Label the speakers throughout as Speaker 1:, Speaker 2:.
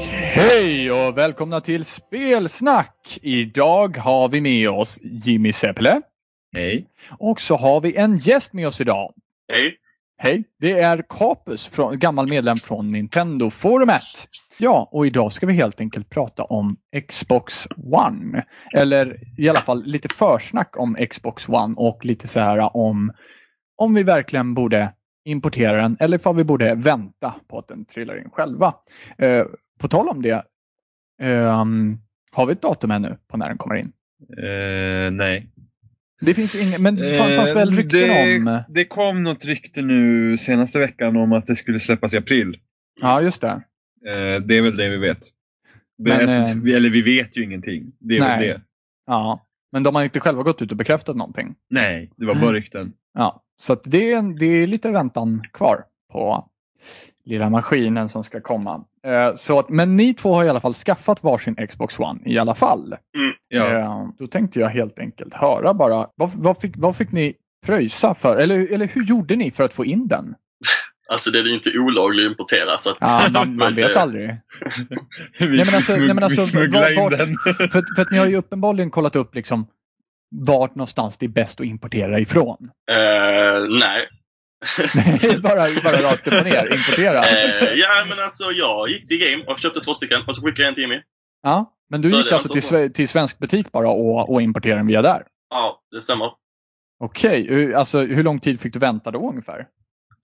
Speaker 1: Hej och välkomna till Spelsnack! Idag har vi med oss Jimmy Seppele
Speaker 2: Hej.
Speaker 1: och så har vi en gäst med oss idag.
Speaker 2: Hej.
Speaker 1: Hej! Det är Capus, från, gammal medlem från Nintendo forumet. Ja, och idag ska vi helt enkelt prata om Xbox One. Eller i alla fall lite försnack om Xbox One och lite så här om om vi verkligen borde importera den eller ifall vi borde vänta på att den trillar in själva. Eh, på tal om det, ehm, har vi ett datum ännu på när den kommer in?
Speaker 2: Eh, nej.
Speaker 1: Det finns inget, men det fanns
Speaker 2: Eh,
Speaker 1: väl rykten
Speaker 2: det,
Speaker 1: om...
Speaker 2: Det kom något rykte nu senaste veckan om att det skulle släppas i april.
Speaker 1: Ja, just det.
Speaker 2: Eh, det är väl det vi vet. Det
Speaker 1: Men,
Speaker 2: är, så-
Speaker 1: eh,
Speaker 2: vi- eller vi vet ju ingenting. Det är
Speaker 1: nej.
Speaker 2: väl det.
Speaker 1: Ja. Men de har inte själva gått ut och bekräftat någonting.
Speaker 2: Nej, det var
Speaker 1: Mm.
Speaker 2: bara rykten.
Speaker 1: Ja, så att det, är en, det är lite väntan kvar på lilla maskinen som ska komma. Eh, så att, men ni två har i alla fall skaffat varsin Xbox One i alla fall.
Speaker 2: Ja.
Speaker 1: Eh, då tänkte jag helt enkelt höra bara, vad, vad, fick, vad fick ni pröjsa för? Eller, eller hur gjorde ni för att få in den?
Speaker 3: Alltså den är ju inte olaglig att importera så att...
Speaker 1: Ja, man, man
Speaker 3: Men det-
Speaker 1: vet aldrig.
Speaker 2: vi,
Speaker 1: men alltså-
Speaker 2: smugg,
Speaker 1: nej, men alltså,
Speaker 2: vi smugglade
Speaker 1: var- var-
Speaker 2: in den.
Speaker 1: För, att- för att ni har ju uppenbarligen kollat upp liksom vart någonstans det är bäst att importera ifrån.
Speaker 3: Eh, nej.
Speaker 1: bara, bara rakt upp och ner, importera.
Speaker 3: Eh, ja men alltså jag gick till Game och köpte två stycken och så skickade jag en till Jimmy.
Speaker 1: Ja, men du
Speaker 3: Så
Speaker 1: gick
Speaker 3: det-
Speaker 1: alltså till,
Speaker 3: alltså-
Speaker 1: sve- till svensk butik bara och, och importerade den via där?
Speaker 3: Ja, det stämmer.
Speaker 1: Okej, hur- alltså, hur lång tid fick du vänta då ungefär?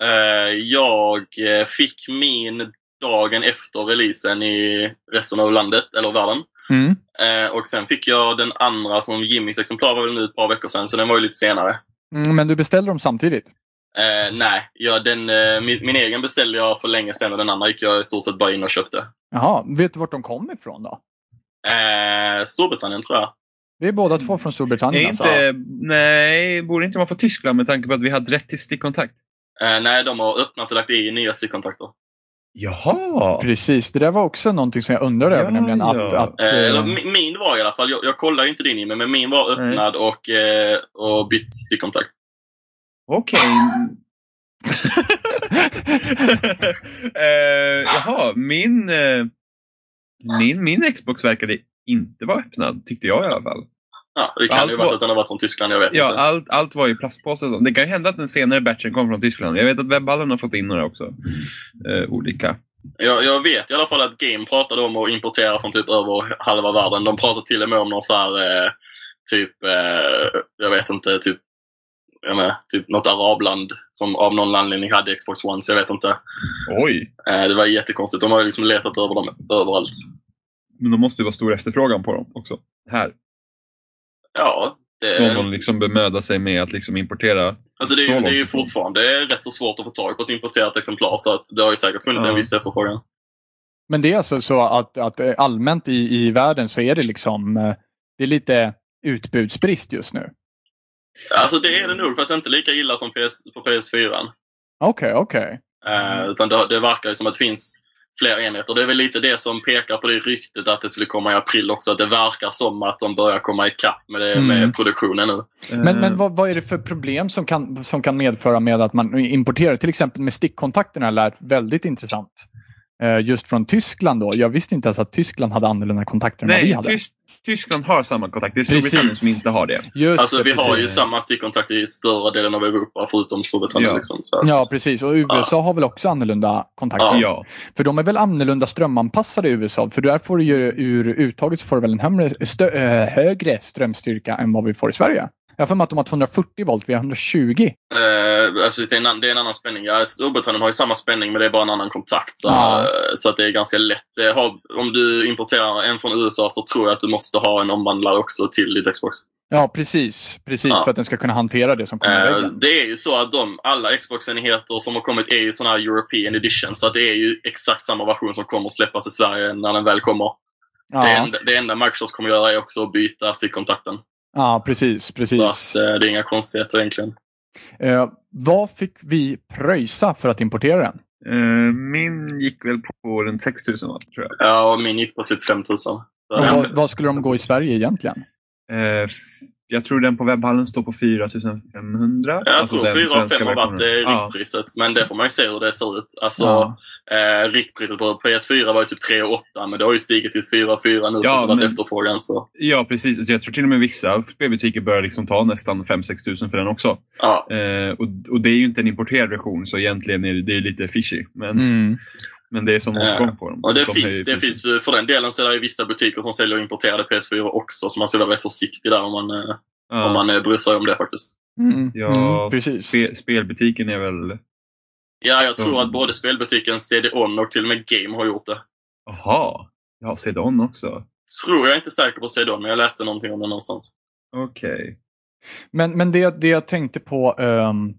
Speaker 3: Eh, jag eh, fick min dagen efter releasen i resten av landet, eller världen.
Speaker 1: Mm.
Speaker 3: Eh, och sen fick jag den andra som Jimmys exemplar var väl nu ett par veckor sedan så den var ju lite senare.
Speaker 1: Mm, men du beställde dem samtidigt?
Speaker 3: Eh, nej, ja, den, eh, min, min egen beställde jag för länge sedan och den andra gick jag i stort sett bara in och köpte.
Speaker 1: Jaha, vet du vart de kom ifrån då?
Speaker 3: Eh, Storbritannien tror jag.
Speaker 1: Det är båda två från
Speaker 2: Är
Speaker 1: Storbritannien. Alltså.
Speaker 2: inte, nej, borde inte man få Tyskland med tanke på att vi hade rätt till stickkontakt?
Speaker 3: Eh, nej, de har öppnat och lagt i nya stickkontakter.
Speaker 2: Jaha!
Speaker 1: Precis, det där var också någonting som jag undrade
Speaker 2: Ja,
Speaker 1: över nämligen. Att,
Speaker 2: ja.
Speaker 1: att,
Speaker 3: Eh,
Speaker 1: eh,
Speaker 3: eller mi- min var i alla fall. Jag, jag kollar ju inte din Jimmy, men min var öppnad och, eh, och bytt stickkontakt.
Speaker 2: Okej. Eh, jaha, min, eh, min, min Xbox verkade inte vara öppnad, tyckte jag i alla fall.
Speaker 3: Ja, det kan
Speaker 2: Allt
Speaker 3: ju vara
Speaker 2: var-
Speaker 3: att den har varit från Tyskland, jag vet
Speaker 2: Ja,
Speaker 3: inte.
Speaker 2: allt, allt var i plastpåse. och sånt. Det kan ju hända att den senare batchen kom från Tyskland. Jag vet att webbhallen har fått in några också. Eh, olika.
Speaker 3: Jag, jag vet i alla fall att Game pratade om att importera från typ över halva världen. De pratade till och med om någon så här, eh, typ, eh, jag vet inte, typ, jag menar, typ något arabland som av någon anledning hade Xbox One, så jag vet inte.
Speaker 2: Oj!
Speaker 3: Eh, det var jättekonstigt. De har ju liksom letat över dem överallt.
Speaker 2: Men då måste det vara stor efterfrågan på dem också. Här.
Speaker 3: Ja, det
Speaker 2: Om de liksom bemödar sig med att liksom importera.
Speaker 3: Alltså det,
Speaker 2: Så
Speaker 3: är ju,
Speaker 2: långt
Speaker 3: det är ju
Speaker 2: ifrån.
Speaker 3: fortfarande rätt så svårt att få tag på ett importerat exemplar så att det har ju säkert funnits
Speaker 2: Ja.
Speaker 3: en viss efterfrågan.
Speaker 1: Men det är alltså så att, att eh, allmänt i, i världen så är det liksom eh, det är lite utbudsbrist just nu.
Speaker 3: Alltså det är det nog, fast inte lika illa som PS, på PS4.
Speaker 1: Okej, okej.
Speaker 3: Eh,
Speaker 2: Mm.
Speaker 3: utan det, det verkar ju som att det finns fler enheter. Det är väl lite det som pekar på det ryktet att det skulle komma i april också. Att det verkar som att de börjar komma ikapp med, det,
Speaker 1: Mm.
Speaker 3: med produktionen nu.
Speaker 1: Men, men
Speaker 3: Mm.
Speaker 2: Eh,
Speaker 1: vad, vad är det för problem som kan, som kan medföra med att man importerar? Till exempel med stickkontakterna har jag lärt väldigt intressant. Eh, Just från Tyskland då. Jag visste inte ens att Tyskland hade annorlunda kontakter än vad vi
Speaker 2: Nej,
Speaker 1: hade.
Speaker 2: Tysk, Tyskland har samma kontakt. Det är
Speaker 1: Precis.
Speaker 2: Storbritannien som inte har det.
Speaker 1: Just
Speaker 3: Alltså
Speaker 1: det,
Speaker 3: vi har ju
Speaker 1: precis.
Speaker 3: samma stickkontakt i större delen av Europa förutom Storbritannien.
Speaker 2: Ja.
Speaker 3: Liksom, så att,
Speaker 1: Ja, precis. Och USA har väl också annorlunda kontakter?
Speaker 2: Ja.
Speaker 1: För de är väl annorlunda strömanpassade i USA? För där får du ju ur uttaget så får du väl en hömre, stö, eh, högre strömstyrka än vad vi får i Sverige? Jag har för mig att de har 240 volt, vi har 120.
Speaker 3: Eh, alltså det, är en, an- det är en annan spänning. Ja, alltså, Storbritannien har ju samma spänning men det är bara en annan kontakt. Så,
Speaker 1: Ja.
Speaker 3: eh, så att det är ganska lätt. Eh, har- om du importerar en från USA så tror jag att du måste ha en omvandlare också till ditt Xbox.
Speaker 1: Ja, precis. Precis,
Speaker 3: Ja.
Speaker 1: för att den ska kunna hantera det som kommer i
Speaker 3: Eh,
Speaker 1: väggen.
Speaker 3: det är ju så att de, alla Xbox-enheter som har kommit är ju sådana här European edition. Så att det är ju exakt samma version som kommer att släppas i Sverige när den väl kommer.
Speaker 1: Ja,
Speaker 3: Det, enda, det enda Microsoft kommer göra är också att byta stickkontakten.
Speaker 1: ja precis. precis.
Speaker 3: Så att eh, det är inga konstigheter egentligen.
Speaker 1: Eh, vad fick vi pröjsa för att importera den?
Speaker 2: Eh, min gick väl på runt 6000 watt tror jag.
Speaker 3: Ja, och min gick på typ 5000. Så,
Speaker 1: Och
Speaker 3: ja.
Speaker 1: vad, vad skulle de gå i Sverige egentligen?
Speaker 2: Eh, Jag tror den på webbhallen står på 4500.
Speaker 3: Jag
Speaker 2: Alltså den
Speaker 3: tror 4 av 5
Speaker 2: svenska
Speaker 3: har varit
Speaker 2: versionen.
Speaker 3: eh,
Speaker 2: Ja.
Speaker 3: riktpriset, men det får man ju se hur det ser ut. Alltså,
Speaker 1: Ja.
Speaker 3: eh, riktpriset på PS4 var ju typ 3 8 men det har ju stigit till 4 4 nu
Speaker 2: Ja,
Speaker 3: på grund av
Speaker 2: men-
Speaker 3: efterfrågan. Så,
Speaker 2: Ja, precis. Alltså, jag tror till och med vissa spelbutiker börjar liksom ta nästan 5-6 tusen för den också.
Speaker 3: ja.
Speaker 2: Eh, och, och det är ju inte en importerad version, så egentligen är det, det är lite fishy. Men,
Speaker 1: Mm.
Speaker 2: men det är som
Speaker 3: Ja.
Speaker 2: åtgång på dem.
Speaker 3: Och det,
Speaker 2: De är
Speaker 3: finns,
Speaker 2: ju
Speaker 3: det
Speaker 2: precis-
Speaker 3: finns ju- för den delen så är det ju vissa butiker som säljer importerade PS4 också, så man ska vara rätt försiktig där om man, eh,
Speaker 2: Ja.
Speaker 3: om man eh, bryr sig om det faktiskt.
Speaker 1: Mm.
Speaker 2: Ja,
Speaker 1: Mm, precis.
Speaker 2: Spe, spelbutiken är väl...
Speaker 3: Ja, jag
Speaker 2: Så-
Speaker 3: tror att både spelbutiken CD-ON och till och med Game har gjort det.
Speaker 2: Jaha! Ja, Sedon också.
Speaker 3: Tror jag är inte säker på CD-ON, men jag läste någonting om det någonstans.
Speaker 2: Okej.
Speaker 1: Men, men det, det jag tänkte på... Um,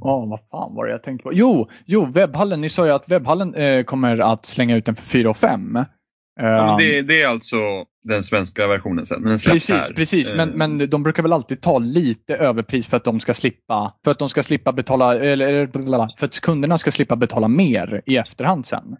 Speaker 1: oh, vad fan var det jag tänkte på? Jo, jo webbhallen. Ni sa ju att webbhallen eh, kommer att slänga ut den för 4 och 5.
Speaker 2: Ja, men det, det är alltså den svenska versionen sen. men Den släpps
Speaker 1: Um, Precis,
Speaker 2: här.
Speaker 1: precis. Men,
Speaker 2: Eh,
Speaker 1: men de brukar väl alltid ta lite överpris för att de ska slippa, för att de ska slippa betala, eller eller blablabla, för att kunderna ska slippa betala mer i efterhand sen.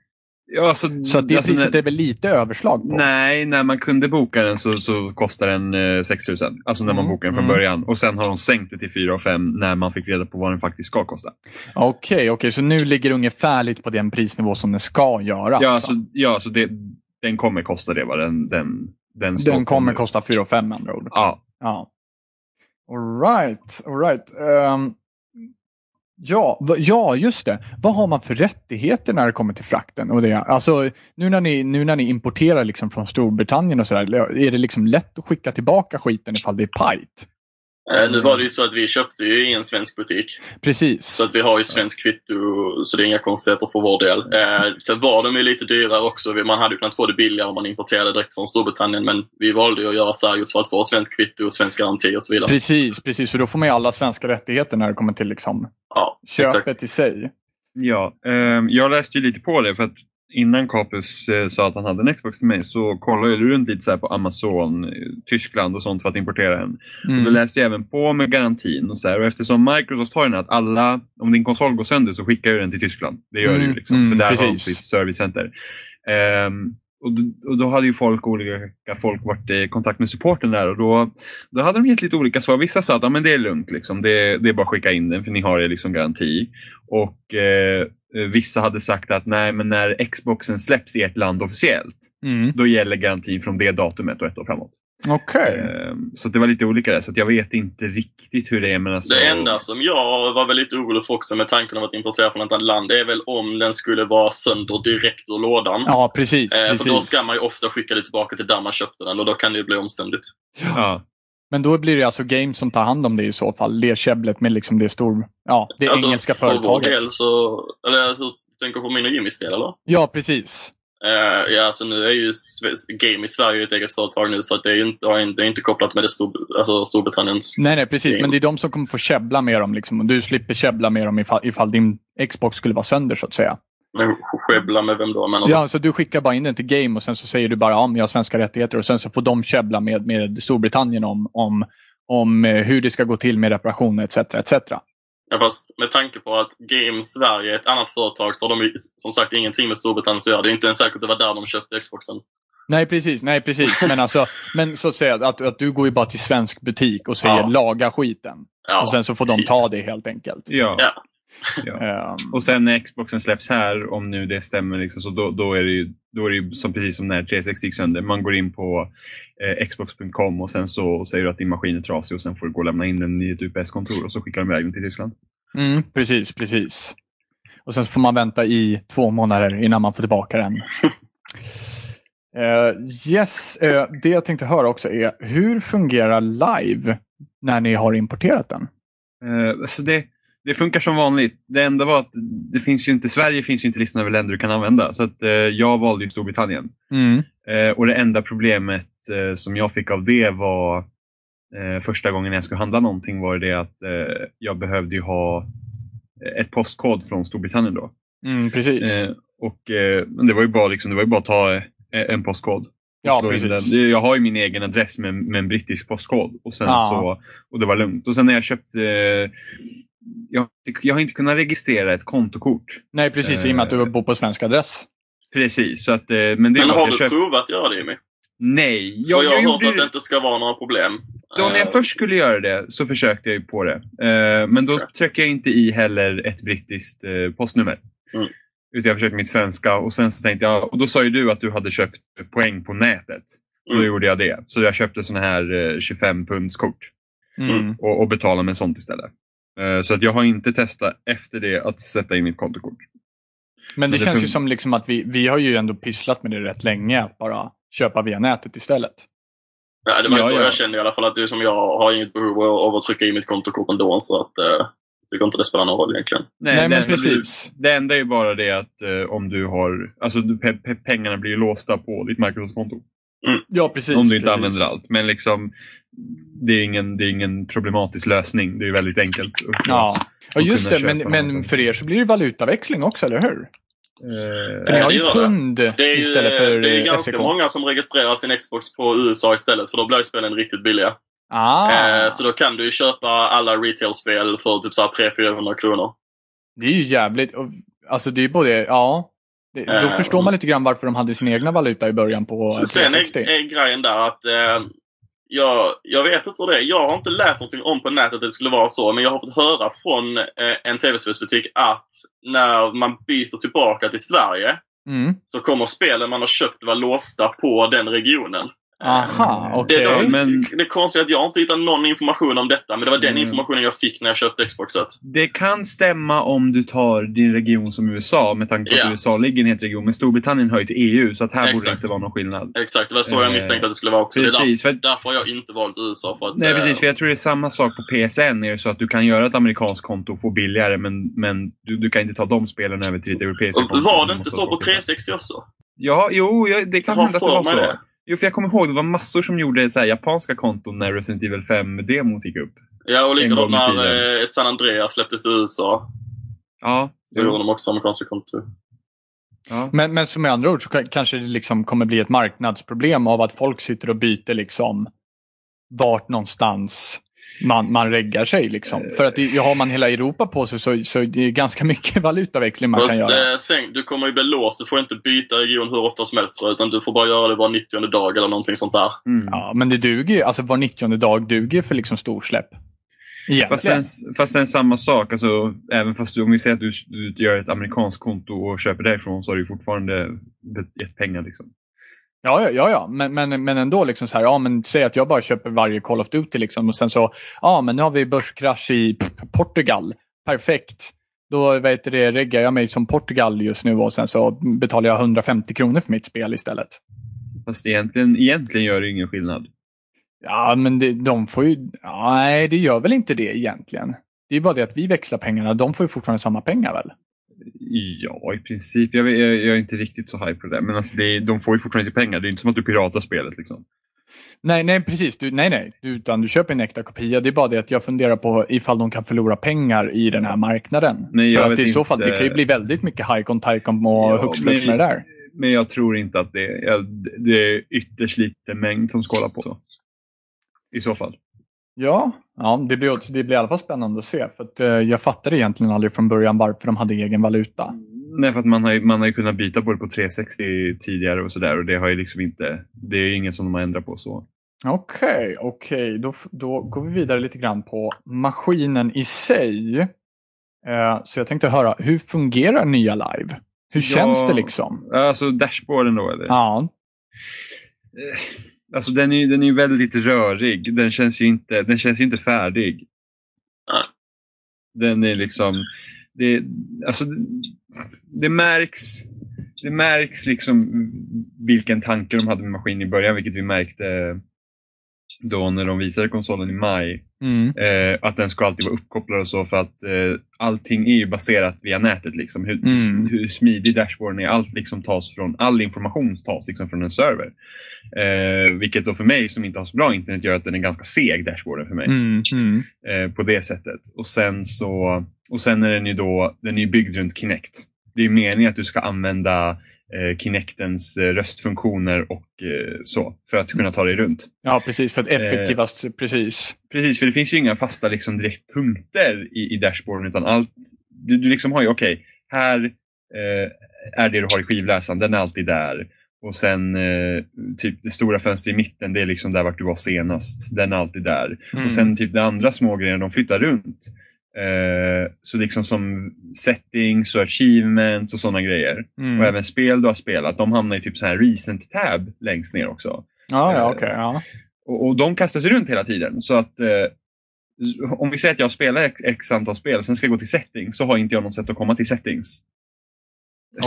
Speaker 2: Ja, alltså,
Speaker 1: Så att det
Speaker 2: alltså,
Speaker 1: priset
Speaker 2: när,
Speaker 1: är väl lite överslag på.
Speaker 2: Nej, när man kunde boka den så, så kostade den eh, 6 000. Alltså när man
Speaker 1: Mm.
Speaker 2: bokade den från
Speaker 1: Mm.
Speaker 2: början. Och sen har de sänkt det till 4 5 när man fick reda på vad den faktiskt ska kosta.
Speaker 1: Okej, okej, så nu ligger det ungefärligt på den prisnivå som den ska göra.
Speaker 2: Ja,
Speaker 1: alltså.
Speaker 2: alltså, ja så det, den kommer kosta det. Va? Den, den, den, står
Speaker 1: Den kommer
Speaker 2: på-
Speaker 1: kosta 4 5 med andra ord.
Speaker 2: Ja.
Speaker 1: Ja. All right, all right. Ehm, ja, va- ja, just det. Vad har man för rättigheter när det kommer till frakten? Och det, alltså, nu, när ni, nu när ni importerar liksom från Storbritannien och sådär, är det liksom lätt att skicka tillbaka skiten ifall det är pajt?
Speaker 3: Eh,
Speaker 2: Mm.
Speaker 3: Nu var det ju så att vi köpte ju i en svensk butik.
Speaker 1: Precis.
Speaker 3: Så att vi har ju svensk kvitto, så det är inga konstigheter för vår del.
Speaker 1: Mm.
Speaker 3: Eh, sen var de ju lite dyrare också. Vi- Man hade ju kunnat få det billigare om man importerade direkt från Storbritannien, men vi valde ju att göra så här just för att få svensk kvitto, svensk garanti och så vidare.
Speaker 1: Precis, precis. Så då får man ju alla svenska rättigheter när det kommer till liksom
Speaker 3: Ja,
Speaker 1: köpet
Speaker 3: exakt.
Speaker 1: i sig.
Speaker 2: Ja, ehm, jag läste ju lite på det för att innan Capus eh, sa att han hade en Xbox till mig så kollade jag runt lite så här på Amazon, eh, Tyskland och sånt för att importera en. Och då
Speaker 1: Mm.
Speaker 2: läste jag även på med garantin och så här. Och eftersom Microsoft har den här att alla, om din konsol går sönder så skickar du den till Tyskland. Det gör du ju
Speaker 1: Mm,
Speaker 2: liksom.
Speaker 1: mm,
Speaker 2: för där har de
Speaker 1: precis.
Speaker 2: sitt servicecenter. Ehm, och, då, och då hade ju folk, olika folk varit i kontakt med supporten där och då, då hade de gett lite olika svar. Vissa sa att ja, men det är lugnt, liksom. det, det är bara att skicka in den för ni har ju liksom garanti. Och eh, vissa hade sagt att nej, men när Xboxen släpps i ert land officiellt,
Speaker 1: Mm.
Speaker 2: då gäller garantin från det datumet och ett år framåt.
Speaker 1: Okej.
Speaker 3: Eh,
Speaker 2: Ehm, Så att det var lite olika där, så att jag vet inte riktigt hur det är. Men alltså,
Speaker 3: Det enda som jag var väl lite orolig för också med tanken om att importera från ett annat land, det är väl om den skulle vara sönder direkt ur lådan.
Speaker 1: Ja, precis.
Speaker 3: eh,
Speaker 1: precis.
Speaker 3: för då ska man ju ofta skicka det tillbaka till där man köpte den och då kan det ju bli omständigt.
Speaker 2: Ja,
Speaker 1: Men då blir det alltså Game som tar hand om det i så fall. Det käbblet med liksom det stor, ja, det engelska
Speaker 3: Alltså, För vår
Speaker 1: företaget.
Speaker 3: del så, eller hur tänker du på min och Jimmys del eller?
Speaker 1: Ja, precis.
Speaker 3: Eh, ja, alltså nu är ju Sve- Game i Sverige ett eget företag nu, så att det är ju inte, har inte- det är inte kopplat med det Stor, alltså Storbritanniens...
Speaker 1: Nej, nej, precis.
Speaker 3: Game.
Speaker 1: Men det är de som kommer få käbbla med dem. Liksom. Och du slipper käbbla med dem ifall, ifall din Xbox skulle vara sönder så att säga.
Speaker 3: med Skäbbla med vem då? Men
Speaker 1: Ja, så du skickar bara in den till Game och sen så säger du bara om jag har svenska rättigheter och sen så får de käbbla med, med Storbritannien om, om, om eh, hur det ska gå till med reparation etc. etc.
Speaker 3: ja, fast med tanke på att Game Sverige är ett annat företag så har de ju som sagt ingenting med Storbritannien att göra. Det är inte ens säkert att det var där de köpte Xboxen.
Speaker 1: Nej, precis. Nej, precis. Men, alltså, men så att säga att, att du går ju bara till svensk butik och säger
Speaker 3: Ja.
Speaker 1: laga skiten.
Speaker 3: Ja,
Speaker 1: Och sen så får de
Speaker 3: typ.
Speaker 1: ta det helt enkelt.
Speaker 2: ja.
Speaker 3: Ja.
Speaker 1: Ehm,
Speaker 2: Och sen när Xboxen släpps här, om nu det stämmer, liksom, så då, då är det ju, då är det ju som, precis som när 360 gick sönder. Man går in på eh, xbox.com och sen så säger du att din maskin är trasig och sen får du gå och lämna in den i ett UPS-kontor och så skickar de iväg den till Tyskland.
Speaker 1: mm, precis, precis. Och sen så får man vänta i två månader innan man får tillbaka den. Eh, yes, eh, det jag tänkte höra också är hur fungerar live när ni har importerat den?
Speaker 2: Eh, så det, det funkar som vanligt. Det enda var att det finns ju inte, Sverige finns ju inte listan över länder du kan använda. Så att, eh, jag valde ju Storbritannien. Eh, och det enda problemet eh, som jag fick av det var eh, första gången jag skulle handla någonting var det att eh, jag behövde ju ha eh, ett postkod från Storbritannien då.
Speaker 1: Mm, precis.
Speaker 2: Eh, och, eh, men det var ju bara, liksom, det var ju bara att ta eh, en postkod. och
Speaker 1: ja,
Speaker 2: slå in
Speaker 1: precis.
Speaker 2: den. Jag har ju min egen adress med, med en brittisk postkod. Och, sen
Speaker 1: Ja.
Speaker 2: så, och det var lugnt. Och sen när jag köpte eh, jag, har inte- jag har inte kunnat registrera ett kontokort.
Speaker 1: Nej, precis. I och med att du
Speaker 2: Eh.
Speaker 1: bor på svensk adress.
Speaker 2: Precis, så att, eh, men det
Speaker 3: Men
Speaker 2: var att
Speaker 3: har
Speaker 2: jag
Speaker 3: du
Speaker 2: köpte-
Speaker 3: provat att göra det Jimmy?
Speaker 2: Nej,
Speaker 3: För jag, har
Speaker 2: gjorde
Speaker 3: hört att
Speaker 2: det-
Speaker 3: det inte ska vara några problem. Eh,
Speaker 2: Då när jag först skulle göra det så försökte jag ju på det. Eh, men då tryckte jag inte i heller ett brittiskt eh, postnummer.
Speaker 3: Mm.
Speaker 2: Utan jag försökte mitt svenska och sen så tänkte jag, och då sa ju du att du hade köpt poäng på nätet. Och då
Speaker 3: Mm.
Speaker 2: gjorde jag det. Så jag köpte sådana här eh, 25-pundskort
Speaker 1: Mm.
Speaker 2: och, och betalade med sånt istället. Eh, Så att jag har inte testat efter det att sätta in mitt kontokort.
Speaker 1: Men det
Speaker 2: det
Speaker 1: känns ju
Speaker 2: fun-
Speaker 1: som liksom att vi, vi har ju ändå pysslat med det rätt länge, att bara köpa via nätet istället.
Speaker 3: Ja, det var ju
Speaker 2: Ja,
Speaker 3: så
Speaker 2: ja.
Speaker 3: jag kände i alla fall. Att du som jag har inget behov av av att trycka i mitt kontokort ändå. Så att, eh, jag tycker inte det spelar någon roll egentligen.
Speaker 1: Nej,
Speaker 2: det
Speaker 1: men
Speaker 2: enda blir-
Speaker 1: precis.
Speaker 2: Det enda är ju bara det att eh, om du har, alltså du- pe- pe- pengarna blir ju låsta på ditt Microsoft-konto.
Speaker 1: Ja, precis.
Speaker 2: Om du inte
Speaker 1: precis.
Speaker 2: använder allt. Men liksom, det är ingen, det är ingen problematisk lösning. Det är ju väldigt enkelt. att få.
Speaker 1: Ja, ja
Speaker 2: Och
Speaker 1: just
Speaker 2: kunna
Speaker 1: det. Men,
Speaker 2: köpa
Speaker 1: men
Speaker 2: någonstans.
Speaker 1: för er så blir det valutaväxling också, eller hur? För
Speaker 2: Eh,
Speaker 1: ni
Speaker 3: Nej,
Speaker 1: har
Speaker 3: det
Speaker 1: ju
Speaker 3: gör
Speaker 1: pund
Speaker 3: Det är ju,
Speaker 1: istället för
Speaker 3: det är ju
Speaker 1: eh,
Speaker 3: ganska
Speaker 1: SEK.
Speaker 3: många som registrerar sin Xbox på USA istället. För då blir ju spelen riktigt billiga.
Speaker 1: Ah,
Speaker 3: Eh, så då kan du ju köpa alla retail-spel för typ så här 300-400 kronor.
Speaker 1: Det är ju jävligt. och- Alltså det är både, ja. Det, då
Speaker 3: Eh,
Speaker 1: förstår man lite grann varför de hade sin egna valuta i början på
Speaker 3: S- Sen är,
Speaker 1: 360.
Speaker 3: är grejen där att eh, jag, jag vet inte hur det är. Jag har inte läst någonting om på nätet att det skulle vara så, men jag har fått höra från eh, en tv-spelsbutik att när man byter tillbaka till Sverige
Speaker 1: Mm.
Speaker 3: så kommer spelen man har köpt vara låsta på den regionen.
Speaker 1: Aha,
Speaker 2: Eh,
Speaker 1: okej.
Speaker 3: Det, är då,
Speaker 2: men-
Speaker 3: det är konstigt att jag inte hittat någon information om detta, men det var den
Speaker 2: Mm.
Speaker 3: informationen jag fick när jag köpte Xboxet.
Speaker 2: det kan stämma om du tar din region som USA med tanke på att
Speaker 3: Ja.
Speaker 2: USA ligger i en het region. Men Storbritannien hör ju till EU så att här borde det
Speaker 3: Exakt.
Speaker 2: inte vara någon skillnad.
Speaker 3: Exakt, det var så jag
Speaker 2: Eh,
Speaker 3: misstänkte att det skulle vara också. Det är
Speaker 2: Precis, för att
Speaker 3: där, därför har jag inte valt USA. För att,
Speaker 2: Nej
Speaker 3: eh,
Speaker 2: precis, för jag tror det är samma sak på PSN. Är det så att du kan göra ett amerikanskt konto och få billigare men, men du, du kan inte ta de spelen över till ditt europeiska
Speaker 3: och
Speaker 2: konto.
Speaker 3: var
Speaker 2: Du
Speaker 3: det inte
Speaker 2: måste
Speaker 3: så på
Speaker 2: åka till-
Speaker 3: 360 också?
Speaker 2: Ja, jo, jag, det kan
Speaker 3: Jag har
Speaker 2: hända att det
Speaker 3: för
Speaker 2: var
Speaker 3: mig
Speaker 2: så.
Speaker 3: det.
Speaker 2: Jo, för jag kommer ihåg det var massor som gjorde så här, japanska konton när Resident Evil 5-demot gick upp.
Speaker 3: Ja, och likadant
Speaker 2: gång i
Speaker 3: när
Speaker 2: tiden.
Speaker 3: eh, San Andreas släpptes i USA.
Speaker 2: Ja,
Speaker 3: Så gjorde de också amerikanska kontor.
Speaker 2: ja.
Speaker 1: Men, men som med andra ord så ka- kanske det liksom kommer bli ett marknadsproblem av att folk sitter och byter liksom vart någonstans man, man reggar sig. Liksom. För att det, har man hela Europa på sig så, så det är ganska mycket valutaväxling man kan
Speaker 3: Fast
Speaker 1: göra.
Speaker 3: eh, sen, du kommer ju bli låst. Du får inte byta region hur ofta som helst tror jag, utan du får bara göra det var 90 dag eller någonting sånt där.
Speaker 2: Mm.
Speaker 1: Ja, men det duger ju. Alltså var 90 dag duger för liksom storsläpp.
Speaker 2: Fast,
Speaker 1: Egentligen.
Speaker 2: sen, fast sen samma sak, alltså, även fast du, om vi säger att du, du gör ett amerikanskt konto och köper därifrån så har du ju fortfarande gett pengar. Liksom.
Speaker 1: Ja, ja, ja, ja. Men, men, men ändå liksom så här, ja men säg att jag bara köper varje Call of Duty liksom och sen så, ja men nu har vi börskrasch i P- Portugal. Perfekt. Då vet det, reggar jag mig som Portugal just nu och sen så betalar jag 150 kronor för mitt spel istället.
Speaker 2: Fast egentligen, egentligen gör det ju ingen skillnad.
Speaker 1: Ja, men det, de får ju, ja, nej det gör väl inte det egentligen. Det är bara det att vi växlar pengarna, de får ju fortfarande samma pengar väl?
Speaker 2: Ja, i princip. Jag, jag, jag är inte riktigt så high på det. där. Men alltså, det, är- de får ju fortfarande inte pengar. Det är inte som att du piratar spelet. Liksom.
Speaker 1: Nej, nej precis. Du, nej, nej. Du, utan du köper en äkta kopia. Det är bara det att jag funderar på ifall de kan förlora pengar i den här marknaden.
Speaker 2: Nej, jag
Speaker 1: För att
Speaker 2: vet
Speaker 1: i så fall,
Speaker 2: inte.
Speaker 1: det kan ju bli väldigt mycket Haikon, Taikon och
Speaker 2: Ja,
Speaker 1: hux flux med
Speaker 2: men-
Speaker 1: det där.
Speaker 2: Men jag tror inte att det, jag, det är ytterst liten mängd som skålar på. Så. I så fall.
Speaker 1: Ja, ja det, blir, det blir i alla fall spännande att se. För att, eh, jag fattade egentligen aldrig från början varför de hade egen valuta.
Speaker 2: Mm. Nej, för att man har, ju, man har ju kunnat byta på det på 360 tidigare och sådär. Och det har ju liksom inte, det är ju inget som de har ändrat på så.
Speaker 1: Okej, okej. Då, f- då går vi vidare lite grann på maskinen i sig. Eh, så jag tänkte höra, hur fungerar nya live? Hur känns
Speaker 2: Ja.
Speaker 1: det liksom?
Speaker 2: Alltså dashboarden då eller?
Speaker 1: Ja,
Speaker 2: Eh, Alltså den är ju den är ju väldigt rörig. Den känns ju inte, den känns ju inte färdig.
Speaker 3: Nej.
Speaker 2: Den är liksom... Det, alltså, det märks Det märks liksom vilken tanke de hade med maskinen i början, vilket vi märkte då när de visade konsolen i maj.
Speaker 1: mm.
Speaker 2: Eh, att den ska alltid vara uppkopplad och så för att eh, allting är ju baserat via nätet. Liksom. Hur,
Speaker 1: Mm.
Speaker 2: hur smidig dashboarden är. Allt liksom tas från, all information tas liksom från en server. Eh, vilket då för mig som inte har så bra internet gör att den är ganska seg dashboarden för mig.
Speaker 1: Mm, mm.
Speaker 2: Eh, på det sättet. Och sen, så, och sen är den ju då den är ju byggd runt Kinect. Det är ju meningen att du ska använda eh, Kinectens eh, röstfunktioner och eh, så för att kunna ta dig runt.
Speaker 1: Ja, precis. För att
Speaker 2: Eh.
Speaker 1: effektivast, precis.
Speaker 2: Precis, för det finns ju inga fasta liksom, direktpunkter i, i dashboarden. Utan allt, du, du liksom har ju, okej, här eh, är det du har i skivläsaren, den är alltid där. Och sen eh, typ det stora fönstret i mitten, det är liksom där vart du var senast. Den är alltid där.
Speaker 1: Mm.
Speaker 2: Och sen typ de andra små grejerna, de flyttar runt. Eh, så liksom som settings och achievements och sådana grejer.
Speaker 1: Mm.
Speaker 2: Och även spel du har spelat, de hamnar i typ så här recent tab längst ner också.
Speaker 1: Ja, ja, okej. ja.
Speaker 2: Och, och de kastas runt hela tiden. Så att eh, om vi säger att jag spelar x, x antal spel och sen ska jag gå till settings så har inte jag något sätt att komma till settings.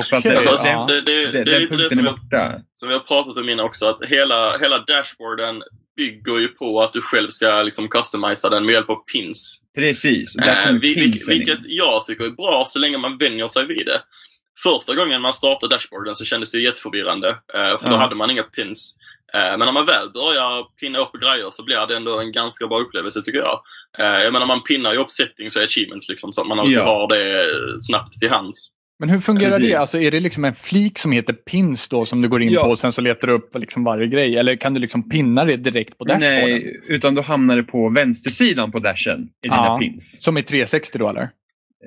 Speaker 2: För att
Speaker 1: Okej,
Speaker 2: det-
Speaker 3: Ja, fast
Speaker 1: ja.
Speaker 3: det,
Speaker 2: Det,
Speaker 3: det, det, det är
Speaker 2: den
Speaker 3: lite det
Speaker 2: punkten
Speaker 3: som
Speaker 2: är
Speaker 3: jag
Speaker 2: borta.
Speaker 3: som vi har pratat om innan också, att hela, hela dashboarden bygger ju på att du själv ska liksom customisa den med hjälp av pins.
Speaker 2: Precis. och där
Speaker 3: Eh,
Speaker 2: kommer
Speaker 3: vil, vil,
Speaker 2: pinsen in.
Speaker 3: vilket jag tycker är bra så länge man vänjer sig vid det. Första gången man startade dashboarden så kändes det ju jätteförvirrande, eh, för då
Speaker 1: Ja.
Speaker 3: hade man inga pins. Eh, Men när man väl börjar pinna upp grejer så blir det ändå en ganska bra upplevelse tycker jag. Eh, Jag menar man pinnar ju upp settings och achievements liksom, så att man
Speaker 2: Ja.
Speaker 3: har det eh, snabbt till hands.
Speaker 1: Men hur fungerar
Speaker 2: Precis.
Speaker 1: det? Alltså, är det liksom en flik som heter pins då som du går in
Speaker 2: Ja.
Speaker 1: på och sen så letar du upp liksom varje grej? Eller kan du liksom pinna det direkt på dashboarden?
Speaker 2: Nej, utan då hamnar det på vänstersidan på dashen i dina
Speaker 1: Ja.
Speaker 2: pins.
Speaker 1: Som i 360 då eller?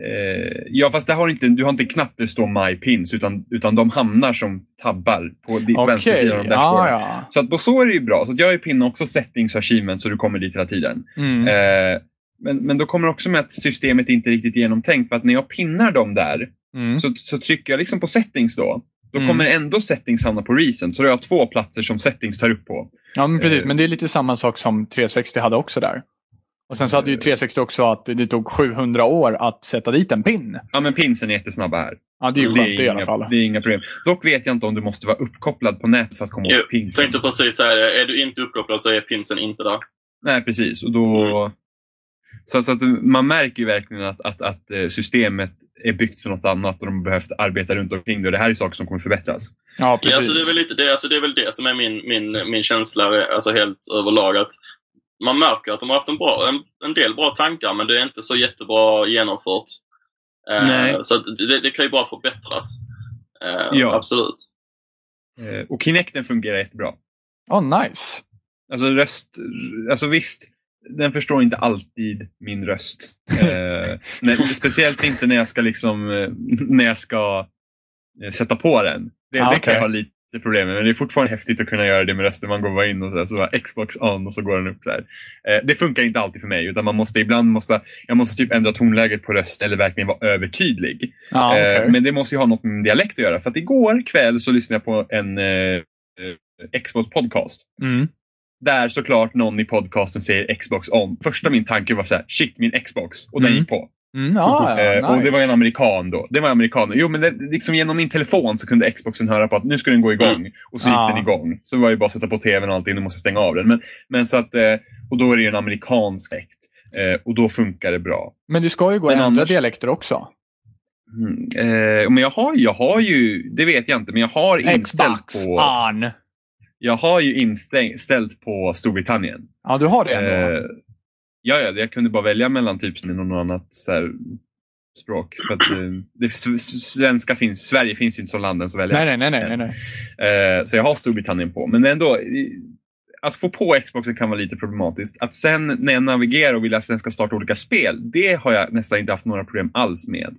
Speaker 2: Eh, ja, fast där har du, inte, du har inte en knapp där det står My Pins, utan, utan de hamnar som tabbar på di- vänstersidan av dashboarden.
Speaker 1: ja, ja.
Speaker 2: Så att på så är det ju bra. Så att jag har ju pinnat också settings och achievements så du kommer dit hela tiden.
Speaker 1: Mm.
Speaker 2: Eh, men, men då kommer det också med att systemet inte är riktigt genomtänkt. För att när jag pinnar dem där
Speaker 1: Mm.
Speaker 2: så, så trycker jag liksom på settings då. Då
Speaker 1: Mm.
Speaker 2: kommer ändå settings hamna på recent. Så då har jag två platser som settings tar upp på.
Speaker 1: Ja, men precis.
Speaker 2: Eh.
Speaker 1: Men det är lite samma sak som 360 hade också där. Och sen så
Speaker 2: Eh.
Speaker 1: hade ju 360 också att det tog 700 år att sätta dit en pin.
Speaker 2: Ja men pinsen är jättesnabba här.
Speaker 1: Ja, det är ju skönt det i alla
Speaker 2: inga-
Speaker 1: fall.
Speaker 2: Det är inga problem. Dock vet jag inte om du måste vara uppkopplad på nätet för att komma
Speaker 3: Jo,
Speaker 2: åt pinsen.
Speaker 3: Tänkte precis säga det, är du inte uppkopplad så är pinsen inte där.
Speaker 2: Nej, precis. Och då... så, så att man märker ju verkligen att, att, att eh, systemet är byggt för något annat och de har behövt arbeta runt omkring det. Och det här är saker som kommer förbättras.
Speaker 1: Ja, precis.
Speaker 3: Ja, alltså det, är väl lite det, alltså det är väl det som är min, min, min känsla alltså helt överlag. Att man märker att de har haft en, bra, en, en del bra tankar, men det är inte så jättebra genomfört. Eh,
Speaker 2: Nej.
Speaker 3: Så att det, det kan ju bara förbättras. Eh,
Speaker 2: Ja.
Speaker 3: Absolut.
Speaker 1: Mm.
Speaker 2: Eh, och Kinecten fungerar jättebra.
Speaker 1: Oh, nice.
Speaker 2: Alltså röst... Alltså visst, den förstår inte alltid min röst. Eh, men, speciellt inte när jag ska liksom... eh, När jag ska eh, sätta på den. Det,
Speaker 1: Ah,
Speaker 2: det kan
Speaker 1: okej.
Speaker 2: jag ha lite problem med, men det är fortfarande häftigt att kunna göra det med rösten. Man går bara in och så, här, så bara Xbox on och så går den upp så här. Eh, det funkar inte alltid för mig, utan man måste ibland måste, jag måste typ ändra tonläget på rösten eller verkligen vara övertydlig.
Speaker 1: Ja,
Speaker 2: Eh,
Speaker 1: Ah, okej.
Speaker 2: Men det måste ju ha något med min dialekt att göra. För att igår kväll så lyssnade jag på en eh, eh, Xbox podcast.
Speaker 1: mm.
Speaker 2: Där såklart någon i podcasten säger Xbox on. Första min tanke var så här, shit min Xbox. Och den
Speaker 1: Mm.
Speaker 2: gick på.
Speaker 1: Mm, ja, ja,
Speaker 2: Eh,
Speaker 1: nice.
Speaker 2: Och det var en amerikan då. Det var en amerikan. Jo men det, liksom genom min telefon så kunde Xboxen höra på att nu ska den gå igång. Och så gick
Speaker 1: Ah.
Speaker 2: den igång. Så var det bara att sätta på tvn och allting. Du måste stänga av den. Men, men så att, eh, och då är det ju en amerikansk äkt. Eh, och då funkar det bra.
Speaker 1: Men det ska ju gå att
Speaker 2: Men
Speaker 1: ändra
Speaker 2: annars-
Speaker 1: dialekter också.
Speaker 2: Mm. Eh, men jag har, jag har ju, det vet jag inte, men jag har inställt
Speaker 1: Xbox Ah.
Speaker 2: på,
Speaker 1: on.
Speaker 2: jag har ju inställt på Storbritannien.
Speaker 1: Ja, du har det ändå.
Speaker 2: Eh, ja, ja, jag kunde bara välja mellan typ som någon annat så här, språk. För att, eh, det, s- s- svenska finns, Sverige finns ju inte som land än så välja.
Speaker 1: nej, nej, nej, nej, nej, nej.
Speaker 2: Eh, så jag har Storbritannien på. Men ändå, i- att få på Xboxen kan vara lite problematiskt. Att sen när jag navigerar och vill att den ska starta olika spel, det har jag nästan inte haft några problem alls med.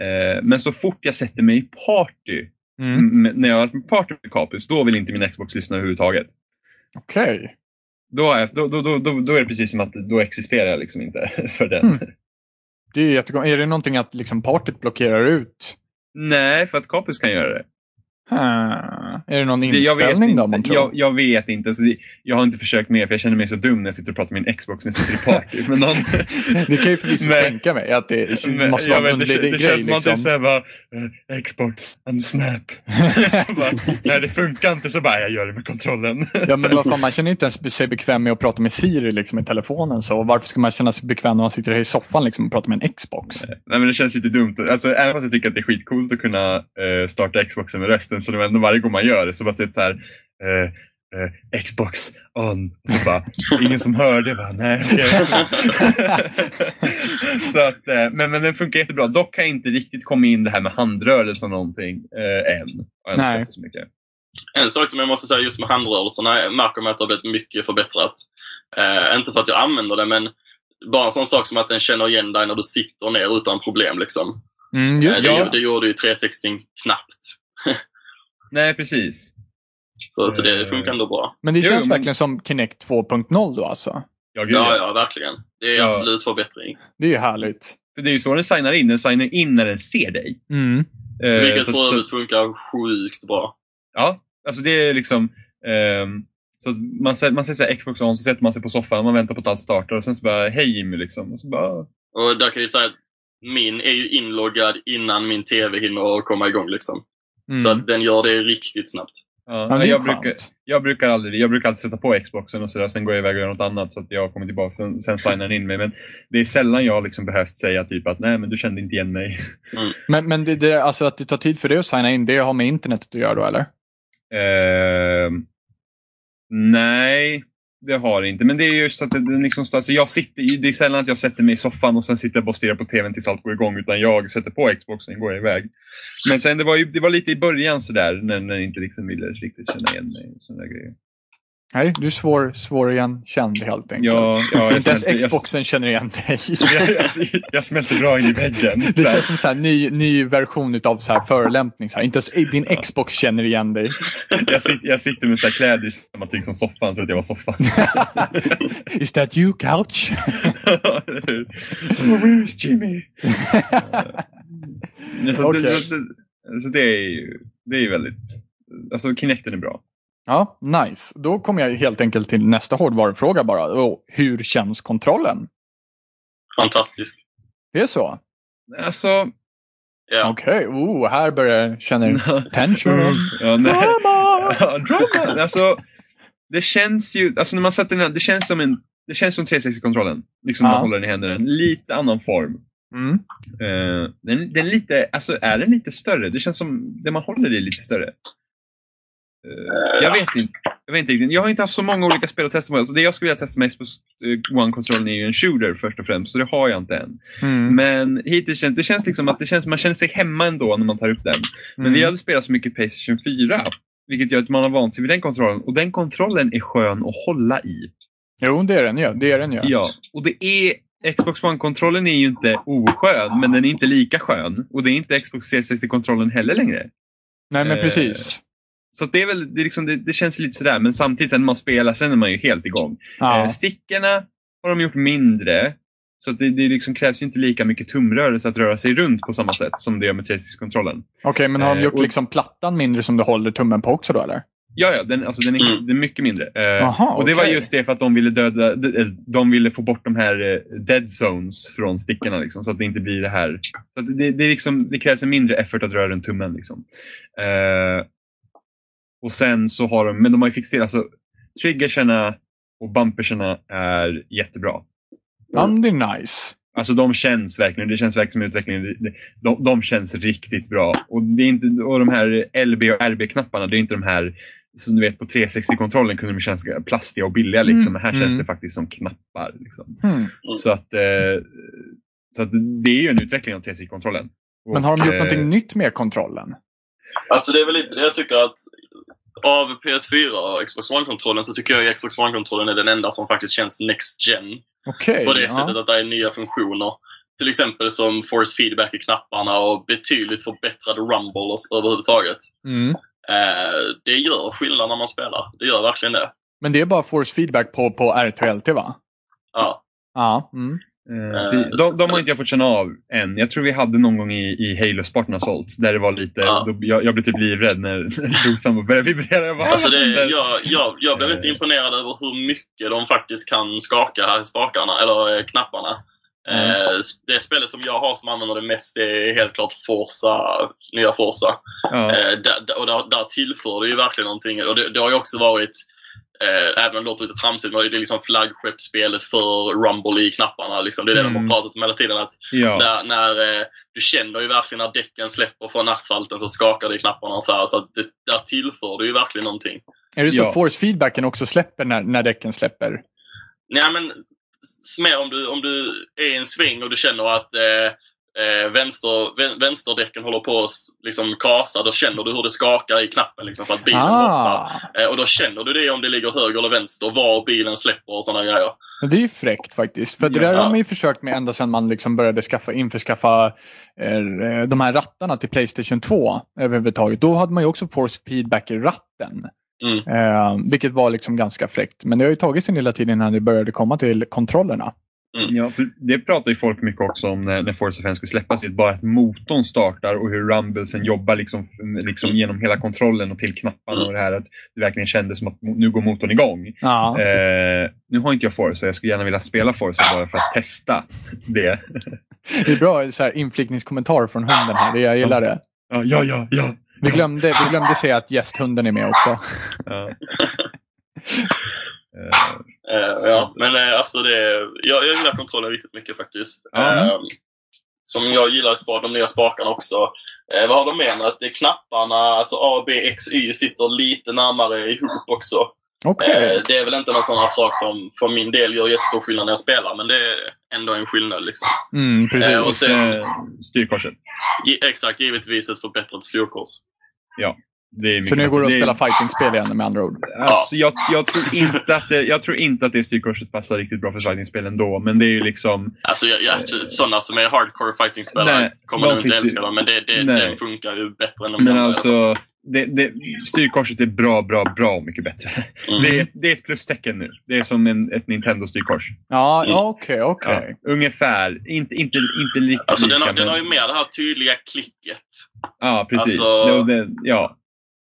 Speaker 2: Eh, men så fort jag sätter mig i party,
Speaker 1: Mm.
Speaker 2: m- när jag har varit party med Capus, då vill inte min Xbox lyssna överhuvudtaget.
Speaker 1: Okej.
Speaker 2: Då, har jag, då, då, då, då, då är det precis som att då existerar jag liksom inte för den.
Speaker 1: Mm. Det är ju jättegott. Är det någonting att liksom partyt blockerar ut?
Speaker 2: Nej, för att Capus kan göra det.
Speaker 1: Hmm. Är det någon
Speaker 2: Så Alltså, det- jag vet
Speaker 1: inställning
Speaker 2: inte,
Speaker 1: då, man tror?
Speaker 2: Jag, jag vet inte. Så det, jag har inte försökt mer, för jag känner mig så dum när jag sitter och pratar med min Xbox när jag sitter i party. men någon...
Speaker 1: Det kan ju förvisso
Speaker 2: Nej.
Speaker 1: tänka mig att det
Speaker 2: Men,
Speaker 1: måste vara
Speaker 2: jag
Speaker 1: en
Speaker 2: vet, det,
Speaker 1: underlig
Speaker 2: det,
Speaker 1: grej.
Speaker 2: det känns som att det är
Speaker 1: liksom.
Speaker 2: såhär bara, eh, Xbox and snap. så bara, nej det funkar inte, så bara jag gör det med kontrollen.
Speaker 1: Ja, men vad fan, man känner ju inte ens sig bekväm med att prata med Siri liksom, i telefonen. Så varför ska man känna sig bekväm när man sitter här i soffan liksom, och pratar med en Xbox?
Speaker 2: nej men det känns lite dumt. Alltså, även fast jag tycker att det är skitcoolt att kunna eh, starta Xboxen med rösten, så det var ändå varje gång man gör det så bara sitter här eh, eh, Xbox on. Och så bara, ingen som hörde va? Nej, okej. så att, eh, men, men den funkar jättebra. Dock har jag inte riktigt kommit in det här med handrörelse och någonting eh, än. Har jag inte
Speaker 1: Nej.
Speaker 2: testat Så mycket.
Speaker 3: En sak som jag måste säga just med handrörelserna jag märker man att det har blivit mycket förbättrat. Eh, inte för att jag använder det, men bara en sån sak som att den känner igen dig när du sitter ner utan problem. Liksom.
Speaker 1: Mm,
Speaker 3: Eh,
Speaker 1: just
Speaker 3: det,
Speaker 1: det.
Speaker 3: gjorde- det gjorde ju 360 knappt.
Speaker 2: Nej, precis.
Speaker 3: Så, så det funkar ändå bra.
Speaker 1: Men det
Speaker 2: Jo,
Speaker 1: känns
Speaker 2: men-
Speaker 1: verkligen som Kinect 2.0 då alltså.
Speaker 2: Ja, gud,
Speaker 3: Ja,
Speaker 2: ja.
Speaker 3: ja, verkligen. Det är
Speaker 2: Ja.
Speaker 3: absolut förbättring.
Speaker 1: Det är ju härligt.
Speaker 2: För det är ju så den signar in. Den signar in när den ser dig.
Speaker 1: Mm.
Speaker 2: Eh,
Speaker 3: Vilket
Speaker 2: så-
Speaker 3: för
Speaker 2: så-
Speaker 3: övrigt funkar sjukt bra.
Speaker 2: Ja, alltså det är liksom... ehm, så att man, sä- man säger så här, Xbox on, så sätter man sig på soffan, man väntar på att allt startar och sen så bara hej Jimmy liksom. Och så bara,
Speaker 3: Och där kan jag ju säga att min är ju inloggad innan min TV hinner att komma igång. Liksom.
Speaker 1: Mm.
Speaker 3: Så att den gör det riktigt snabbt.
Speaker 2: ja,
Speaker 1: ja, det är
Speaker 2: jag,
Speaker 1: jag
Speaker 2: brukar, jag, brukar aldrig, jag brukar alltid sätta på Xboxen och sådär, sen går jag iväg och gör något annat så att jag kommer tillbaka sen, sen signar den in mig. Men det är sällan jag har liksom behövt säga typ att nej men du kände inte igen mig.
Speaker 1: Men, men det, det, alltså att det tar tid för dig att signa in, det har med internetet att göra då eller?
Speaker 2: Ehm, nej, det har det inte. Men det är just att det- den liksom, står- alltså jag sitter, i- det är sällan att jag sätter mig i soffan och sen sitter jag bara och stirrar på tvn tills allt går igång. Utan jag sätter på Xboxen och går iväg. Men sen det var, ju, det var lite i början sådär när när jag inte liksom ville riktigt känna igen mig. Och såna där grejer.
Speaker 1: Nej, du är svår, svår igen, känd helt enkelt.
Speaker 2: Ja, ja, jag,
Speaker 1: Inte ens
Speaker 2: smälter, jag,
Speaker 1: Xboxen känner igen dig.
Speaker 2: jag, jag, jag smälter bra in i väggen.
Speaker 1: Det
Speaker 2: såhär.
Speaker 1: känns som så här, ny, ny version utav så här förolämpning. Så här. Inte ens din Xbox känner igen dig.
Speaker 2: Jag, sitter, jag sitter med så här kläder i samma tyg som soffan, så att jag var soffan.
Speaker 1: Is that you couch?
Speaker 2: Where's Jimmy? Ja, Så,
Speaker 1: Okej.
Speaker 2: det, så, det, så det är ju det är ju väldigt... Alltså Kinecten är bra.
Speaker 1: Ja, nice. Då kommer jag helt enkelt till nästa hårdvarufråga bara. Och hur känns kontrollen?
Speaker 3: Fantastisk.
Speaker 1: Det är så?
Speaker 2: Alltså...
Speaker 3: Ja.
Speaker 1: Okej, oh, här börjar jag känna tensionen.
Speaker 2: ja, nej.
Speaker 1: Mm. Drama!
Speaker 2: Ja, Drama! Alltså, det känns ju... Alltså när man sätter den här, det känns som en... Det känns som 360-kontrollen. Liksom när
Speaker 1: Ja.
Speaker 2: man håller den i händerna. Lite annan form.
Speaker 1: Mm.
Speaker 2: Eh, den, den är lite, alltså är den lite större? Det känns som det man håller i är lite större. Eh, jag, vet inte, jag vet inte riktigt. Jag har inte haft så många olika spel att testa med. Så det jag skulle vilja testa med Xbox eh, One-kontrollen är ju en shooter först och främst, så det har jag inte än.
Speaker 1: Mm.
Speaker 2: Men hittills känns det känns liksom att det känns, man känner sig hemma ändå när man tar upp den. Men
Speaker 1: Mm.
Speaker 2: vi hade spelat så mycket Playstation 4, vilket gör att man har vant sig vid den kontrollen. Och den kontrollen är skön att hålla i.
Speaker 1: Jo, det är den ju. Det är den ju.
Speaker 2: Ja, och det är Xbox One-kontrollen är ju inte oskön, men den är inte lika skön. Och det är inte Xbox 360-kontrollen heller längre.
Speaker 1: Nej, men
Speaker 2: Eh,
Speaker 1: precis.
Speaker 2: Så att det, är väl, det, är liksom, det, det känns lite sådär, men samtidigt sen när man spelar, sen är man ju helt igång.
Speaker 1: Ja.
Speaker 2: Eh, stickorna har de gjort mindre, så att det, det liksom krävs ju inte lika mycket tumrörelse att röra sig runt på samma sätt som det gör med 360-kontrollen.
Speaker 1: Okej, men har de
Speaker 2: eh,
Speaker 1: gjort
Speaker 2: och-
Speaker 1: liksom plattan mindre som du håller tummen på också då eller?
Speaker 2: Ja, ja, den, alltså, den, är,
Speaker 3: Mm.
Speaker 2: den är mycket mindre. Eh,
Speaker 1: Aha,
Speaker 2: Och det var
Speaker 1: Ah, okej.
Speaker 2: just det för att de ville, döda, de, eller de ville få bort de här eh, dead zones från stickorna. Liksom, så att det inte blir det här. Så att det, det, är liksom, det krävs en mindre effort att röra runt tummen. Liksom. Eh, och sen så har de, men de har ju fixerat, alltså triggerserna och bumperserna är jättebra.
Speaker 1: Ja, men det är nice.
Speaker 2: Alltså de känns verkligen, det känns verkligen som utvecklingen, de, de, de känns riktigt bra. Och, det är inte, och de här LB och RB-knapparna, det är inte de här som du vet på 360-kontrollen kunde de kännas ganska plastiga och billiga. Liksom.
Speaker 1: Mm.
Speaker 2: Men här känns
Speaker 1: Mm.
Speaker 2: det faktiskt som knappar.
Speaker 3: Mm.
Speaker 2: Liksom.
Speaker 1: Hmm.
Speaker 2: Så, att, eh, så att det är ju en utveckling av 360-kontrollen.
Speaker 1: Men har de
Speaker 2: Och,
Speaker 1: gjort
Speaker 2: eh,
Speaker 1: någonting nytt med kontrollen?
Speaker 3: Alltså det är väl lite det jag tycker att av PS4 och Xbox One-kontrollen så tycker jag att Xbox One-kontrollen är den enda som faktiskt känns next gen.
Speaker 1: Okej.
Speaker 3: På det sättet
Speaker 1: ja.
Speaker 3: att det är nya funktioner. Till exempel som force feedback i knapparna och betydligt förbättrad rumble och s- överhuvudtaget.
Speaker 1: mm.
Speaker 3: Eh, det gör skillnad när man spelar. Det gör verkligen det.
Speaker 1: Men det är bara force feedback på, på R2LT va?
Speaker 3: Ja.
Speaker 1: Ja. Mm.
Speaker 2: Eh, vi- de, de har inte jag fått känna av än. Jag tror vi hade någon gång i, i Halo Spartan Assault där det var lite,
Speaker 3: Ja.
Speaker 2: då, jag, jag blev typ livrädd när dosan började vibrera. Jag bara,
Speaker 3: Alltså det,
Speaker 2: "Vad händer?"
Speaker 3: jag, jag, jag blev inte
Speaker 2: Eh.
Speaker 3: imponerad över hur mycket de faktiskt kan skaka här i spakarna, eller eh, knapparna.
Speaker 2: Mm.
Speaker 3: Eh, s- Det spelet som jag har som använder det mest är helt klart Forza, nya Forza.
Speaker 2: Ja.
Speaker 3: Eh, där, där- och där, där tillför det ju verkligen någonting. Och det, det har ju också varit, eh, även om det låter lite tramsigt, men det är liksom flaggskeppsspelet för Rumble i knapparna. Liksom. Det är det de
Speaker 2: Mm.
Speaker 3: har pratat om hela tiden. Att
Speaker 2: Ja.
Speaker 3: när, när, eh, du känner ju verkligen när däcken släpper från asfalten så skakar det i knapparna. Och så här, så att det, där tillför det ju verkligen någonting.
Speaker 1: Är det så
Speaker 2: Ja.
Speaker 1: att force feedbacken också släpper när, när däcken släpper?
Speaker 3: Nej, men s- mer om du, om du är i en sväng och du känner att eh, Eh, vänster, vän- vänsterdäcken håller på att s- liksom kasa, då känner du hur det skakar i knappen liksom, för att bilen hoppar.
Speaker 1: Ah,
Speaker 3: Eh, Och då känner du det om det ligger höger eller vänster, var bilen släpper och sådana grejer.
Speaker 1: det är ju fräckt faktiskt. För det där
Speaker 3: Ja.
Speaker 1: har man ju försökt med ända sedan man liksom började skaffa, införskaffa eh, de här rattarna till Playstation 2 överhuvudtaget. Då hade man ju också force feedback i ratten.
Speaker 3: Mm.
Speaker 1: Eh, vilket var liksom ganska fräckt. Men det har ju tagit sin lilla tid innan det började komma till kontrollerna.
Speaker 2: Ja, för det pratar ju folk mycket också om när, när Forza 5 ska släppas. Just bara att motorn startar och hur rumbelsen jobbar liksom, liksom genom hela kontrollen och till knapparna. Och det här att det verkligen kändes som att mo- nu går motorn igång.
Speaker 1: Ja.
Speaker 2: Eh, nu har inte jag Forza. Jag skulle gärna vilja spela Forza bara för att testa det.
Speaker 1: Det är bra så här, inflikningskommentar från hunden här. Det- Jag gillar det.
Speaker 2: Ja, ja, ja. ja.
Speaker 1: Vi glömde, vi glömde säga att gästhunden är med också.
Speaker 2: Ja. Eh,
Speaker 3: Eh, ja, men eh, alltså det, jag, jag gillar kontrollen riktigt mycket faktiskt.
Speaker 2: Ja.
Speaker 3: Eh, som jag gillar spa- de nya spakarna också. Eh, vad har de med? Att det är knapparna, alltså A, B, X, Y, sitter lite närmare ihop också.
Speaker 1: Okej.
Speaker 3: Eh, det är väl inte någon sån här sak som för min del gör jättestor skillnad när jag spelar, men det är ändå en skillnad. Liksom.
Speaker 1: Mm, precis.
Speaker 3: Eh, och sen-
Speaker 2: eh, styrkorset.
Speaker 3: Gi- exakt, givetvis ett förbättrat styrkors.
Speaker 2: Det är mycket
Speaker 1: Så nu går det att
Speaker 2: bättre.
Speaker 1: spela fightingspel igen med andra ord.
Speaker 2: Alltså, jag, jag, tror inte att det, jag tror inte att det styrkorset passar riktigt bra för slidingspel ändå, men det är ju liksom...
Speaker 3: Alltså, jag, jag, sådana som är hardcore fighting-spelare
Speaker 2: Nej,
Speaker 3: kommer nog inte
Speaker 2: långsiktigt-
Speaker 3: älska dem, men det, det,
Speaker 2: Nej.
Speaker 3: den funkar ju bättre än de
Speaker 2: Men
Speaker 3: andra.
Speaker 2: alltså, det, det, styrkorset är bra, bra, bra mycket bättre.
Speaker 3: Mm.
Speaker 2: Det, är- det är ett plustecken nu. Det är som en, ett Nintendo-styrkors.
Speaker 1: Ja,
Speaker 3: Mm.
Speaker 1: okej, okej.
Speaker 2: Ja, ungefär. Inte, inte, inte riktigt
Speaker 3: Alltså
Speaker 2: lika,
Speaker 3: den har,
Speaker 2: men-
Speaker 3: den har ju mer det här tydliga klicket.
Speaker 2: Ja, precis.
Speaker 3: alltså-
Speaker 2: Jo, det, ja,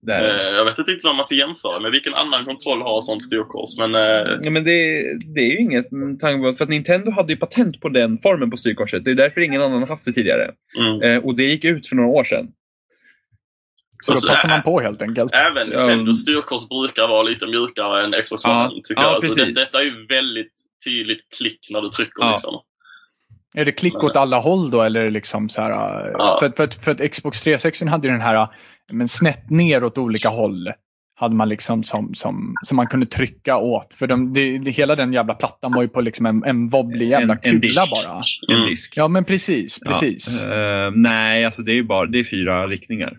Speaker 2: där.
Speaker 3: Eh, jag vet inte riktigt vad man ska jämföra med. Vilken annan kontroll har sånt styrkors? Men eh,
Speaker 2: Ja, men det, det är ju inget mm, tanke För att Nintendo hade ju patent på den formen på styrkorset. Det är därför ingen annan har haft det tidigare.
Speaker 3: mm.
Speaker 2: Eh, och det gick ut för några år sedan.
Speaker 1: Så då
Speaker 3: Alltså,
Speaker 1: passar man på helt enkelt.
Speaker 3: även
Speaker 2: Ja.
Speaker 3: Nintendos styrkors brukar vara lite mjukare än Xbox One,
Speaker 2: Ja.
Speaker 3: tycker
Speaker 2: Ja,
Speaker 3: jag. Så det,
Speaker 2: precis.
Speaker 3: detta är ju väldigt tydligt klick när du trycker.
Speaker 2: Ja.
Speaker 3: Liksom.
Speaker 1: Är det klick åt alla håll då eller är det liksom så här? äh,
Speaker 3: Ja.
Speaker 1: För, att- för, att- för att Xbox 360 hade ju den här äh, men snett ner åt olika håll. Hade man liksom som, som, som man kunde trycka åt. För de, det, det, hela den jävla plattan var ju på liksom en, en wobblig jävla
Speaker 2: En- en
Speaker 1: kula
Speaker 2: disk.
Speaker 1: bara.
Speaker 2: En
Speaker 3: Mm.
Speaker 2: disk.
Speaker 1: Ja men precis, precis. Ja,
Speaker 2: Ja. Eh, nej, alltså det är ju bara det är fyra riktningar.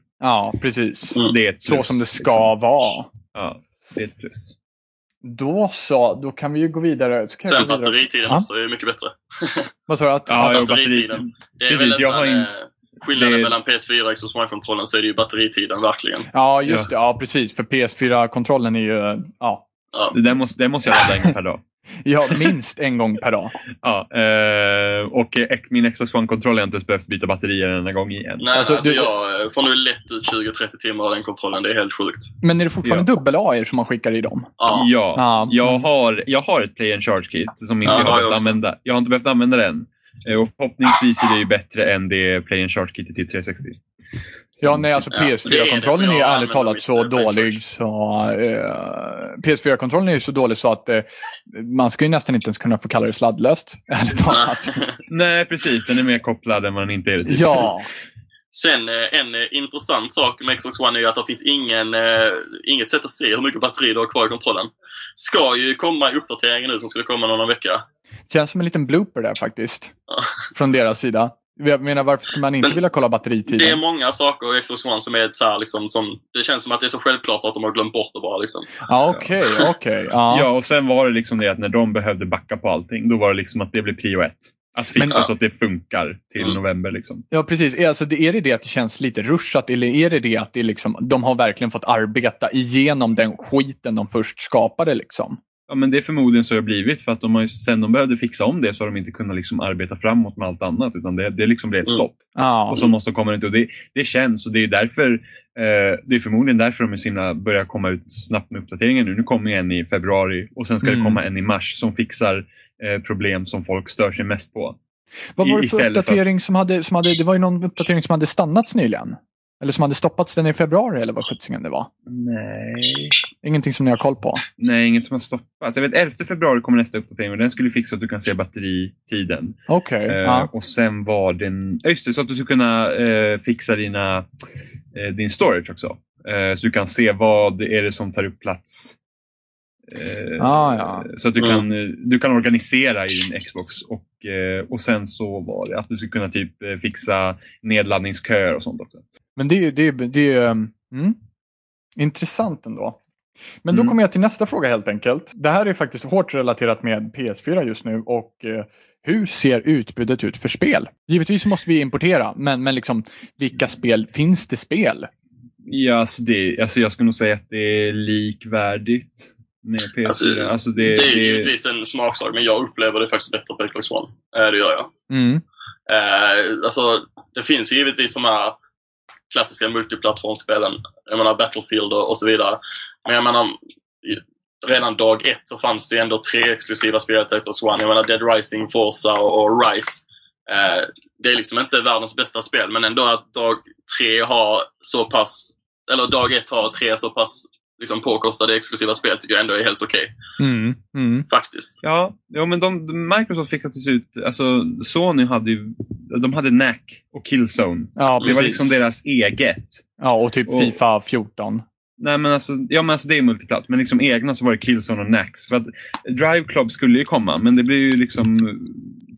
Speaker 1: precis.
Speaker 3: Mm.
Speaker 2: Det är ett
Speaker 1: Så
Speaker 2: plus,
Speaker 1: som det ska
Speaker 2: liksom.
Speaker 1: vara.
Speaker 2: Ja, det är ett plus.
Speaker 1: Då så, då kan vi ju gå vidare. Så kan jag
Speaker 3: Sen
Speaker 1: gå vidare.
Speaker 3: batteritiden
Speaker 1: Ja.
Speaker 3: också är ju mycket bättre.
Speaker 1: Vad sa du? Att,
Speaker 2: Ja,
Speaker 1: att-
Speaker 2: jo,
Speaker 3: batteritiden.
Speaker 2: batteritiden.
Speaker 3: Det är
Speaker 2: Precis,
Speaker 3: väl en
Speaker 2: jag
Speaker 3: sån,
Speaker 2: har in-
Speaker 3: eh, skillnaden
Speaker 2: det-
Speaker 3: mellan PS4 och Xbox One-kontrollen så är det ju batteritiden verkligen.
Speaker 1: ja just det. Ja, precis. För PS4-kontrollen är ju äh, ja,
Speaker 3: Ja.
Speaker 2: Det där måste, det måste jag ladda en gång per dag.
Speaker 1: ja, minst en gång per dag.
Speaker 2: Ja, eh, och eh, min Xbox One-kontroll har jag inte ens behövt byta batterier en enda gång igen.
Speaker 3: Nej,
Speaker 1: Alltså,
Speaker 3: alltså,
Speaker 1: du-
Speaker 3: jag eh, får nu lätt ut 20-30 timmar av den kontrollen. Det är helt sjukt.
Speaker 1: Men är det fortfarande dubbel-A som man skickar i dem?
Speaker 3: Ja.
Speaker 2: Ja,
Speaker 1: Ja.
Speaker 2: Jag, har, jag har ett play and charge kit som inte
Speaker 3: Ja,
Speaker 2: jag
Speaker 3: jag
Speaker 2: har behövt
Speaker 3: också.
Speaker 2: använda. Jag har inte behövt använda den. Eh, Och förhoppningsvis är det ju bättre än det play and charge kitet till 360. Så-
Speaker 1: Ja, nej, alltså
Speaker 3: Ja, det är
Speaker 1: PS4-kontrollen
Speaker 3: det,
Speaker 1: är
Speaker 3: för
Speaker 1: ju
Speaker 3: jag
Speaker 1: ärligt talat så
Speaker 3: använder mitt, eh,
Speaker 1: dålig så... Eh, PS4-kontrollen är ju så dålig så att eh, man ska ju nästan inte ens kunna få kalla det sladdlöst. Ärligt talat.
Speaker 2: Nej, precis. Den är mer kopplad än vad den inte är. typ.
Speaker 1: ja.
Speaker 3: Sen eh, en eh, intressant sak med Xbox One är ju att det finns ingen, eh, inget sätt att se hur mycket batteri du har kvar i kontrollen. Ska ju komma i uppdateringen nu som skulle komma någon vecka.
Speaker 1: Känns som en liten blooper där faktiskt.
Speaker 3: Ja.
Speaker 1: Från deras sida. Jag menar varför skulle man inte
Speaker 3: Men
Speaker 1: vilja kolla
Speaker 3: Det är
Speaker 1: batteritiden?
Speaker 3: många saker i Xbox One som är så här, liksom, som, det känns som att det är så självklart så att de har glömt bort det bara. Liksom.
Speaker 1: Ja, okej, okej. ja.
Speaker 2: Ja, och sen var det liksom det att när de behövde backa på allting, då var det liksom att det blev prio ett. Att fixa
Speaker 1: Men-
Speaker 2: så att det funkar till
Speaker 3: Mm.
Speaker 2: november. Liksom.
Speaker 1: Ja, precis. Är, alltså, det- är det det att det känns lite rushat eller är det det att det är liksom, de har verkligen fått arbeta igenom den skiten de först skapade? Liksom?
Speaker 2: Ja, men det är förmodligen så det har blivit. För att de har ju, sen de behövde fixa om det så har de inte kunnat liksom arbeta framåt med allt annat. Utan det, det liksom blev ett
Speaker 3: Mm.
Speaker 2: stopp.
Speaker 1: Ja.
Speaker 2: Och så måste de komma ut. Och det, det känns och det är därför eh, det är förmodligen därför de är så himla, börjar komma ut snabbt med uppdateringar nu. Nu kommer ju en i februari och sen ska
Speaker 1: Mm.
Speaker 2: det komma en i mars som fixar eh, problem som folk stör sig mest på.
Speaker 1: Vad var det för
Speaker 2: istället för att-
Speaker 1: uppdatering som hade, som hade, det var ju någon uppdatering som hade stannats nyligen? Eller som hade stoppats den i februari eller vad sjuttsingen det var?
Speaker 2: Nej.
Speaker 1: Ingenting som ni har koll på?
Speaker 2: Nej, inget som har stoppats. Jag vet 11 februari kommer nästa uppdatering och den skulle fixa att du kan se batteritiden.
Speaker 1: Okej.
Speaker 2: Eh,
Speaker 1: ja.
Speaker 2: Och sen var den... ja, Just det, så att du ska kunna eh, fixa dina, eh, din storage också. Eh, så du kan se vad är det som tar upp plats. Eh,
Speaker 1: Ah, ja.
Speaker 2: Så att du,
Speaker 3: Mm.
Speaker 2: kan, eh, du kan organisera i din Xbox. Och, eh, och sen så var det att du skulle kunna typ eh, fixa nedladdningsköer och sånt också.
Speaker 1: Men det är ju... Det är, ju- det är, ju, um, mm. Intressant ändå. Men då
Speaker 2: Mm.
Speaker 1: kommer jag till nästa fråga helt enkelt. Det här är faktiskt hårt relaterat med PS4 just nu och eh, hur ser utbudet ut för spel? Givetvis måste vi importera, men, men liksom, vilka spel finns det spel?
Speaker 2: Ja, alltså, det, alltså jag skulle nog säga att det är likvärdigt med PS4.
Speaker 3: Alltså,
Speaker 2: Alltså,
Speaker 3: Det
Speaker 2: det,
Speaker 3: är ju
Speaker 2: det,
Speaker 3: givetvis en smaksak, men jag upplever det faktiskt bättre på Xbox One. Eh, Det gör jag.
Speaker 1: Mm.
Speaker 3: Eh, alltså, det finns ju givetvis de här klassiska multiplattformsspelen. Jag menar Battlefield och, och så vidare. Men jag menar, i- redan dag ett så fanns det ju ändå tre exklusiva spel till Xbox One. Jag menar Dead Rising, Forza och, och Rise. Eh, det är liksom inte världens bästa spel, men ändå att dag tre har så pass, eller dag ett har tre så pass liksom påkostade exklusiva spel tycker jag ändå är helt okej.
Speaker 1: Mm. Mm.
Speaker 3: Faktiskt.
Speaker 2: ja, ja, men de, Microsoft fick faktiskt ut, alltså Sony hade ju, de hade Knack och Killzone.
Speaker 1: Ja,
Speaker 2: Det var
Speaker 1: precis.
Speaker 2: liksom deras eget.
Speaker 1: ja, och typ
Speaker 2: och-
Speaker 1: Fifa 14.
Speaker 2: Nej men alltså, ja men alltså det är multiplatt, men liksom egna så var det Killzone och Nax. För att Drive Club skulle ju komma, men det blev ju liksom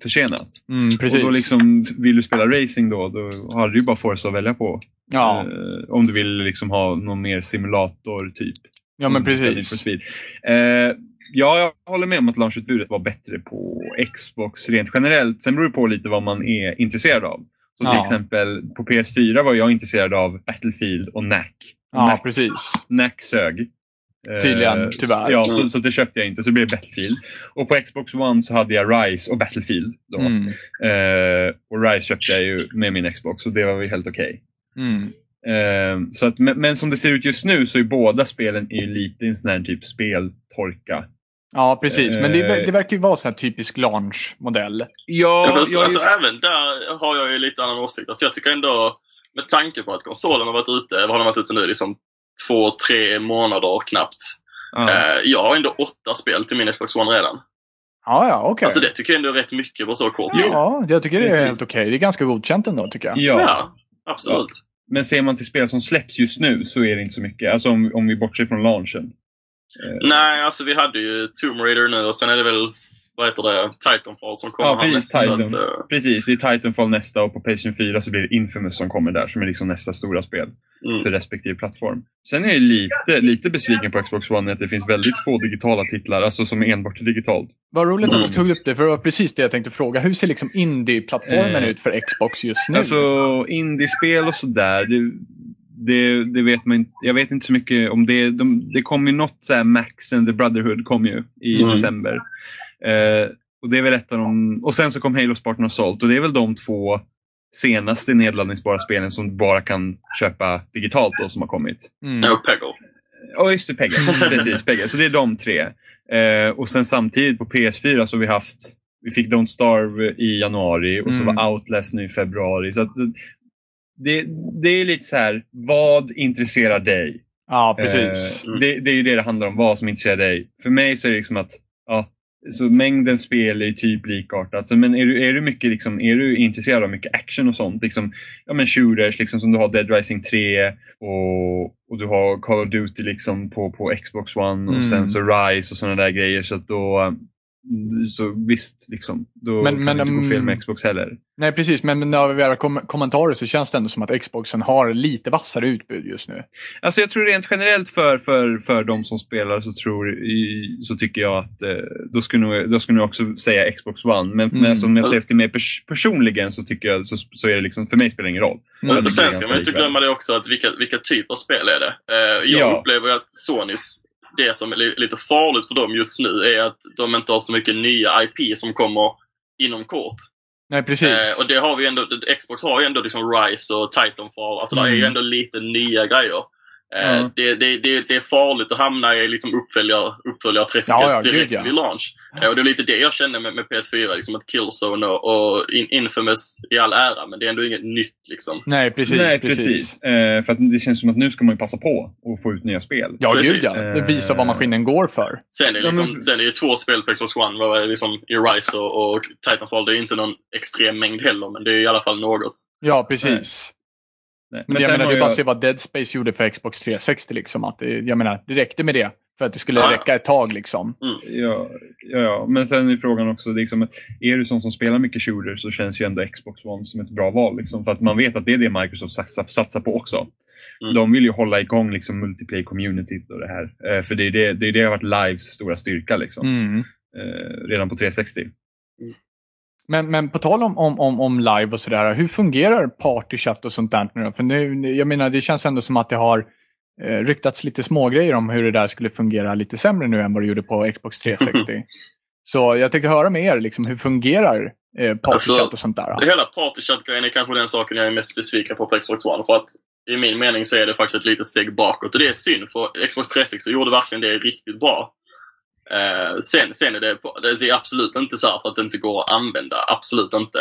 Speaker 2: försenat.
Speaker 1: Mm, precis.
Speaker 2: Och då liksom, vill du spela racing då, då har du ju bara Forza att välja på.
Speaker 1: ja.
Speaker 2: Eh, om du vill liksom ha någon mer simulator typ.
Speaker 1: ja, men
Speaker 2: Mm, Need for
Speaker 1: precis.
Speaker 2: Speed. Eh, ja, jag håller med om att launchutbudet var bättre på Xbox rent generellt. Sen beror det på lite vad man är intresserad av. Så till
Speaker 1: Ja.
Speaker 2: exempel på PS4 var jag intresserad av Battlefield och Knack. Och
Speaker 1: Ja,
Speaker 2: Knack,
Speaker 1: precis.
Speaker 2: Knack sög. Eh,
Speaker 1: Tydligen, tyvärr.
Speaker 2: Ja,
Speaker 3: Mm.
Speaker 2: så, så det köpte jag inte. Så det blev Battlefield. Och på Xbox One så hade jag Rise och Battlefield. Då.
Speaker 1: Mm.
Speaker 2: Eh, och Rise köpte jag ju med min Xbox och det var ju helt okej.
Speaker 1: Mm.
Speaker 2: Ehm, så att, men, men som det ser ut just nu så är båda spelen i lite en sån här typ speltorka.
Speaker 1: Ja, precis. Men det,
Speaker 2: Eh.
Speaker 1: det verkar ju vara så här typisk launch-modell.
Speaker 3: Ja, men
Speaker 2: Ja,
Speaker 3: alltså,
Speaker 2: jag,
Speaker 3: alltså, även där har jag ju lite annan åsikt. Alltså, jag tycker ändå, med tanke på att konsolen har varit ute, vad har den varit ute nu? Liksom två, tre månader knappt.
Speaker 2: ja,
Speaker 3: Eh, jag har ändå åtta spel till min Xbox One redan.
Speaker 1: Ja, ja, okej.
Speaker 3: Alltså det tycker jag ändå är rätt mycket på så kort tid.
Speaker 1: Ja, jag tycker det är
Speaker 2: Precis.
Speaker 1: helt okej. Det är ganska godkänt ändå, tycker jag.
Speaker 2: ja.
Speaker 3: Ja, absolut.
Speaker 2: men ser man till spel som släpps just nu så är det inte så mycket. Alltså om, om vi bortser från launchen.
Speaker 3: Nej, alltså vi hade ju Tomb Raider nu och sen är det väl, vad heter det, Titanfall som kommer
Speaker 2: Ja, precis,
Speaker 3: härnäst. Så
Speaker 2: Titan.
Speaker 3: att, eh,
Speaker 2: Precis, det är Titanfall nästa och på Playstation 4 så blir det Infamous som kommer där som är liksom nästa stora spel
Speaker 3: Mm.
Speaker 2: för respektive plattform. Sen är jag lite, lite besviken på Xbox One att det finns väldigt få digitala titlar, alltså som är enbart digitalt.
Speaker 1: Vad roligt att du
Speaker 3: Mm.
Speaker 1: tog upp det, för det var precis det jag tänkte fråga. Hur ser liksom indie-plattformen
Speaker 2: Eh,
Speaker 1: ut för Xbox just nu?
Speaker 2: Alltså indiespel och sådär. Det, det, det vet man inte. Jag vet inte så mycket om det. De, det kom ju något så här Max and the Brotherhood kom ju i
Speaker 3: Mm.
Speaker 2: december. Eh, och det är väl ett av de, Och sen så kom Halo Spartan Assault och det är väl de två senaste nedladdningsbara spelen som du bara kan köpa digitalt då som har kommit.
Speaker 1: mm.
Speaker 3: No Peggle.
Speaker 2: Ja just det, Peggle. Precis, Peggle. Så det är de tre. Eh, och sen samtidigt på PS4 så har vi haft vi fick Don't Starve i januari och så
Speaker 1: Mm.
Speaker 2: var Outlast nu i februari. Så att det, det är lite så här, vad intresserar dig?
Speaker 1: Ja, precis. Mm.
Speaker 2: Eh, det, det är ju det det handlar om, vad som intresserar dig. För mig så är det liksom att ja, så mängden spel är typ likartat. Så, men är du, är, du mycket liksom, är du intresserad av mycket action och sånt, liksom, ja, men shooters liksom, som du har Dead Rising 3 och, och du har Call of Duty liksom, på, på Xbox One och
Speaker 1: Mm.
Speaker 2: sen så Rise och sådana där grejer. Så, att då, eh, så visst, liksom, då
Speaker 1: Men-
Speaker 2: kan
Speaker 1: men,
Speaker 2: det inte gå fel
Speaker 1: mm,
Speaker 2: med Xbox heller.
Speaker 1: Nej, precis. Men när vi har kom- kommentarer så känns det ändå som att Xboxen har lite vassare utbud just nu.
Speaker 2: Alltså jag tror rent generellt för, för, för de som spelar så, tror, i- så tycker jag att eh, då skulle nog, då skulle nog också säga Xbox One. Men,
Speaker 1: Mm.
Speaker 2: men alltså, om jag ser till mig pers- personligen så tycker jag så, så är det liksom, för mig spelar det ingen roll.
Speaker 1: Mm.
Speaker 3: Men
Speaker 2: det
Speaker 3: sen
Speaker 2: blir
Speaker 3: ska
Speaker 2: ganska
Speaker 3: man ju inte
Speaker 2: likvärdigt.
Speaker 3: glömma det också, att vilka, vilka typer av spel är det? Eh, jag
Speaker 2: Ja.
Speaker 3: upplever ju att Sonys, det som är li- lite farligt för dem just nu är att de inte har så mycket nya IP som kommer inom kort.
Speaker 1: Nej, precis.
Speaker 3: Eh, och det har vi ändå, Xbox har ju ändå liksom Rise och Titanfall, alltså det är ju
Speaker 1: Mm.
Speaker 3: ändå lite nya grejer. Eh,
Speaker 2: Ja.
Speaker 3: det, det, det, det är farligt att hamna i liksom uppföljar, uppföljarträsket
Speaker 1: Ja, ja, gud,
Speaker 3: direkt
Speaker 1: ja.
Speaker 3: vid launch. Eh, och det är lite det jag känner med, med PS4, liksom att Killzone och, och In- Infamous i all ära, men det är ändå inget nytt liksom.
Speaker 1: Nej, precis.
Speaker 2: Nej,
Speaker 1: precis.
Speaker 2: precis. Eh, för att det känns som att nu ska man ju passa på och få ut nya spel.
Speaker 1: Ja,
Speaker 3: Precis.
Speaker 1: gud ja. Det visar vad maskinen går för.
Speaker 3: Sen är,
Speaker 2: Ja,
Speaker 3: liksom,
Speaker 2: men-
Speaker 3: sen är det ju två spel på Xbox One. Vad är det liksom, i Rise och, och Titanfall. Det är ju inte någon extrem mängd heller, men det är i alla fall något.
Speaker 1: Ja, precis.
Speaker 2: Nej.
Speaker 1: Men, jag
Speaker 2: sen
Speaker 1: menar,
Speaker 2: har
Speaker 1: det är bara
Speaker 2: jag-
Speaker 1: att se vad Dead Space gjorde för Xbox 360. Liksom, att det, jag menar, det räckte med det för att det skulle
Speaker 3: Ja.
Speaker 1: räcka ett tag. Liksom.
Speaker 2: Ja, ja, ja, men sen är frågan också, liksom, är du sån som spelar mycket shooter så känns ju ändå Xbox One som ett bra val. Liksom, för att man vet att det är det Microsoft satsar, satsar på också.
Speaker 3: Mm.
Speaker 2: De vill ju hålla igång liksom, multiplayer communityt och det här. Eh, för det är det, det, är det har varit Lives stora styrka liksom,
Speaker 1: Mm.
Speaker 2: eh, redan på 360.
Speaker 1: Men, men på tal om, om, om, om live och sådär, hur fungerar partychatt och sånt där nu då? För nu, jag menar, det känns ändå som att det har eh, ryktats lite smågrejer om hur det där skulle fungera lite sämre nu än vad det gjorde på Xbox 360. Så jag tänkte höra med er, liksom, hur fungerar eh, partychatt
Speaker 3: Alltså,
Speaker 1: och sånt där?
Speaker 3: Det
Speaker 1: Då?
Speaker 3: hela partychat-grejen är kanske den saken jag är mest besviken på på Xbox One. För att i min mening så är det faktiskt ett litet steg bakåt. Och det är synd, för Xbox 360 gjorde verkligen det riktigt bra. Eh, sen, sen är det, på- det är absolut inte så, här så att det inte går att använda. Absolut inte.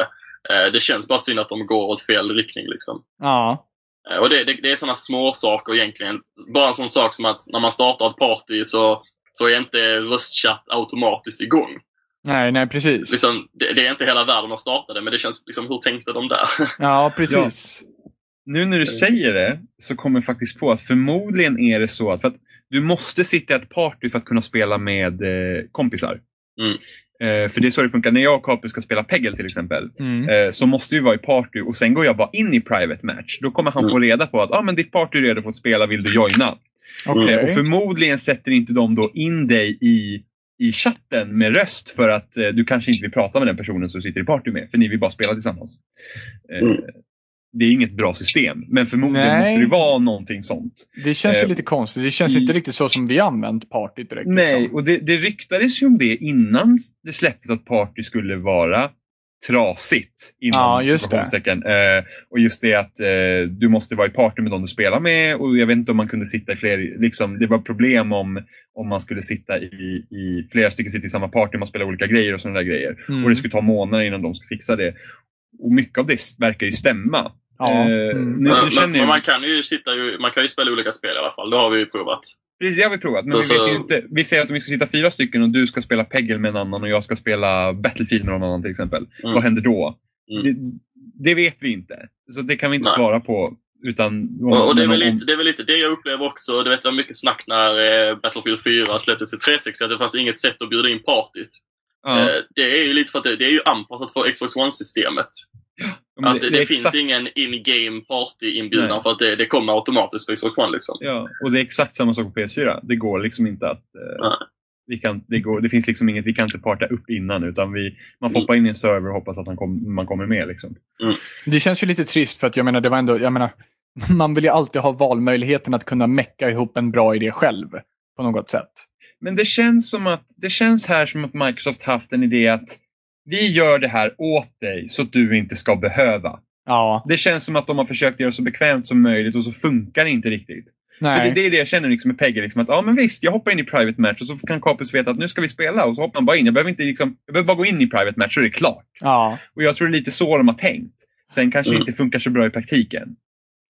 Speaker 3: Eh, det känns bara synd att de går åt fel riktning. Liksom.
Speaker 1: Ja.
Speaker 3: Eh, Och det, det, det är sådana små saker egentligen. Bara en sån sak som att när man startar ett party så, så är inte röstchatt automatiskt igång.
Speaker 1: Nej, nej precis.
Speaker 3: Liksom, det, det är inte hela världen att starta det, men det känns liksom, hur tänkte de där?
Speaker 1: Ja, precis.
Speaker 2: Nu
Speaker 3: Mm.
Speaker 2: när du säger det så kommer jag faktiskt på att förmodligen är det så att, för att du måste sitta i ett party för att kunna spela med eh, kompisar.
Speaker 3: Mm.
Speaker 2: Eh, för det är så det funkar. När jag och Kapus ska spela Peggle till exempel
Speaker 1: Mm.
Speaker 2: eh, så måste vi vara i party och sen går jag bara in i private match. Då kommer han
Speaker 3: Mm.
Speaker 2: få reda på att ah, men ditt party är redo för att spela, vill du joina?
Speaker 3: Mm.
Speaker 1: Okej.
Speaker 2: Eh, Och förmodligen sätter inte de då in dig i, i chatten med röst för att eh, du kanske inte vill prata med den personen som du sitter i party med, för ni vill bara spela tillsammans. Eh,
Speaker 3: Mm.
Speaker 2: Det är inget bra system, men förmodligen
Speaker 1: Nej.
Speaker 2: måste det vara någonting sånt.
Speaker 1: Det känns ju
Speaker 2: eh,
Speaker 1: lite konstigt. Det känns
Speaker 2: i-
Speaker 1: inte riktigt så som vi använt partyt direkt.
Speaker 2: Nej,
Speaker 1: liksom.
Speaker 2: och det, det ryktades ju om det innan det släpptes att party skulle vara trasigt. Inom
Speaker 1: Ja, just det.
Speaker 2: situationstecken. Eh, och just det att eh, du måste vara i party med de du spelar med och jag vet inte om man kunde sitta i fler, liksom, det var problem om, om man skulle sitta i, i flera stycken sitta i samma party, man spelar olika grejer och sådana där grejer.
Speaker 1: Mm.
Speaker 2: Och det skulle ta månader innan de skulle fixa det. Och mycket av det verkar ju stämma.
Speaker 1: ja.
Speaker 2: eh,
Speaker 1: mm.
Speaker 2: nu-
Speaker 3: Men,
Speaker 2: känner
Speaker 3: men,
Speaker 2: jag-
Speaker 3: men man kan ju sitta ju, man kan ju spela olika spel i alla fall. Det har vi ju provat.
Speaker 2: Precis, det har vi provat. Men
Speaker 3: Så-
Speaker 2: vi, vet
Speaker 3: så-
Speaker 2: ju inte, vi säger att om vi ska sitta fyra stycken och du ska spela Peggle med en annan och jag ska spela Battlefield med någon annan till exempel.
Speaker 3: Mm.
Speaker 2: Vad händer då?
Speaker 3: Mm.
Speaker 2: Det, det vet vi inte. Så det kan vi inte
Speaker 3: Nej.
Speaker 2: svara på. Utan, om-
Speaker 3: Och, och det, är
Speaker 2: men
Speaker 3: väl
Speaker 2: om-
Speaker 3: lite, det är väl lite det jag upplever också. Det vet jag mycket snack när eh, Battlefield 4 släpptes till 360, att det fanns inget sätt att bjuda in partyt.
Speaker 2: ja,
Speaker 3: Eh, det är ju lite för att det, det är ju anpassat för Xbox One-systemet.
Speaker 2: men
Speaker 3: att det,
Speaker 2: är
Speaker 3: det finns
Speaker 2: exakt-
Speaker 3: ingen in-game
Speaker 2: Nej.
Speaker 3: party-inbjudan för att det, det kommer automatiskt på Xbox One. Liksom.
Speaker 2: Ja, och det är exakt samma sak på PS4. Det går liksom inte att... Eh,
Speaker 3: Nej.
Speaker 2: vi kan, det, går, det finns liksom inget, vi kan inte parta upp innan utan vi, man får
Speaker 3: Mm.
Speaker 2: hoppa in i en server och hoppas att han kom, man kommer med. Liksom.
Speaker 1: Det känns ju lite trist för att jag menar, det var ändå, jag menar, man vill ju alltid ha valmöjligheten att kunna mecka ihop en bra idé själv på något sätt.
Speaker 2: Men det känns som att det känns här som att Microsoft haft en idé att vi gör det här åt dig så att du inte ska behöva.
Speaker 1: Ja,
Speaker 2: Det känns som att de har försökt göra det så bekvämt som möjligt och så funkar det inte riktigt. För
Speaker 1: nej.
Speaker 2: det, det är det jag känner liksom med Peggy. Liksom att, ja, men visst, jag hoppar in i private match och så kan Kapus veta att nu ska vi spela och så hoppar han bara in. Jag behöver, inte, liksom, jag behöver bara gå in i private match så är det klart.
Speaker 1: Ja.
Speaker 2: Och jag tror det är lite så de har tänkt. Sen kanske
Speaker 3: Mm.
Speaker 2: inte funkar så bra i praktiken.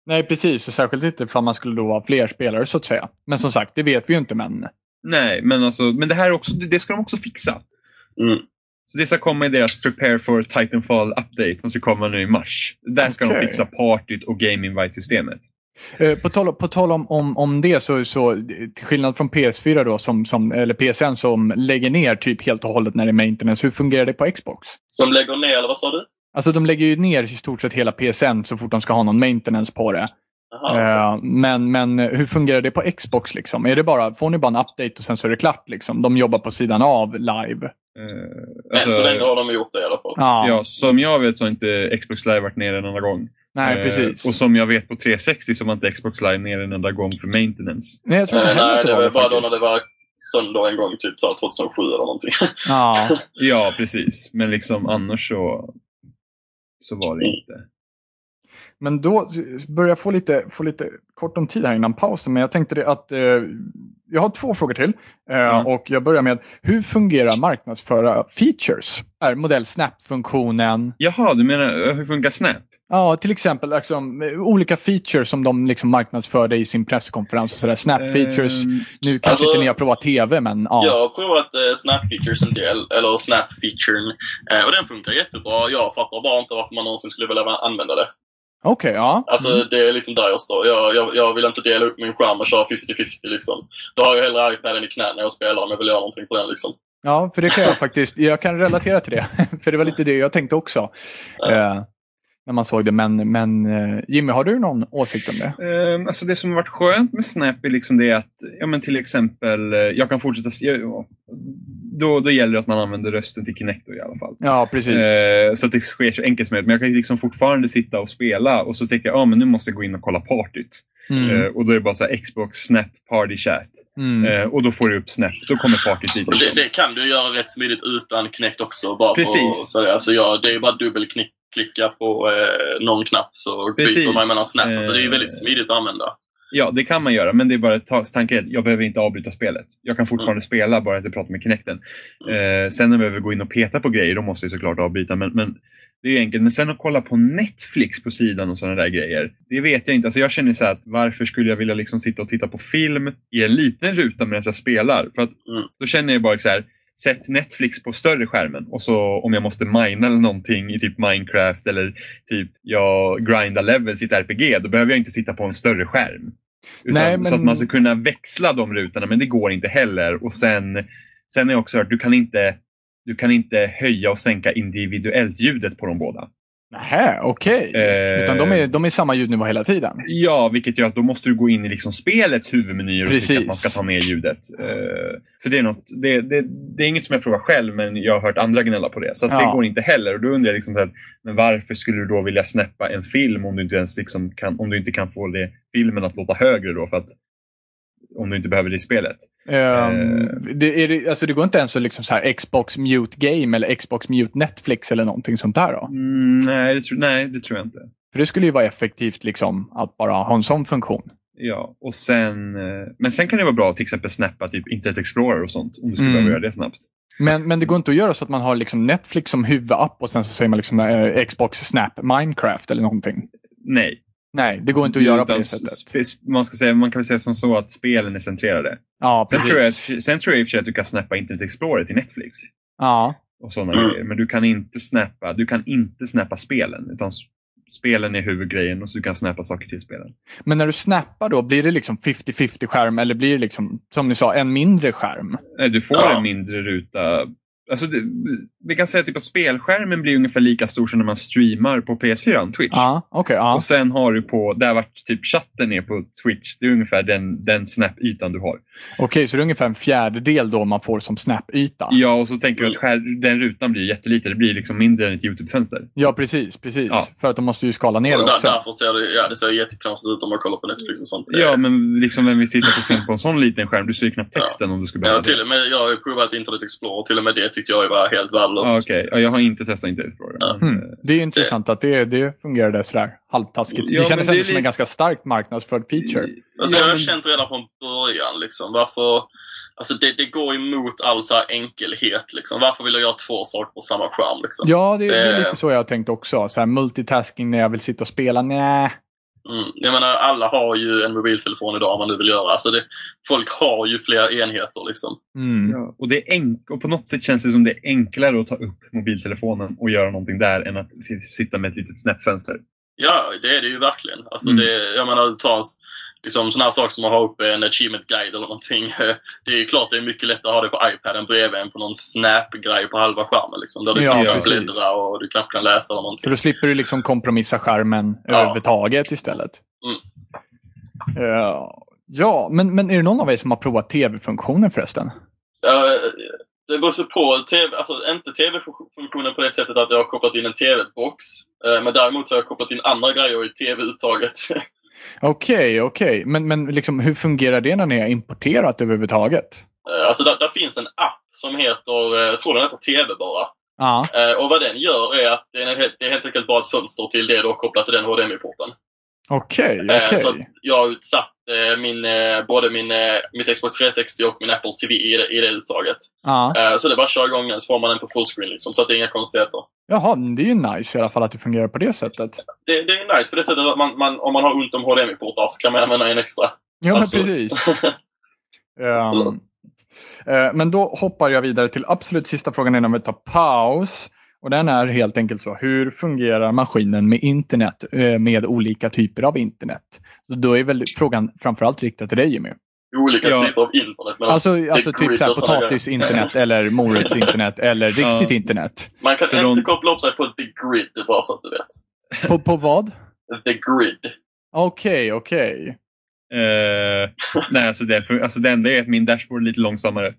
Speaker 1: nej, precis. Och särskilt inte för man skulle då vara fler spelare så att säga. Men som sagt, det vet vi ju inte. Men
Speaker 2: Nej, men, alltså, men det här är också, det det ska de också fixa.
Speaker 3: Mm.
Speaker 2: Så det ska komma i deras Prepare for Titanfall Update som ska komma nu i mars. Där ska
Speaker 1: Okej.
Speaker 2: de fixa partyt och Game Invite-systemet.
Speaker 1: Eh, på tal, på tal om, om, om det så, så eh, till skillnad från PS4 då, som, som, eller PSN som lägger ner typ helt och hållet när det är maintenance, hur fungerar det på Xbox?
Speaker 3: Som lägger ner, eller vad sa du?
Speaker 1: Alltså de lägger ju ner i stort sett hela PSN så fort de ska ha någon maintenance på det.
Speaker 3: Jaha.
Speaker 1: Eh, men, men eh, hur fungerar det på Xbox liksom? Är det bara, får ni bara en update och sen så är det klart liksom? De jobbar på sidan av live.
Speaker 2: Eh,
Speaker 3: Än
Speaker 2: alltså,
Speaker 3: så länge har de gjort det i alla fall.
Speaker 1: Ja,
Speaker 2: ja, som jag vet så har inte Xbox Live varit nere en enda gång.
Speaker 1: nej
Speaker 2: Eh,
Speaker 1: precis.
Speaker 2: Och som jag vet på 360 så var inte Xbox Live nere en enda gång för maintenance.
Speaker 1: nej, jag tror inte
Speaker 3: Eh,
Speaker 1: heller
Speaker 3: nej,
Speaker 1: att
Speaker 3: det var bara då när
Speaker 1: faktiskt.
Speaker 3: det var söndag en gång, typ så här 2007 eller någonting.
Speaker 1: Ja,
Speaker 2: Ja, precis. Men liksom annars så, så var
Speaker 3: Mm.
Speaker 2: det inte.
Speaker 1: men då börjar jag få lite, få lite kort om tid här innan pausen. Men jag tänkte det att eh, jag har två frågor till. Eh,
Speaker 3: Mm.
Speaker 2: Ja.
Speaker 1: Och jag börjar med, hur fungerar marknadsföra features? Är modell Snap-funktionen?
Speaker 2: Jaha, du menar eh, hur funkar Snap?
Speaker 1: Ja, till exempel liksom, eh, olika features som de liksom marknadsförde i sin presskonferens. Och sådär. Snap features.
Speaker 2: Ehm,
Speaker 1: Nu kanske
Speaker 3: Eh, Alltså-
Speaker 1: inte ni har provat tv, men ja.
Speaker 3: Jag har provat eh, Snap Features en del, eller Snap Featuren, eh, och den funkar jättebra. Jag fattar bara inte varför man någonsin skulle vilja använda det.
Speaker 1: Okej, ja.
Speaker 3: Alltså
Speaker 1: Mm.
Speaker 3: det är liksom där jag står. Jag, jag, jag vill inte dela upp min skärm och köra 50-50 liksom. Då har jag hellre iPaden i knät när jag spelar om jag vill göra någonting på den liksom.
Speaker 1: Ja, för det kan jag faktiskt. Jag kan relatera till det. för det var lite det jag tänkte också.
Speaker 3: Ja.
Speaker 1: Eh, när man såg det. Men, men eh, Jimmy, har du någon åsikt om det?
Speaker 2: Ehm, Alltså det som har varit skönt med Snap är liksom det att ja, men till exempel eh, jag kan fortsätta... se- ja, ja, då, då gäller det att man använder rösten till Kinect då, i alla fall.
Speaker 1: Ja, precis.
Speaker 2: Eh, så att det sker så enkelt som möjligt. Men jag kan liksom fortfarande sitta och spela och så tänker jag, ja ah, men nu måste jag gå in och kolla partyt. Eh,
Speaker 1: Mm.
Speaker 2: och då är det bara så här, Xbox, Snap, Party Chat.
Speaker 1: Mm.
Speaker 2: Eh, och då får du upp Snap, då kommer partyt dit.
Speaker 3: Och Det,
Speaker 2: Liksom.
Speaker 3: det kan du göra rätt smidigt utan knäckt också. Bara
Speaker 2: Precis.
Speaker 3: För, så, alltså, ja, det är bara dubbelklick klicka på eh, någon knapp så byter
Speaker 2: Precis.
Speaker 3: man mellan snaps. Så det är ju
Speaker 2: Eh.
Speaker 3: väldigt smidigt att använda.
Speaker 2: Ja, det kan man göra, men det är bara ta- tanken är att jag behöver inte avbryta spelet. Jag kan fortfarande spela, bara att jag pratar med Kinecten. Eh, sen när jag behöver gå in och peta på grejer, då måste jag såklart avbryta. Men, men det är ju enkelt. Men sen att kolla på Netflix på sidan och sådana där grejer, det vet jag inte. Alltså jag känner så här att varför skulle jag vilja liksom sitta och titta på film i en liten ruta medan jag spelar? För att
Speaker 3: Mm.
Speaker 2: då känner jag bara så här, sätt Netflix på större skärmen och så om jag måste mina eller någonting i typ Minecraft eller typ jag grindar levels i ett RPG, då behöver jag inte sitta på en större skärm. Utan,
Speaker 1: Nej, men-
Speaker 2: Så att man ska kunna växla de rutorna, men det går inte heller. Och sen, sen har jag också hört, du kan inte du kan inte höja och sänka individuellt ljudet på de båda.
Speaker 1: Nähä, okej.
Speaker 2: Eh.
Speaker 1: Utan de är, de är samma ljudnivå hela tiden?
Speaker 2: Ja, vilket gör att då måste du gå in i liksom spelets huvudmenyer och
Speaker 1: Precis.
Speaker 2: tycka att man ska ta ner ljudet. Eh, så det är, något, det, det, det är inget som jag provar själv, men jag har hört andra gnälla på det. Så att
Speaker 1: Ja.
Speaker 2: det går inte heller. Och då undrar jag liksom så här, men varför skulle du då vilja snäppa en film om du inte, ens liksom kan, om du inte kan få det, filmen att låta högre då? För att, om du inte behöver det i spelet.
Speaker 1: Ehm,
Speaker 2: Eh.
Speaker 1: det, är det, alltså det går inte ens att liksom så här Xbox Mute Game eller Xbox Mute Netflix eller någonting sånt där då?
Speaker 2: Mm, nej, det tror, nej, det tror jag inte.
Speaker 1: För det skulle ju vara effektivt liksom att bara ha en sån funktion.
Speaker 2: Ja, och sen, eh, men sen kan det vara bra att till exempel snappa typ Internet Explorer och sånt. Om du skulle
Speaker 1: Mm.
Speaker 2: behöva göra det snabbt.
Speaker 1: Men, men det går inte att göra så att man har liksom Netflix som huvudapp och sen så säger man liksom eh, Xbox Snap Minecraft eller någonting.
Speaker 2: Nej,
Speaker 1: Nej, det går inte att göra på
Speaker 2: Utan
Speaker 1: det
Speaker 2: s-
Speaker 1: sättet.
Speaker 2: sp- Man, ska säga, man kan väl säga som så att spelen är centrerade.
Speaker 1: Ja,
Speaker 2: Sen tror, jag,
Speaker 1: precis.
Speaker 2: att- sen tror jag i och för sig att du kan snappa Internet Explorer till Netflix.
Speaker 1: Ja,
Speaker 2: Och såna
Speaker 3: Mm.
Speaker 2: grejer. Men du kan, inte snappa, du kan inte snappa spelen. Utan s- spelen är huvudgrejen och så du kan snappa saker till spelen.
Speaker 1: men när du snappar då, blir det liksom 50-50 skärm eller blir det liksom, som ni sa, en mindre skärm?
Speaker 2: Nej, Du får
Speaker 3: Ja.
Speaker 2: en mindre ruta. Alltså det, vi kan säga typ att spelskärmen blir ungefär lika stor som när man streamar på PS4, Twitch.
Speaker 1: Ja, okej. ja.
Speaker 2: Och sen har du på, där vart typ chatten är på Twitch, det är ungefär den, den snap-ytan du har.
Speaker 1: Okej, så det är ungefär en fjärdedel då man får som Snap-yta?
Speaker 2: Ja, och så tänker jag att skär, den rutan blir jätteliten. Det blir liksom mindre än ett YouTube-fönster.
Speaker 1: Ja, precis. precis.
Speaker 2: Ja.
Speaker 1: För att de måste ju skala ner
Speaker 3: Och
Speaker 1: det
Speaker 3: där,
Speaker 1: också.
Speaker 3: därför ser det, ja, det ser jätteknasigt ut om man kollar på Netflix och sånt.
Speaker 2: Ja, men liksom vem vill sitta på film på en sån liten skärm? Du ser ju knappt texten om du skulle behöva
Speaker 3: Ja,
Speaker 2: det.
Speaker 3: till och med, jag har ju provat Internet Explorer. Till och med det tyckte jag var helt värdelöst.
Speaker 2: Ja, Okej, ja, jag har inte testat Internet Explorer.
Speaker 3: Ja.
Speaker 2: men, eh,
Speaker 1: Mm. Det är ju intressant att det, det fungerade sådär halvtaskigt.
Speaker 2: Ja,
Speaker 1: det
Speaker 2: men
Speaker 1: kändes
Speaker 2: det
Speaker 1: ändå
Speaker 2: är
Speaker 1: som en
Speaker 2: lite-
Speaker 1: ganska starkt marknadsförd feature.
Speaker 3: Alltså,
Speaker 2: ja,
Speaker 3: jag har
Speaker 2: men-
Speaker 3: känt redan från början liksom, varför... Alltså det, det går emot all så här enkelhet. Liksom. Varför vill jag göra två saker på samma skärm? Liksom?
Speaker 1: Ja, det, det är
Speaker 3: Eh.
Speaker 1: lite så jag har tänkt också. Så här, multitasking när jag vill sitta och spela, nej.
Speaker 3: Mm. Jag menar, alla har ju en mobiltelefon idag om man nu vill göra. Alltså det, folk har ju fler enheter. Liksom.
Speaker 1: Mm.
Speaker 2: ja. och, det är enk- och på något sätt känns det som det är enklare att ta upp mobiltelefonen och göra någonting där än att f- sitta med ett litet snäppfönster.
Speaker 3: Ja, det är det ju verkligen. Alltså
Speaker 2: Mm.
Speaker 3: det, jag menar, ta en, liksom, sådana här saker som att ha upp en achievement guide eller någonting. Det är ju klart det är mycket lättare att ha det på iPaden bredvid än på någon Snap-grej på halva skärmen. Liksom, där du
Speaker 1: Ja,
Speaker 3: kanske kan
Speaker 2: precis.
Speaker 3: bläddra och du kanske kan läsa
Speaker 1: Så
Speaker 3: eller någonting.
Speaker 1: då slipper du liksom kompromissa skärmen
Speaker 3: Ja.
Speaker 1: överhuvudtaget istället.
Speaker 3: Mm.
Speaker 1: Ja. ja, men, men är det någon av er som har provat tv-funktionen förresten?
Speaker 3: Ja, det beror så på. TV, alltså inte tv-funktionen på det sättet att jag har kopplat in en tv-box. Eh, Men däremot så har jag kopplat in andra grejer i tv-uttaget.
Speaker 1: Okej, okej. Men, men liksom, hur fungerar det när ni har importerat överhuvudtaget?
Speaker 3: Eh, Alltså där, där finns en app som heter, eh, jag tror den heter TV bara.
Speaker 1: Ja,
Speaker 3: Eh, Och vad den gör är att den är, helt- det är helt enkelt bara ett fönster till det då kopplat till den HDMI-porten.
Speaker 1: okej,
Speaker 3: Eh,
Speaker 1: okej.
Speaker 3: Så att jag har utsatt eh, min, eh, både min, eh, mitt Xbox 360 och min Apple TV i det, i det uttaget.
Speaker 1: Ja.
Speaker 3: Eh, Så det är bara att köra igång den så får man den på fullscreen liksom, så att det är inga konstigheter.
Speaker 1: Jaha, men det är ju nice i alla fall att det fungerar på det sättet.
Speaker 3: det, det är nice på det sättet att man, man, om man har ont om HDMI-portar så kan man använda en extra.
Speaker 1: Ja, men
Speaker 3: Absolut.
Speaker 1: precis. Ehm,
Speaker 3: Absolut.
Speaker 1: eh, men då hoppar jag vidare till absolut sista frågan innan vi tar paus. Och den är helt enkelt så, hur fungerar maskinen med internet, eh, med olika typer av internet? Så då är väl frågan framförallt riktad till dig Jimmy.
Speaker 3: Olika
Speaker 2: Ja.
Speaker 3: typer av internet. Men
Speaker 1: Alltså, alltså typ
Speaker 3: grid
Speaker 1: så här,
Speaker 3: och såna grejer.
Speaker 1: potatisinternet eller morotsinternet eller riktigt internet.
Speaker 3: man kan
Speaker 2: för
Speaker 3: inte
Speaker 2: de-
Speaker 3: koppla upp sig på the grid, bara så att du vet.
Speaker 1: På, på vad?
Speaker 3: The grid.
Speaker 1: Okej, okej.
Speaker 2: Eh, nej, alltså det, för, alltså det enda är att min dashboard är lite långsammare.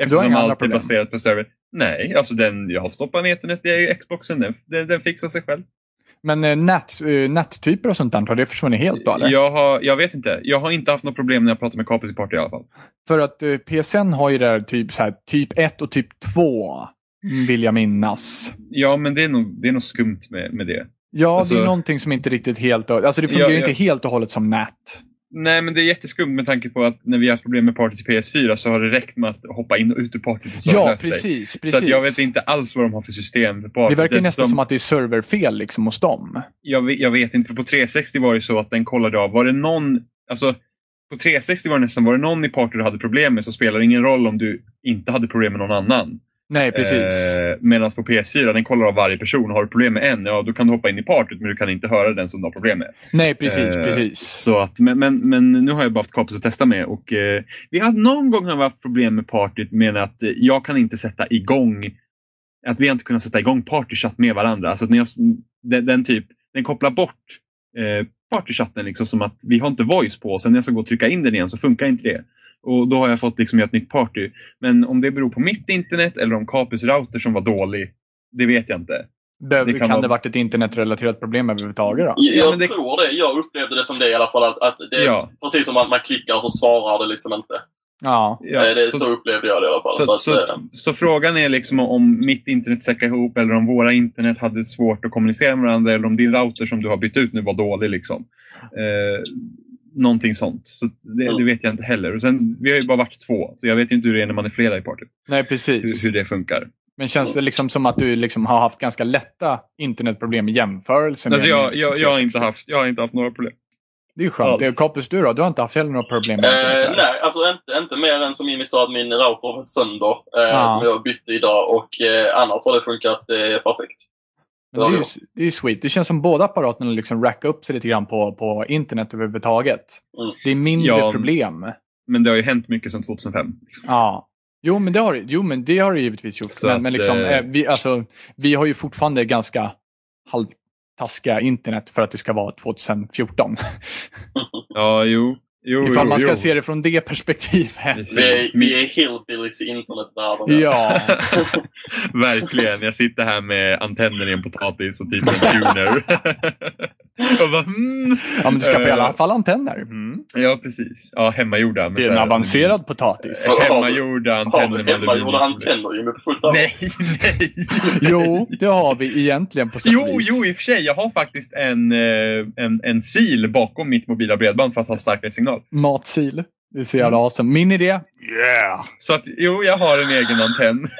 Speaker 2: Eftersom
Speaker 1: inga andra
Speaker 2: allt är
Speaker 1: problem?
Speaker 2: baserat på server. Nej, alltså den jag har stoppat ner internet i Xboxen, den, den, den fixar sig själv.
Speaker 1: Men eh, nät, eh, nättyper och sånt där, har det försvunnit helt då eller?
Speaker 2: Jag, har, jag vet inte. Jag har inte haft något problem när jag pratar med kompis i party i alla fall.
Speaker 1: För att eh, PSN har ju där typ, så här, typ 1 och typ 2
Speaker 2: Mm.
Speaker 1: vill jag minnas.
Speaker 2: Ja, men det är nog, det är nog skumt med, med det.
Speaker 1: Ja, det är
Speaker 2: Alltså-
Speaker 1: ju någonting som inte riktigt helt... Alltså det fungerar
Speaker 2: Ja,
Speaker 1: ju
Speaker 2: ja.
Speaker 1: inte helt och hållet som nät.
Speaker 2: Nej, men det är jätteskumt med tanke på att när vi har haft problem med party till PS4 så har det räckt med att hoppa in och ut ur partyt och så har det
Speaker 1: Ja,
Speaker 2: löst sig.
Speaker 1: precis. precis.
Speaker 2: Så att jag vet inte alls vad de har för system för party.
Speaker 1: Det verkar ju nästan
Speaker 2: Dessutom-
Speaker 1: som att det är serverfel liksom hos dem.
Speaker 2: jag, vet- jag vet inte, för på 360 var det ju så att den kollade av, var det någon, alltså på 360 var det nästan, var det någon i party du hade problem med så spelar det ingen roll om du inte hade problem med någon annan.
Speaker 1: Nej, precis.
Speaker 2: Eh, Medan på PS4, den kollar av varje person, har du problem med en, ja då kan du hoppa in i partyt men du kan inte höra den som du har problem med.
Speaker 1: Nej, precis,
Speaker 2: eh,
Speaker 1: precis.
Speaker 2: Så att, men, men, men nu har jag bara haft kompis att testa med och eh, vi har, någon gång har vi haft problem med partyt men att eh, jag kan inte sätta igång, att vi har inte kunnat sätta igång partychatt med varandra. Alltså att när jag, den, den typ, den kopplar bort eh, partychatten liksom som att vi har inte voice på och sen när jag ska gå och trycka in den igen så funkar inte det. Och då har jag fått liksom göra ett nytt party. Men om det beror på mitt internet eller om Capus router som var dålig, det vet jag inte.
Speaker 1: Behöver,
Speaker 2: det
Speaker 1: kan
Speaker 2: kan vara-
Speaker 1: det varit ett internetrelaterat problem överhuvudtaget då?
Speaker 3: Jag,
Speaker 2: Ja,
Speaker 3: jag
Speaker 2: men det-
Speaker 3: tror det. Jag upplevde det som det i alla fall. Att, att det är
Speaker 2: Ja,
Speaker 3: precis som att man klickar och så svarar det liksom inte.
Speaker 1: Ja.
Speaker 2: ja.
Speaker 3: Eh, det, så,
Speaker 2: Så-
Speaker 3: upplevde jag det i alla fall. Så,
Speaker 2: Så, så,
Speaker 3: att,
Speaker 2: så,
Speaker 3: eh,
Speaker 2: frågan är liksom om mitt internet säckade ihop eller om våra internet hade svårt att kommunicera med varandra eller om din router som du har bytt ut nu var dålig. Liksom. Eh, någonting sånt. Så det, det vet jag inte heller. Och sen, vi har ju bara varit två, så jag vet ju inte hur det är när man är flera i partyt.
Speaker 1: Nej,
Speaker 2: Hur,
Speaker 1: precis.
Speaker 2: hur det funkar.
Speaker 1: Men känns det liksom som att du liksom har haft ganska lätta internetproblem i jämförelse? med
Speaker 2: Alltså jag,
Speaker 1: liksom
Speaker 2: jag, jag, har
Speaker 1: 360?
Speaker 2: inte haft, jag har inte haft några problem.
Speaker 1: Det är ju skönt.
Speaker 2: alls.
Speaker 1: Kompis, du då? Du har inte haft heller några problem med
Speaker 3: Eh,
Speaker 1: internet?
Speaker 3: nej, alltså inte, inte mer än som Jimmy sa att min router har varit sönder. Eh,
Speaker 1: Ja.
Speaker 3: Som jag bytte idag. Och eh, annars har det funkat eh, perfekt.
Speaker 1: Men det, är ju, det är ju sweet. Det känns som båda apparaterna liksom rackar upp sig lite grann på, på internet överhuvudtaget.
Speaker 3: Mm.
Speaker 1: Det är mindre
Speaker 2: Ja.
Speaker 1: problem.
Speaker 2: Men det har ju hänt mycket sedan 2005.
Speaker 1: Ja. Jo, men det har, jo, men det har det givetvis gjort.
Speaker 2: Så
Speaker 1: Men,
Speaker 2: att,
Speaker 1: men liksom,
Speaker 2: eh,
Speaker 1: eh, vi, alltså, vi har ju fortfarande ganska halvtaskiga internet för att det ska vara 2014.
Speaker 2: Ja, jo. jo
Speaker 1: Ifall
Speaker 2: jo,
Speaker 1: man ska
Speaker 2: jo.
Speaker 1: se det från det perspektivet.
Speaker 2: Precis.
Speaker 3: Vi är, vi är hillbillies i internetvärlden.
Speaker 1: Ja.
Speaker 2: Verkligen. Jag sitter här med antenner i en potatis och typ en tuner. och bara, mm.
Speaker 1: ja, men du skaffar i alla
Speaker 2: Eh,
Speaker 1: fall antenner. Mm.
Speaker 2: Ja, precis. Ja, hemmagjorda. med
Speaker 1: Det är
Speaker 2: så
Speaker 1: en
Speaker 2: här-
Speaker 1: avancerad potatis.
Speaker 2: Eh, Hemmagjorda
Speaker 3: Har
Speaker 2: antenner.
Speaker 3: du
Speaker 2: med
Speaker 3: hemmagjorda
Speaker 2: aluminium.
Speaker 3: antenner Jimmy på fullt allvar?
Speaker 2: Nej, nej.
Speaker 1: Jo, det har vi egentligen på sätt och
Speaker 2: Jo,
Speaker 1: vis.
Speaker 2: jo, i och för sig. Jag har faktiskt en, eh, en, en sil bakom mitt mobila bredband för att ha starkare signal.
Speaker 1: Matsil. Det är så
Speaker 3: Mm.
Speaker 1: jävla awesome. Min idé, yeah!
Speaker 2: Så att, jo, jag har en egen antenn.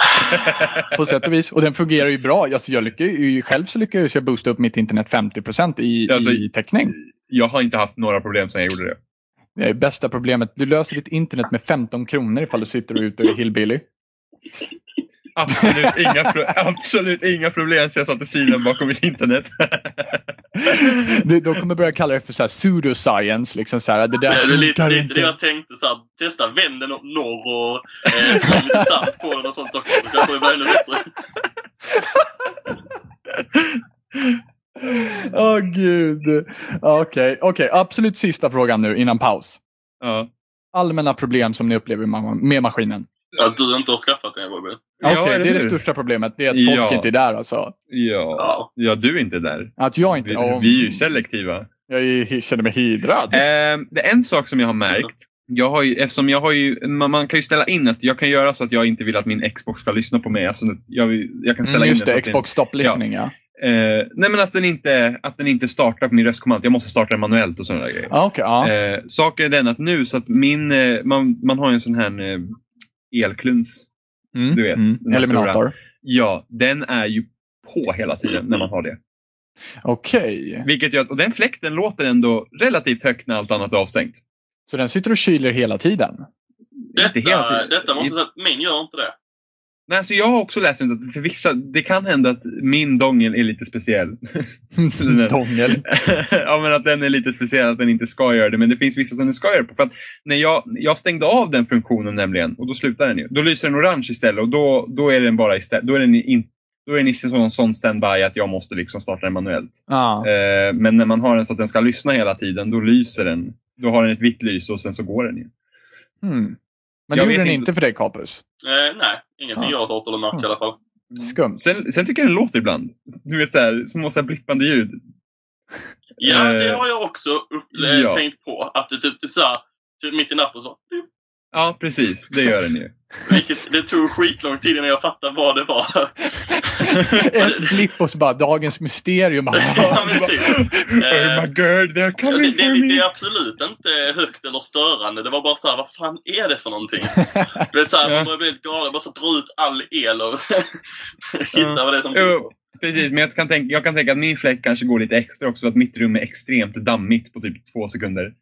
Speaker 1: På sätt och vis. Och den fungerar ju bra. Alltså jag lyckas, ju- själv så lyckades jag boosta upp mitt internet 50% i,
Speaker 2: Alltså-
Speaker 1: i täckning.
Speaker 2: Jag har inte haft några problem sedan jag gjorde det.
Speaker 1: Det är bästa problemet. Du löser ditt internet med 15 kronor ifall du sitter och är ute och är hillbilly.
Speaker 2: Absolut inga, pro- absolut inga problem sedan jag satte silen bakom mitt internet.
Speaker 1: Du, de kommer börja kalla det för så här pseudoscience. Liksom så här, det
Speaker 3: Det
Speaker 1: där
Speaker 3: är lite,
Speaker 1: funkar
Speaker 3: lite det
Speaker 1: inte.
Speaker 3: jag tänkte såhär, testa vänd den upp norr och eh, slå lite saft på den och sånt också. Så kanske det blir ännu bättre.
Speaker 1: Åh gud. Okej, okej. absolut sista frågan nu innan paus.
Speaker 2: Ja.
Speaker 1: Allmänna problem som ni upplever ma- med maskinen.
Speaker 3: Att du inte har skaffat den Robin.
Speaker 1: Okej, det är det
Speaker 2: hur?
Speaker 1: största problemet. Det är att folk
Speaker 2: Ja.
Speaker 1: inte är där alltså.
Speaker 2: Ja.
Speaker 3: Ja.
Speaker 2: ja, du är inte där.
Speaker 1: Att jag inte...
Speaker 2: Vi,
Speaker 1: åh,
Speaker 2: vi är ju selektiva.
Speaker 1: jag är- känner mig hydrad.
Speaker 2: Ehm, det är en sak som jag har märkt. Jag har ju, eftersom jag har ju, man, man kan ju ställa in att jag kan göra så att jag inte vill att min Xbox ska lyssna på mig. Alltså, jag, vill- jag kan ställa
Speaker 1: Mm,
Speaker 2: in
Speaker 1: just
Speaker 2: den så
Speaker 1: det,
Speaker 2: att den-
Speaker 1: Xbox Stop Listening ja.
Speaker 2: Eh, nej men att den, inte, att den inte startar på min röstkommando. Jag måste starta den manuellt och sådana där grejer.
Speaker 1: Ah, okej, ja.
Speaker 2: Eh, saken är den att nu så att min, eh, man, man har ju en sån här eh, elkluns.
Speaker 1: Mm,
Speaker 2: du vet, den
Speaker 1: Mm.
Speaker 2: här
Speaker 1: Eliminator.
Speaker 2: Ja, den är ju på hela tiden när man har det.
Speaker 1: Okej.
Speaker 2: Vilket gör att, och den fläkten låter ändå relativt högt när allt annat är avstängt.
Speaker 1: Så den sitter och kyler hela tiden?
Speaker 2: Inte hela
Speaker 3: Detta,
Speaker 2: tiden.
Speaker 3: detta måste
Speaker 2: I-
Speaker 3: jag säga, att min gör inte det.
Speaker 2: Nej, så jag har också läst ut att för vissa, det kan hända att min dongel är lite speciell. Nej.
Speaker 1: Dongel.
Speaker 2: ja, men att den är lite speciell, att den inte ska göra det. Men det finns vissa som den ska göra det på. För att när jag, jag stängde av den funktionen nämligen, och då slutar den ju. Då lyser den orange istället och då, då är den bara istället, då är den in, då är den i sån, sån standby att jag måste liksom starta den manuellt.
Speaker 1: Ja.
Speaker 2: Eh, men när man har den så att den ska lyssna hela tiden, då lyser den. Då har den ett vitt lyse och sen så går den ju.
Speaker 1: Hmm. Men
Speaker 2: Jag
Speaker 1: det gjorde
Speaker 2: vet
Speaker 1: den
Speaker 2: inte.
Speaker 1: inte för dig Kapus.
Speaker 3: Eh, nej, ingenting jag har hört eller märkt i alla
Speaker 2: Mm.
Speaker 3: fall.
Speaker 1: Skumt.
Speaker 2: Sen, sen tycker jag den låter ibland. Du vet så här, små så här blippande ljud.
Speaker 3: Ja, det
Speaker 2: Eh,
Speaker 3: har jag också upple-
Speaker 2: ja.
Speaker 3: tänkt på. Att det typ, typ såhär, typ mitt i natten så.
Speaker 2: Ja, precis. Det gör den ju.
Speaker 3: Vilket, det tog skitlång tid innan jag fattade vad det var.
Speaker 1: Ett blipp och så bara dagens mysterium.
Speaker 3: Ja, men typ.
Speaker 2: oh my god, they're
Speaker 3: Ja, Det,
Speaker 2: coming for
Speaker 3: det, det, det är
Speaker 2: me!
Speaker 3: absolut inte högt eller störande. Det var bara så här, vad fan är det för någonting? Det är så här,
Speaker 2: Ja.
Speaker 3: Man börjar bli helt galen. Bara så dra ut all el och hitta vad det är som...
Speaker 2: Jo, precis, men jag kan, tänka, jag kan tänka att min fläkt kanske går lite extra också för att mitt rum är extremt dammigt på typ två sekunder.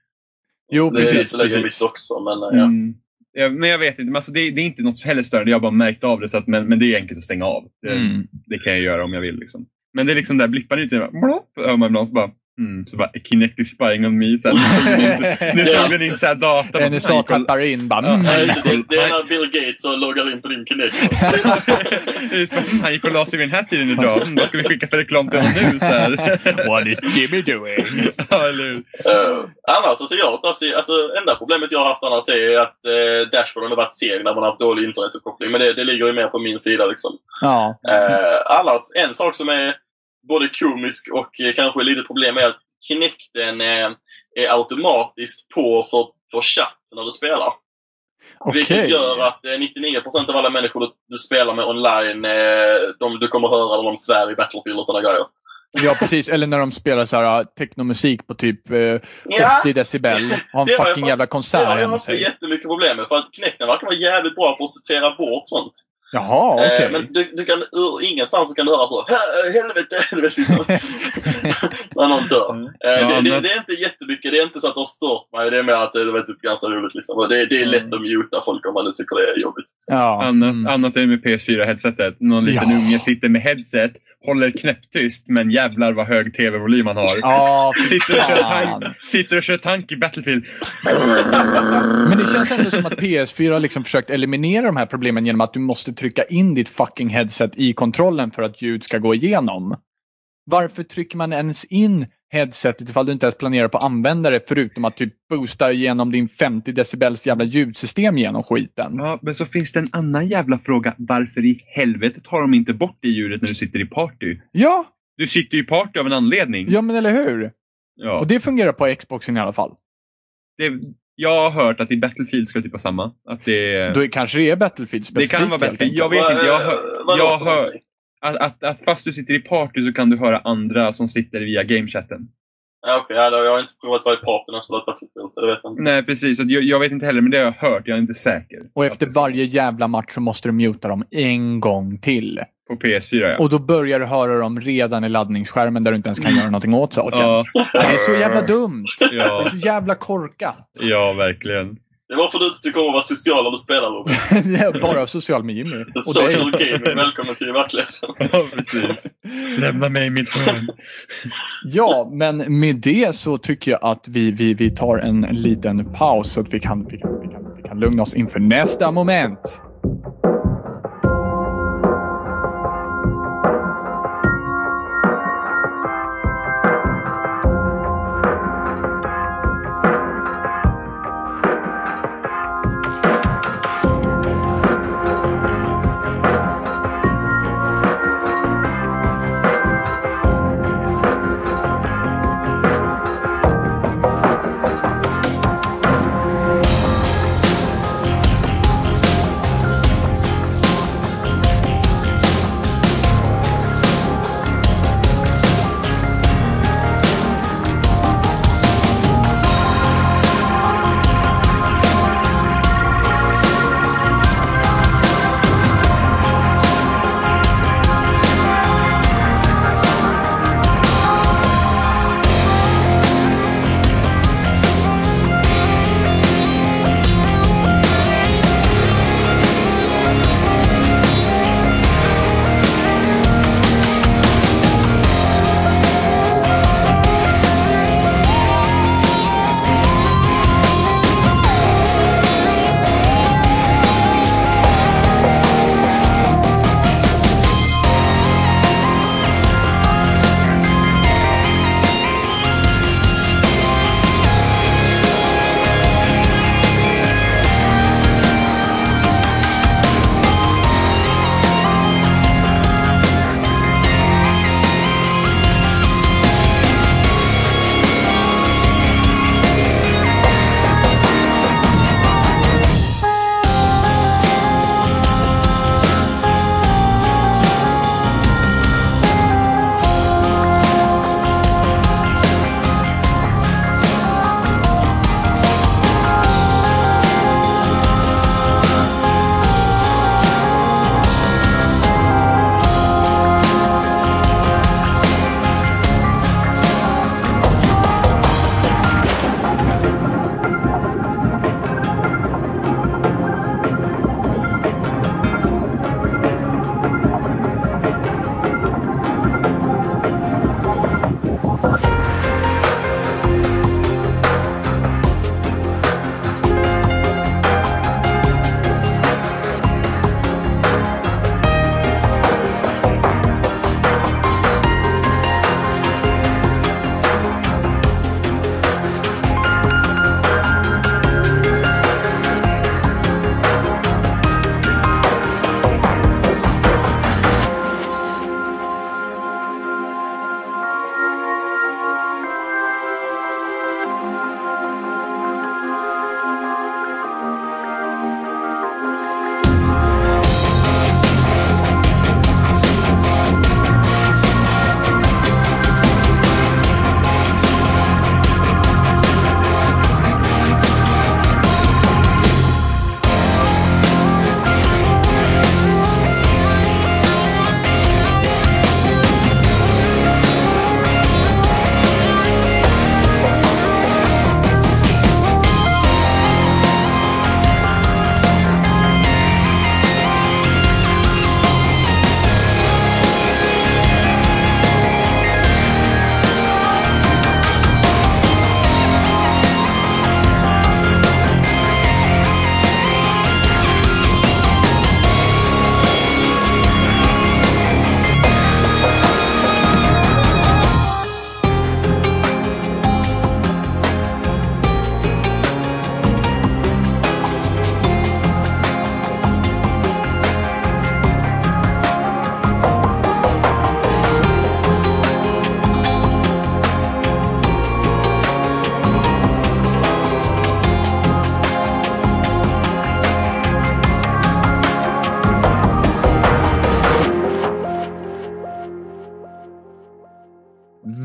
Speaker 1: Jo,
Speaker 3: det är
Speaker 1: precis.
Speaker 3: så lägger
Speaker 1: precis.
Speaker 3: mitt också, men eh, ja.
Speaker 2: Mm. Ja, men jag vet inte, men alltså det, det är inte något heller störande. Jag har bara märkt av det, så att, men, men det är enkelt att stänga av. Det,
Speaker 1: Mm.
Speaker 2: det kan jag göra om jag vill. Liksom. Men det är liksom där blippar ut, blopp, hör man ibland så bara, mm, så bara, kinetic spying on me. Så här, liksom, nu tog den in så här data. bara,
Speaker 1: NSA tappar in bara.
Speaker 2: Ja.
Speaker 1: Mm.
Speaker 3: Nej, det, det, det är när Bill Gates och loggar in på din Kinect.
Speaker 2: Just bara, Han gick och la sig vid den här tiden idag. Mm, vad ska vi skicka för reklam till honom nu? Så här.
Speaker 1: What is Jimmy doing?
Speaker 2: ja, eller hur?
Speaker 3: Eh, annars, alltså jag har inte haft, alltså enda problemet jag har haft annars är ju att eh, dashboarden har varit seg när man har haft dålig internetuppkoppling. Men det, det ligger ju mer på min sida liksom.
Speaker 1: Ja.
Speaker 3: Eh, annars, en sak som är både komisk och eh, kanske lite problem är att Kinecten eh, är automatiskt på för, för chatt när du spelar. Vilket
Speaker 1: Okej.
Speaker 3: gör att eh, 99% av alla människor du, du spelar med online, eh, de du kommer höra när de svär i Battlefield och sådana grejer.
Speaker 1: Ja, precis. Eller när de spelar så här, uh, technomusik på typ uh, 80 decibel. Har en
Speaker 3: det har jag
Speaker 1: fucking jävla
Speaker 3: faktiskt- det
Speaker 1: konsert
Speaker 3: har jag
Speaker 1: hemma
Speaker 3: haft
Speaker 1: sig.
Speaker 3: jättemycket problem med. För att Kinecten verkar vara jävligt bra på att sortera bort sånt.
Speaker 1: Jaha, okej.
Speaker 3: Eh, men du, du kan, ur ingenstans så kan du höra så "Hä, helvete, helvete liksom. när någon dör. Eh,
Speaker 2: Ja,
Speaker 3: det, det,
Speaker 2: men-
Speaker 3: det är inte jättemycket, det är inte så att det har stört mig. Det är mer att det, det var typ ganska roligt liksom. Och det, det är
Speaker 2: Mm.
Speaker 3: lätt att muta folk om man nu tycker det är jobbigt.
Speaker 1: Ja.
Speaker 2: Annat,
Speaker 1: mm.
Speaker 2: annat är med PS4-headsetet. Någon liten
Speaker 1: Ja.
Speaker 2: unge sitter med headset, håller knäpptyst, men jävlar vad hög tv-volym han har.
Speaker 1: Ja, fy
Speaker 2: Sitter och kör
Speaker 1: fan.
Speaker 2: tank, sitter och kör tank i Battlefield.
Speaker 1: Men det känns ändå som att PS4 har liksom försökt eliminera de här problemen genom att du måste trycka in ditt fucking headset i kontrollen för att ljud ska gå igenom. Varför trycker man ens in headsetet ifall du inte ens planerar på att använda det förutom att typ boosta igenom din 50 decibels jävla ljudsystem genom skiten?
Speaker 2: Ja, men så finns det en annan jävla fråga. Varför i helvete tar de inte bort det djuret när du sitter i party?
Speaker 1: Ja,
Speaker 2: Du sitter ju i party av en anledning.
Speaker 1: ja men eller hur?
Speaker 2: Ja.
Speaker 1: Och det fungerar på Xboxen i alla fall.
Speaker 2: Det, jag har hört att i Battlefield ska det typ vara samma. Att det,
Speaker 1: Då kanske det är Battlefield
Speaker 2: Eh. det
Speaker 1: specifikt.
Speaker 2: kan vara
Speaker 1: helt
Speaker 2: Battlefield.
Speaker 1: enkelt.
Speaker 2: Jag vet inte. Jag hör,
Speaker 3: Eh, vadå
Speaker 2: jag
Speaker 3: för
Speaker 2: hör-
Speaker 3: någonting?
Speaker 2: att, att, att fast du sitter i party så kan du höra andra som sitter via gamechatten.
Speaker 3: Ja, okej, ja, då- jag har inte provat att vara i party när jag spelat Battlefield, så det vet jag inte.
Speaker 2: Nej, precis. Så att Jag, jag vet inte heller, men det har jag hört. Jag är inte säker.
Speaker 1: Och
Speaker 2: Att det
Speaker 1: efter
Speaker 2: är så.
Speaker 1: varje jävla match så måste du muta dem en gång till.
Speaker 2: På PS4, ja. Mm.
Speaker 1: Och då börjar du höra dem redan i laddningsskärmen där du inte ens kan göra någonting åt saken.
Speaker 2: ja,
Speaker 1: Det är så jävla dumt. Det är
Speaker 2: ja,
Speaker 1: så jävla korkat.
Speaker 2: ja, verkligen.
Speaker 3: Det är varför du inte tycker om att vara social när du spelar, Robin.
Speaker 1: Det är bara social med Jimmy.
Speaker 3: The
Speaker 1: Och dig.
Speaker 3: social gaming, välkommen till verkligheten.
Speaker 2: Ja, precis. Lämna mig i mitt hörn.
Speaker 1: Ja, men med det så tycker jag att vi, vi, vi tar en liten paus så att vi kan, vi, kan, vi, kan, vi kan lugna oss inför nästa moment.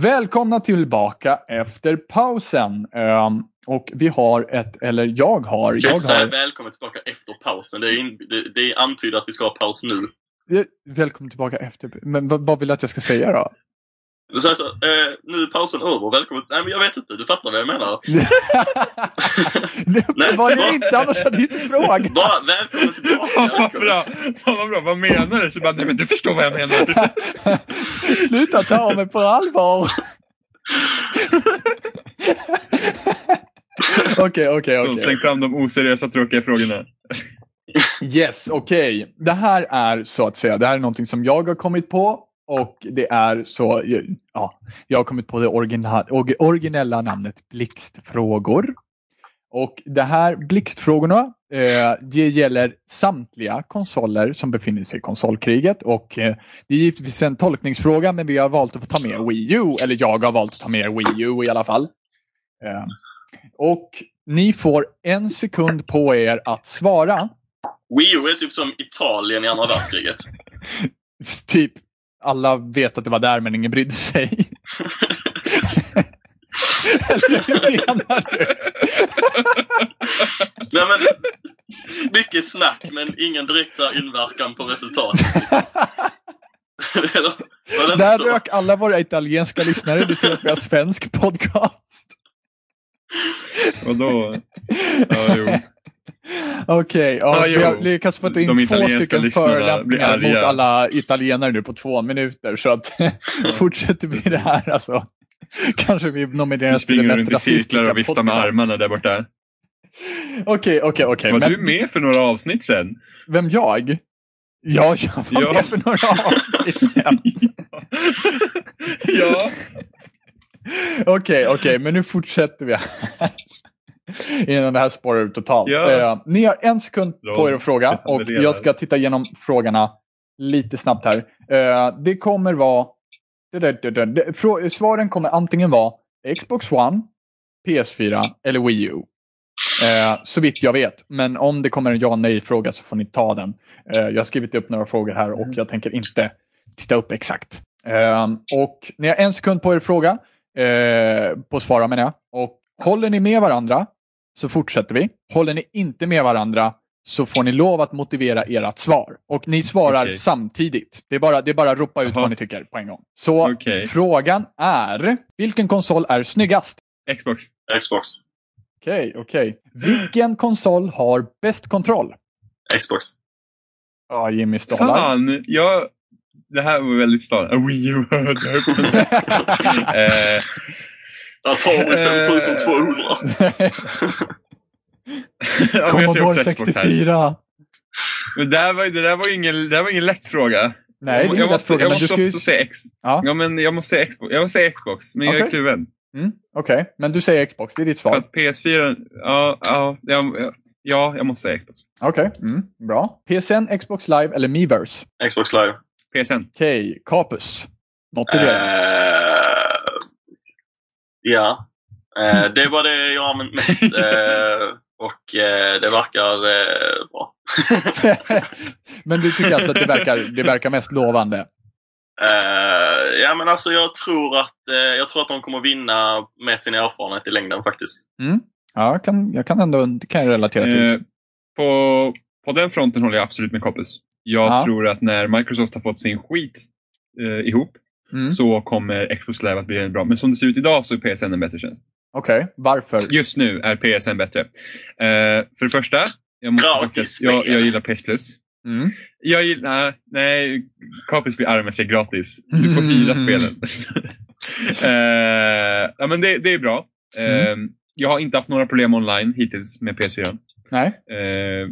Speaker 1: Välkomna tillbaka efter pausen. Ehm, och vi har ett, eller jag har,
Speaker 3: Jag kan
Speaker 1: jag
Speaker 3: inte säga
Speaker 1: har
Speaker 3: välkommen tillbaka efter pausen. Det är, in, det, det är antyder att vi ska ha paus nu.
Speaker 1: Eh, välkommen tillbaka efter, men vad, vad vill du att jag ska säga då?
Speaker 3: Du säger så, eh, nu är pausen över. Välkommen. Nej, men jag vet inte. Du fattar vad jag menar.
Speaker 1: Nej,
Speaker 3: Nej,
Speaker 1: var det
Speaker 3: vad-
Speaker 1: inte, annars hade du inte frågat.
Speaker 3: Bara välkommen
Speaker 2: Fan
Speaker 3: tillbaka.
Speaker 2: vad bra! Fan vad bra, vad menar du? Så bara, nej men du förstår vad jag menar.
Speaker 1: Sluta ta mig på allvar. Okej, okej,
Speaker 2: Så
Speaker 1: okej.
Speaker 2: släng fram de oseriösa tråkiga frågorna.
Speaker 1: Yes, okej. Det här är så att säga, det här är någonting som jag har kommit på och det är så, ja, jag har kommit på det origina- orgi- originella namnet Blixtfrågor. Och det här blixtfrågorna, eh, det gäller samtliga konsoler som befinner sig i konsolkriget och eh, det är givetvis en tolkningsfråga men vi har valt att ta med Wii U, eller jag har valt att ta med Wii U i alla fall. Eh, och ni får en sekund på er att svara.
Speaker 3: Wii U är typ som Italien i andra världskriget.
Speaker 1: Typ, alla vet att det var där men ingen brydde sig. Eller hur menar du?
Speaker 3: Nej, men, mycket snack, men ingen direkt så här inverkan på resultatet. Liksom. Eller, var det inte
Speaker 1: Där
Speaker 3: så?
Speaker 1: rök alla våra italienska lyssnare. Du tror att vi har svensk podcast.
Speaker 2: Vadå? Ja, jo.
Speaker 1: Okej, ja,
Speaker 2: Ja,
Speaker 1: vi har
Speaker 2: jo.
Speaker 1: lyckats få
Speaker 2: De
Speaker 1: in två
Speaker 2: italienska
Speaker 1: stycken
Speaker 2: lyssnarna blir
Speaker 1: förolämpningar
Speaker 2: arga.
Speaker 1: mot alla italienare nu på två minuter. Så att fortsätter vi det här alltså. Kanske vi
Speaker 2: Du
Speaker 1: nomineras till den
Speaker 2: springer
Speaker 1: mest
Speaker 2: runt i cirklar
Speaker 1: rasistiska
Speaker 2: och viftar med
Speaker 1: podcasten.
Speaker 2: armarna där borta.
Speaker 1: Okej, okej, okej.
Speaker 2: Var
Speaker 1: men-
Speaker 2: du med för några avsnitt sen?
Speaker 1: Vem jag? Ja, jag var
Speaker 2: Ja.
Speaker 1: med för några avsnitt sen.
Speaker 2: ja.
Speaker 1: Okej, okej, men nu fortsätter vi. här. Innan det här spårar ut totalt.
Speaker 2: Ja.
Speaker 1: Eh, ni har en sekund på er att fråga
Speaker 2: Jag
Speaker 1: och
Speaker 2: lever.
Speaker 1: jag ska titta igenom frågorna lite snabbt här. Eh, det kommer vara... Det, där, det, där, det, frå- svaren kommer antingen vara Xbox One, PS4 eller Wii U. Eh, så vitt jag vet. Men om det kommer en ja nej-fråga så får ni ta den. Eh, jag har skrivit upp några frågor här
Speaker 2: Mm.
Speaker 1: och jag tänker inte titta upp exakt. Eh, och ni har en sekund på er fråga. Eh, på svara menar jag. Och håller ni med varandra så fortsätter vi. Håller ni inte med varandra så får ni lov att motivera ert svar. Och ni svarar
Speaker 2: Okej.
Speaker 1: samtidigt. Det är bara, det är bara att ropa ut
Speaker 2: Jaha.
Speaker 1: vad ni tycker på en gång. Så
Speaker 2: Okej.
Speaker 1: frågan är, vilken konsol är snyggast?
Speaker 2: Xbox.
Speaker 3: Xbox.
Speaker 1: Okej, okej. Vilken konsol har bäst kontroll?
Speaker 3: Xbox.
Speaker 1: Ja, Jimmy Stålar.
Speaker 2: Fan, jag... Det här var väldigt start. Wii U. eh,
Speaker 3: Jag tar mig
Speaker 2: Eh,
Speaker 3: 5200.
Speaker 2: ja, men jag ser också
Speaker 1: Commodore
Speaker 2: Xbox här.
Speaker 1: 64.
Speaker 2: Men det, här var, det, där var ingen, det här var ingen lätt fråga.
Speaker 1: Nej, det
Speaker 2: jag,
Speaker 1: är
Speaker 2: jag
Speaker 1: ingen lätt
Speaker 2: måste,
Speaker 1: fråga.
Speaker 2: jag
Speaker 1: Men du
Speaker 2: måste
Speaker 1: ska ju...
Speaker 2: också säga X.
Speaker 1: Ja.
Speaker 2: Ja. men jag måste säga Xbox. Jag måste säga Xbox, men jag
Speaker 1: Okej.
Speaker 2: är kluven.
Speaker 1: mm, Okej, men du säger Xbox. Det är ditt
Speaker 2: För
Speaker 1: svar.
Speaker 2: att PS4, ja, ja, jag, ja, jag måste säga Xbox.
Speaker 1: Okej, mm, bra. PSN, Xbox Live eller Miiverse?
Speaker 3: Xbox live.
Speaker 2: PSN.
Speaker 1: Okej, Capus.
Speaker 2: Äh.
Speaker 1: Motivera.
Speaker 3: Eh, ja. Eh, det var det jag har använt mest. Eh, och eh, det verkar eh, bra.
Speaker 1: men du tycker alltså att det verkar, det verkar mest lovande?
Speaker 3: Eh, ja men alltså jag tror att, eh, jag tror att de kommer vinna med sin erfarenhet i längden faktiskt.
Speaker 1: Ja, jag kan, jag kan ändå det kan jag relatera till.
Speaker 2: Eh, på, på den fronten håller jag absolut med Koppes. Jag
Speaker 1: Ja.
Speaker 2: tror att när Microsoft har fått sin skit eh, ihop
Speaker 1: Mm.
Speaker 2: så kommer Xbox Live att bli en bra. Men som det ser ut idag så är PSN en bättre tjänst.
Speaker 1: Okej, varför?
Speaker 2: Just nu är PSN bättre. Eh, för det första, jag, måste
Speaker 3: Gratis
Speaker 2: faktiskt, jag,
Speaker 3: pengar.
Speaker 2: jag gillar PS Plus.
Speaker 1: Mm.
Speaker 2: Jag gillar, nej, Kapis blir arg med sig gratis. Du får hyra
Speaker 1: Mm.
Speaker 2: spelen. Eh, ja, men det, det är bra. Eh,
Speaker 1: Mm.
Speaker 2: Jag har inte haft några problem online hittills med PS4.
Speaker 1: Nej.
Speaker 2: Eh,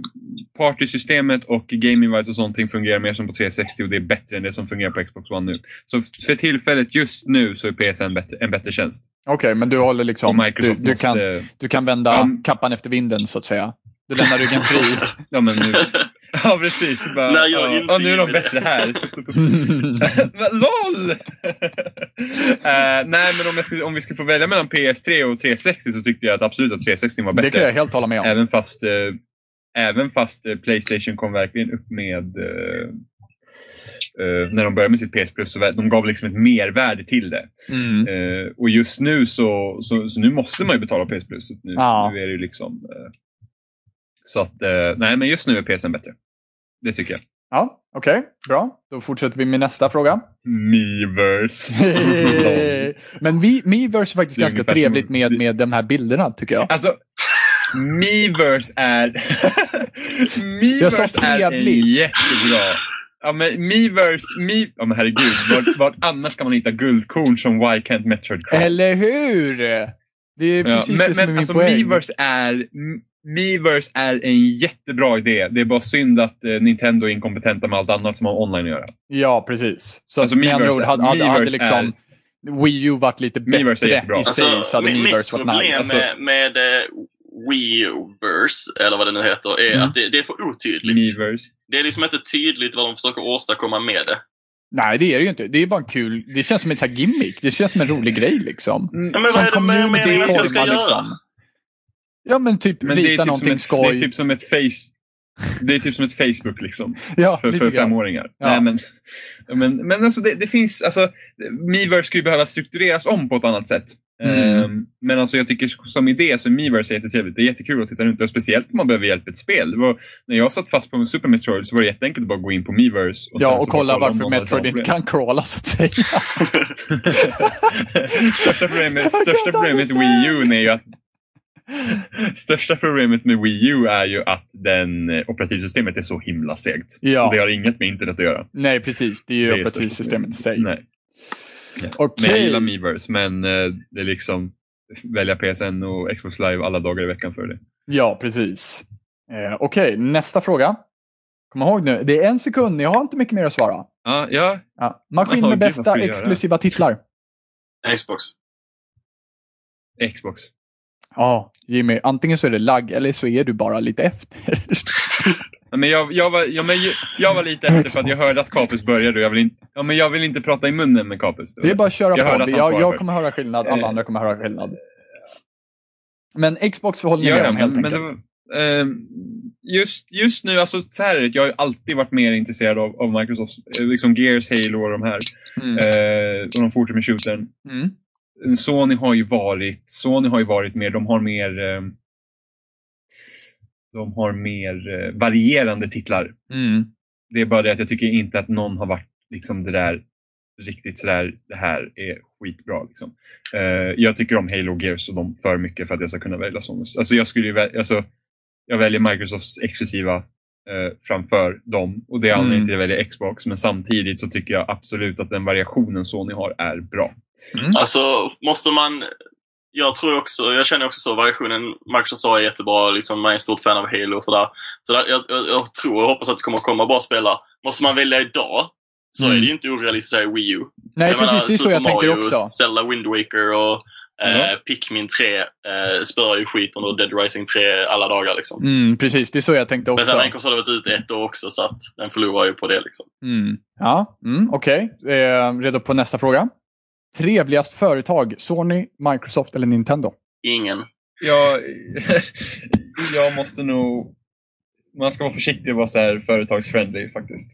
Speaker 2: partysystemet och Game Invite och sånt fungerar mer som på 360 och det är bättre än det som fungerar på Xbox One nu. Så f- för tillfället, just nu, så är PSN bättre, en bättre tjänst.
Speaker 1: Okej, men du håller
Speaker 2: Och
Speaker 1: liksom... Du,
Speaker 2: Microsoft
Speaker 1: du,
Speaker 2: måste...
Speaker 1: kan, du kan vända
Speaker 2: Ja.
Speaker 1: kappan efter vinden så att säga. Du lämnar ryggen fri.
Speaker 2: Ja, men nu... ja precis. Bara,
Speaker 3: Nej, jag är
Speaker 2: ja,
Speaker 3: inte
Speaker 2: ja, nu är de
Speaker 3: med det.
Speaker 2: bättre här. Va, LOL! Eh, nej, men om, jag skulle, om vi skulle få välja mellan PS3 och 360 så tyckte jag att absolut att 360 var
Speaker 1: det
Speaker 2: bättre. Äh.
Speaker 1: kan jag helt hålla med om.
Speaker 2: Även fast, eh, även fast eh, Playstation kom verkligen upp med eh, eh, när de började med sitt PS Plus, så vä- de gav liksom ett mervärde till det.
Speaker 1: Mm.
Speaker 2: Eh, och just nu så, så, så nu måste man ju betala PS Plus. Så Nu,
Speaker 1: Ja.
Speaker 2: nu är det ju liksom... Eh, så att, eh, nej men just nu är PSN bättre. Det tycker jag.
Speaker 1: Ja, okej. Bra. Då fortsätter vi med nästa fråga.
Speaker 2: Miiverse.
Speaker 1: Men vi, Miiverse är faktiskt
Speaker 2: Det är
Speaker 1: ganska
Speaker 2: ungefär
Speaker 1: trevligt
Speaker 2: som-
Speaker 1: med, med de här bilderna tycker jag.
Speaker 2: Alltså, Miiverse är...
Speaker 1: Jag sa
Speaker 2: Miiverse är en
Speaker 1: trevligt.
Speaker 2: jättebra... Ja men Miiverse, Mi... Ja men herregud, vart, vart annars kan man hitta guldkorn som Why Can't Metroid Cry?
Speaker 1: Eller hur? Det är
Speaker 2: Ja,
Speaker 1: precis
Speaker 2: men
Speaker 1: det som
Speaker 2: men
Speaker 1: är min
Speaker 2: alltså
Speaker 1: poäng.
Speaker 2: Miiverse är, M- Miiverse är en jättebra idé. Det är bara synd att eh, Nintendo är inkompetenta med allt annat som har online att göra.
Speaker 1: Ja, precis. Så
Speaker 2: Alltså,
Speaker 1: alltså, med andra
Speaker 2: Miiverse
Speaker 1: ord
Speaker 2: är-
Speaker 1: hade, hade, hade
Speaker 2: Miiverse
Speaker 1: liksom Wii U varit lite
Speaker 2: Miiverse är
Speaker 1: bättre
Speaker 2: jättebra.
Speaker 1: i sig
Speaker 3: Alltså,
Speaker 1: så hade
Speaker 3: mi- mitt
Speaker 1: Miiverse varit
Speaker 3: problem
Speaker 1: nice.
Speaker 2: Alltså-
Speaker 3: med, med eh, Weverse, eller vad det nu heter, är
Speaker 1: Mm.
Speaker 3: att det, det är för otydligt.
Speaker 2: Miiverse.
Speaker 3: Det är liksom inte tydligt vad de försöker åstadkomma med det.
Speaker 1: Nej, det är det ju inte. Det är bara en kul... Det känns som en sån här gimmick. Det känns som en rolig grej liksom.
Speaker 2: Mm.
Speaker 3: Ja, men
Speaker 1: som
Speaker 3: vad är det med meningen att jag ska göra?
Speaker 1: liksom. Ja, men typ
Speaker 2: Men det är
Speaker 1: rita
Speaker 2: typ, som
Speaker 1: någonting
Speaker 2: ett, det
Speaker 1: skoj.
Speaker 2: är typ som ett face... Det är typ som ett Facebook liksom.
Speaker 1: ja,
Speaker 2: för,
Speaker 1: lite
Speaker 2: för
Speaker 1: grann.
Speaker 2: femåringar.
Speaker 1: Ja.
Speaker 2: Nej, men, men, men alltså det, det finns, alltså, Miiverse skulle ju behöva struktureras om på ett annat sätt.
Speaker 1: Mm.
Speaker 2: Ehm, men alltså jag tycker som idé så Miiverse är jättetrevligt. Det är jättekul att titta runt och speciellt om man behöver hjälp i ett spel. Det var, när jag satt fast på Super Metroid så var det jätteenkelt att bara gå in på Miiverse. sen
Speaker 1: Ja,
Speaker 2: så
Speaker 1: och
Speaker 2: bara
Speaker 1: kolla
Speaker 2: om
Speaker 1: varför
Speaker 2: någon hade
Speaker 1: Metroid
Speaker 2: samma
Speaker 1: inte
Speaker 2: problem.
Speaker 1: kan crawla så att säga.
Speaker 2: största problemet,
Speaker 1: I
Speaker 2: största
Speaker 1: can't
Speaker 2: problemet med Wii U är ju att Största problemet med Wii U är ju att den eh, operativsystemet är så himla segt.
Speaker 1: Ja.
Speaker 2: Och det har inget med internet att göra.
Speaker 1: Nej, precis. Det är ju
Speaker 2: Det är
Speaker 1: operativsystemet i sig.
Speaker 2: Nej. Men jag
Speaker 1: Okej.
Speaker 2: gillar Miiverse, men eh, det är liksom välja PSN och Xbox Live alla dagar i veckan för det.
Speaker 1: Ja, precis. Eh, Okej, nästa fråga. Kom ihåg nu, det är en sekund. Jag har inte mycket mer att svara.
Speaker 2: Ja, ja.
Speaker 1: Ja. Maskin
Speaker 2: Jaha,
Speaker 1: med
Speaker 2: gud, vad
Speaker 1: bästa
Speaker 2: ska jag göra?
Speaker 1: exklusiva titlar.
Speaker 3: Xbox.
Speaker 2: Xbox.
Speaker 1: Ja, Jimmy. Antingen så är det lagg eller så är du bara lite efter.
Speaker 2: Ja, men jag, jag, var, ja, men ju- jag var lite efter för att jag hörde att Kapus började och jag vill inte, ja, men jag vill inte prata i munnen med Kapus.
Speaker 1: Det är bara att köra
Speaker 2: Jag
Speaker 1: på.
Speaker 2: hörde att han
Speaker 1: Jag,
Speaker 2: svarade.
Speaker 1: jag kommer höra skillnad. Alla
Speaker 2: Eh.
Speaker 1: andra kommer höra skillnad. Men Xbox håller ni
Speaker 2: Ja,
Speaker 1: med
Speaker 2: ja,
Speaker 1: om helt
Speaker 2: men, men
Speaker 1: enkelt.
Speaker 2: det var, ehm, just, just nu, alltså så här är det, jag har ju alltid varit mer intresserad av, av Microsofts, eh, liksom Gears, Halo och de här.
Speaker 1: Mm.
Speaker 2: Eh, och de fortsätter med shootern.
Speaker 1: Mm.
Speaker 2: Sony har ju varit, Sony har ju varit mer, de har mer eh, de har mer eh, varierande titlar.
Speaker 1: Mm.
Speaker 2: Det är bara det att jag tycker inte att någon har varit liksom det där riktigt sådär, det här är skitbra. Liksom. Eh, jag tycker om Halo och Gears och de för mycket för att jag ska kunna välja Sony. Alltså jag skulle ju väl, alltså, jag väljer Microsofts exklusiva eh, framför dem och det är anledningen
Speaker 1: Mm.
Speaker 2: till att jag väljer Xbox men samtidigt så tycker jag absolut att den variationen Sony har är bra.
Speaker 3: Alltså, måste man... Jag tror också, jag känner också så, variationen Microsoft har är jättebra. Liksom, man är ett stort fan av Halo och sådär. Så där, jag, jag, jag tror och hoppas att det kommer att komma bra spelare. Måste man välja idag så
Speaker 1: Mm.
Speaker 3: är det ju inte orealistiskt att säga Wii U.
Speaker 1: Nej,
Speaker 3: Jag menar,
Speaker 1: precis. Det är så
Speaker 3: Super
Speaker 1: jag tänker
Speaker 3: Mario,
Speaker 1: också. Mm.
Speaker 3: Zelda Wind Waker och eh,
Speaker 2: Ja.
Speaker 3: Pikmin 3 eh, spöar ju skiten och Dead Rising 3 alla dagar. Liksom.
Speaker 1: Mm, precis, det är så jag tänkte
Speaker 3: Men sen
Speaker 1: också.
Speaker 3: har en konsol varit ute ett år också så att den förlorar ju på det. Liksom.
Speaker 1: Mm. Ja, mm, okej. Eh, redo på nästa fråga. Trevligast företag? Sony, Microsoft eller Nintendo?
Speaker 3: Ingen.
Speaker 2: jag, jag måste nog... Man ska vara försiktig och vara så här företagsfriendly faktiskt.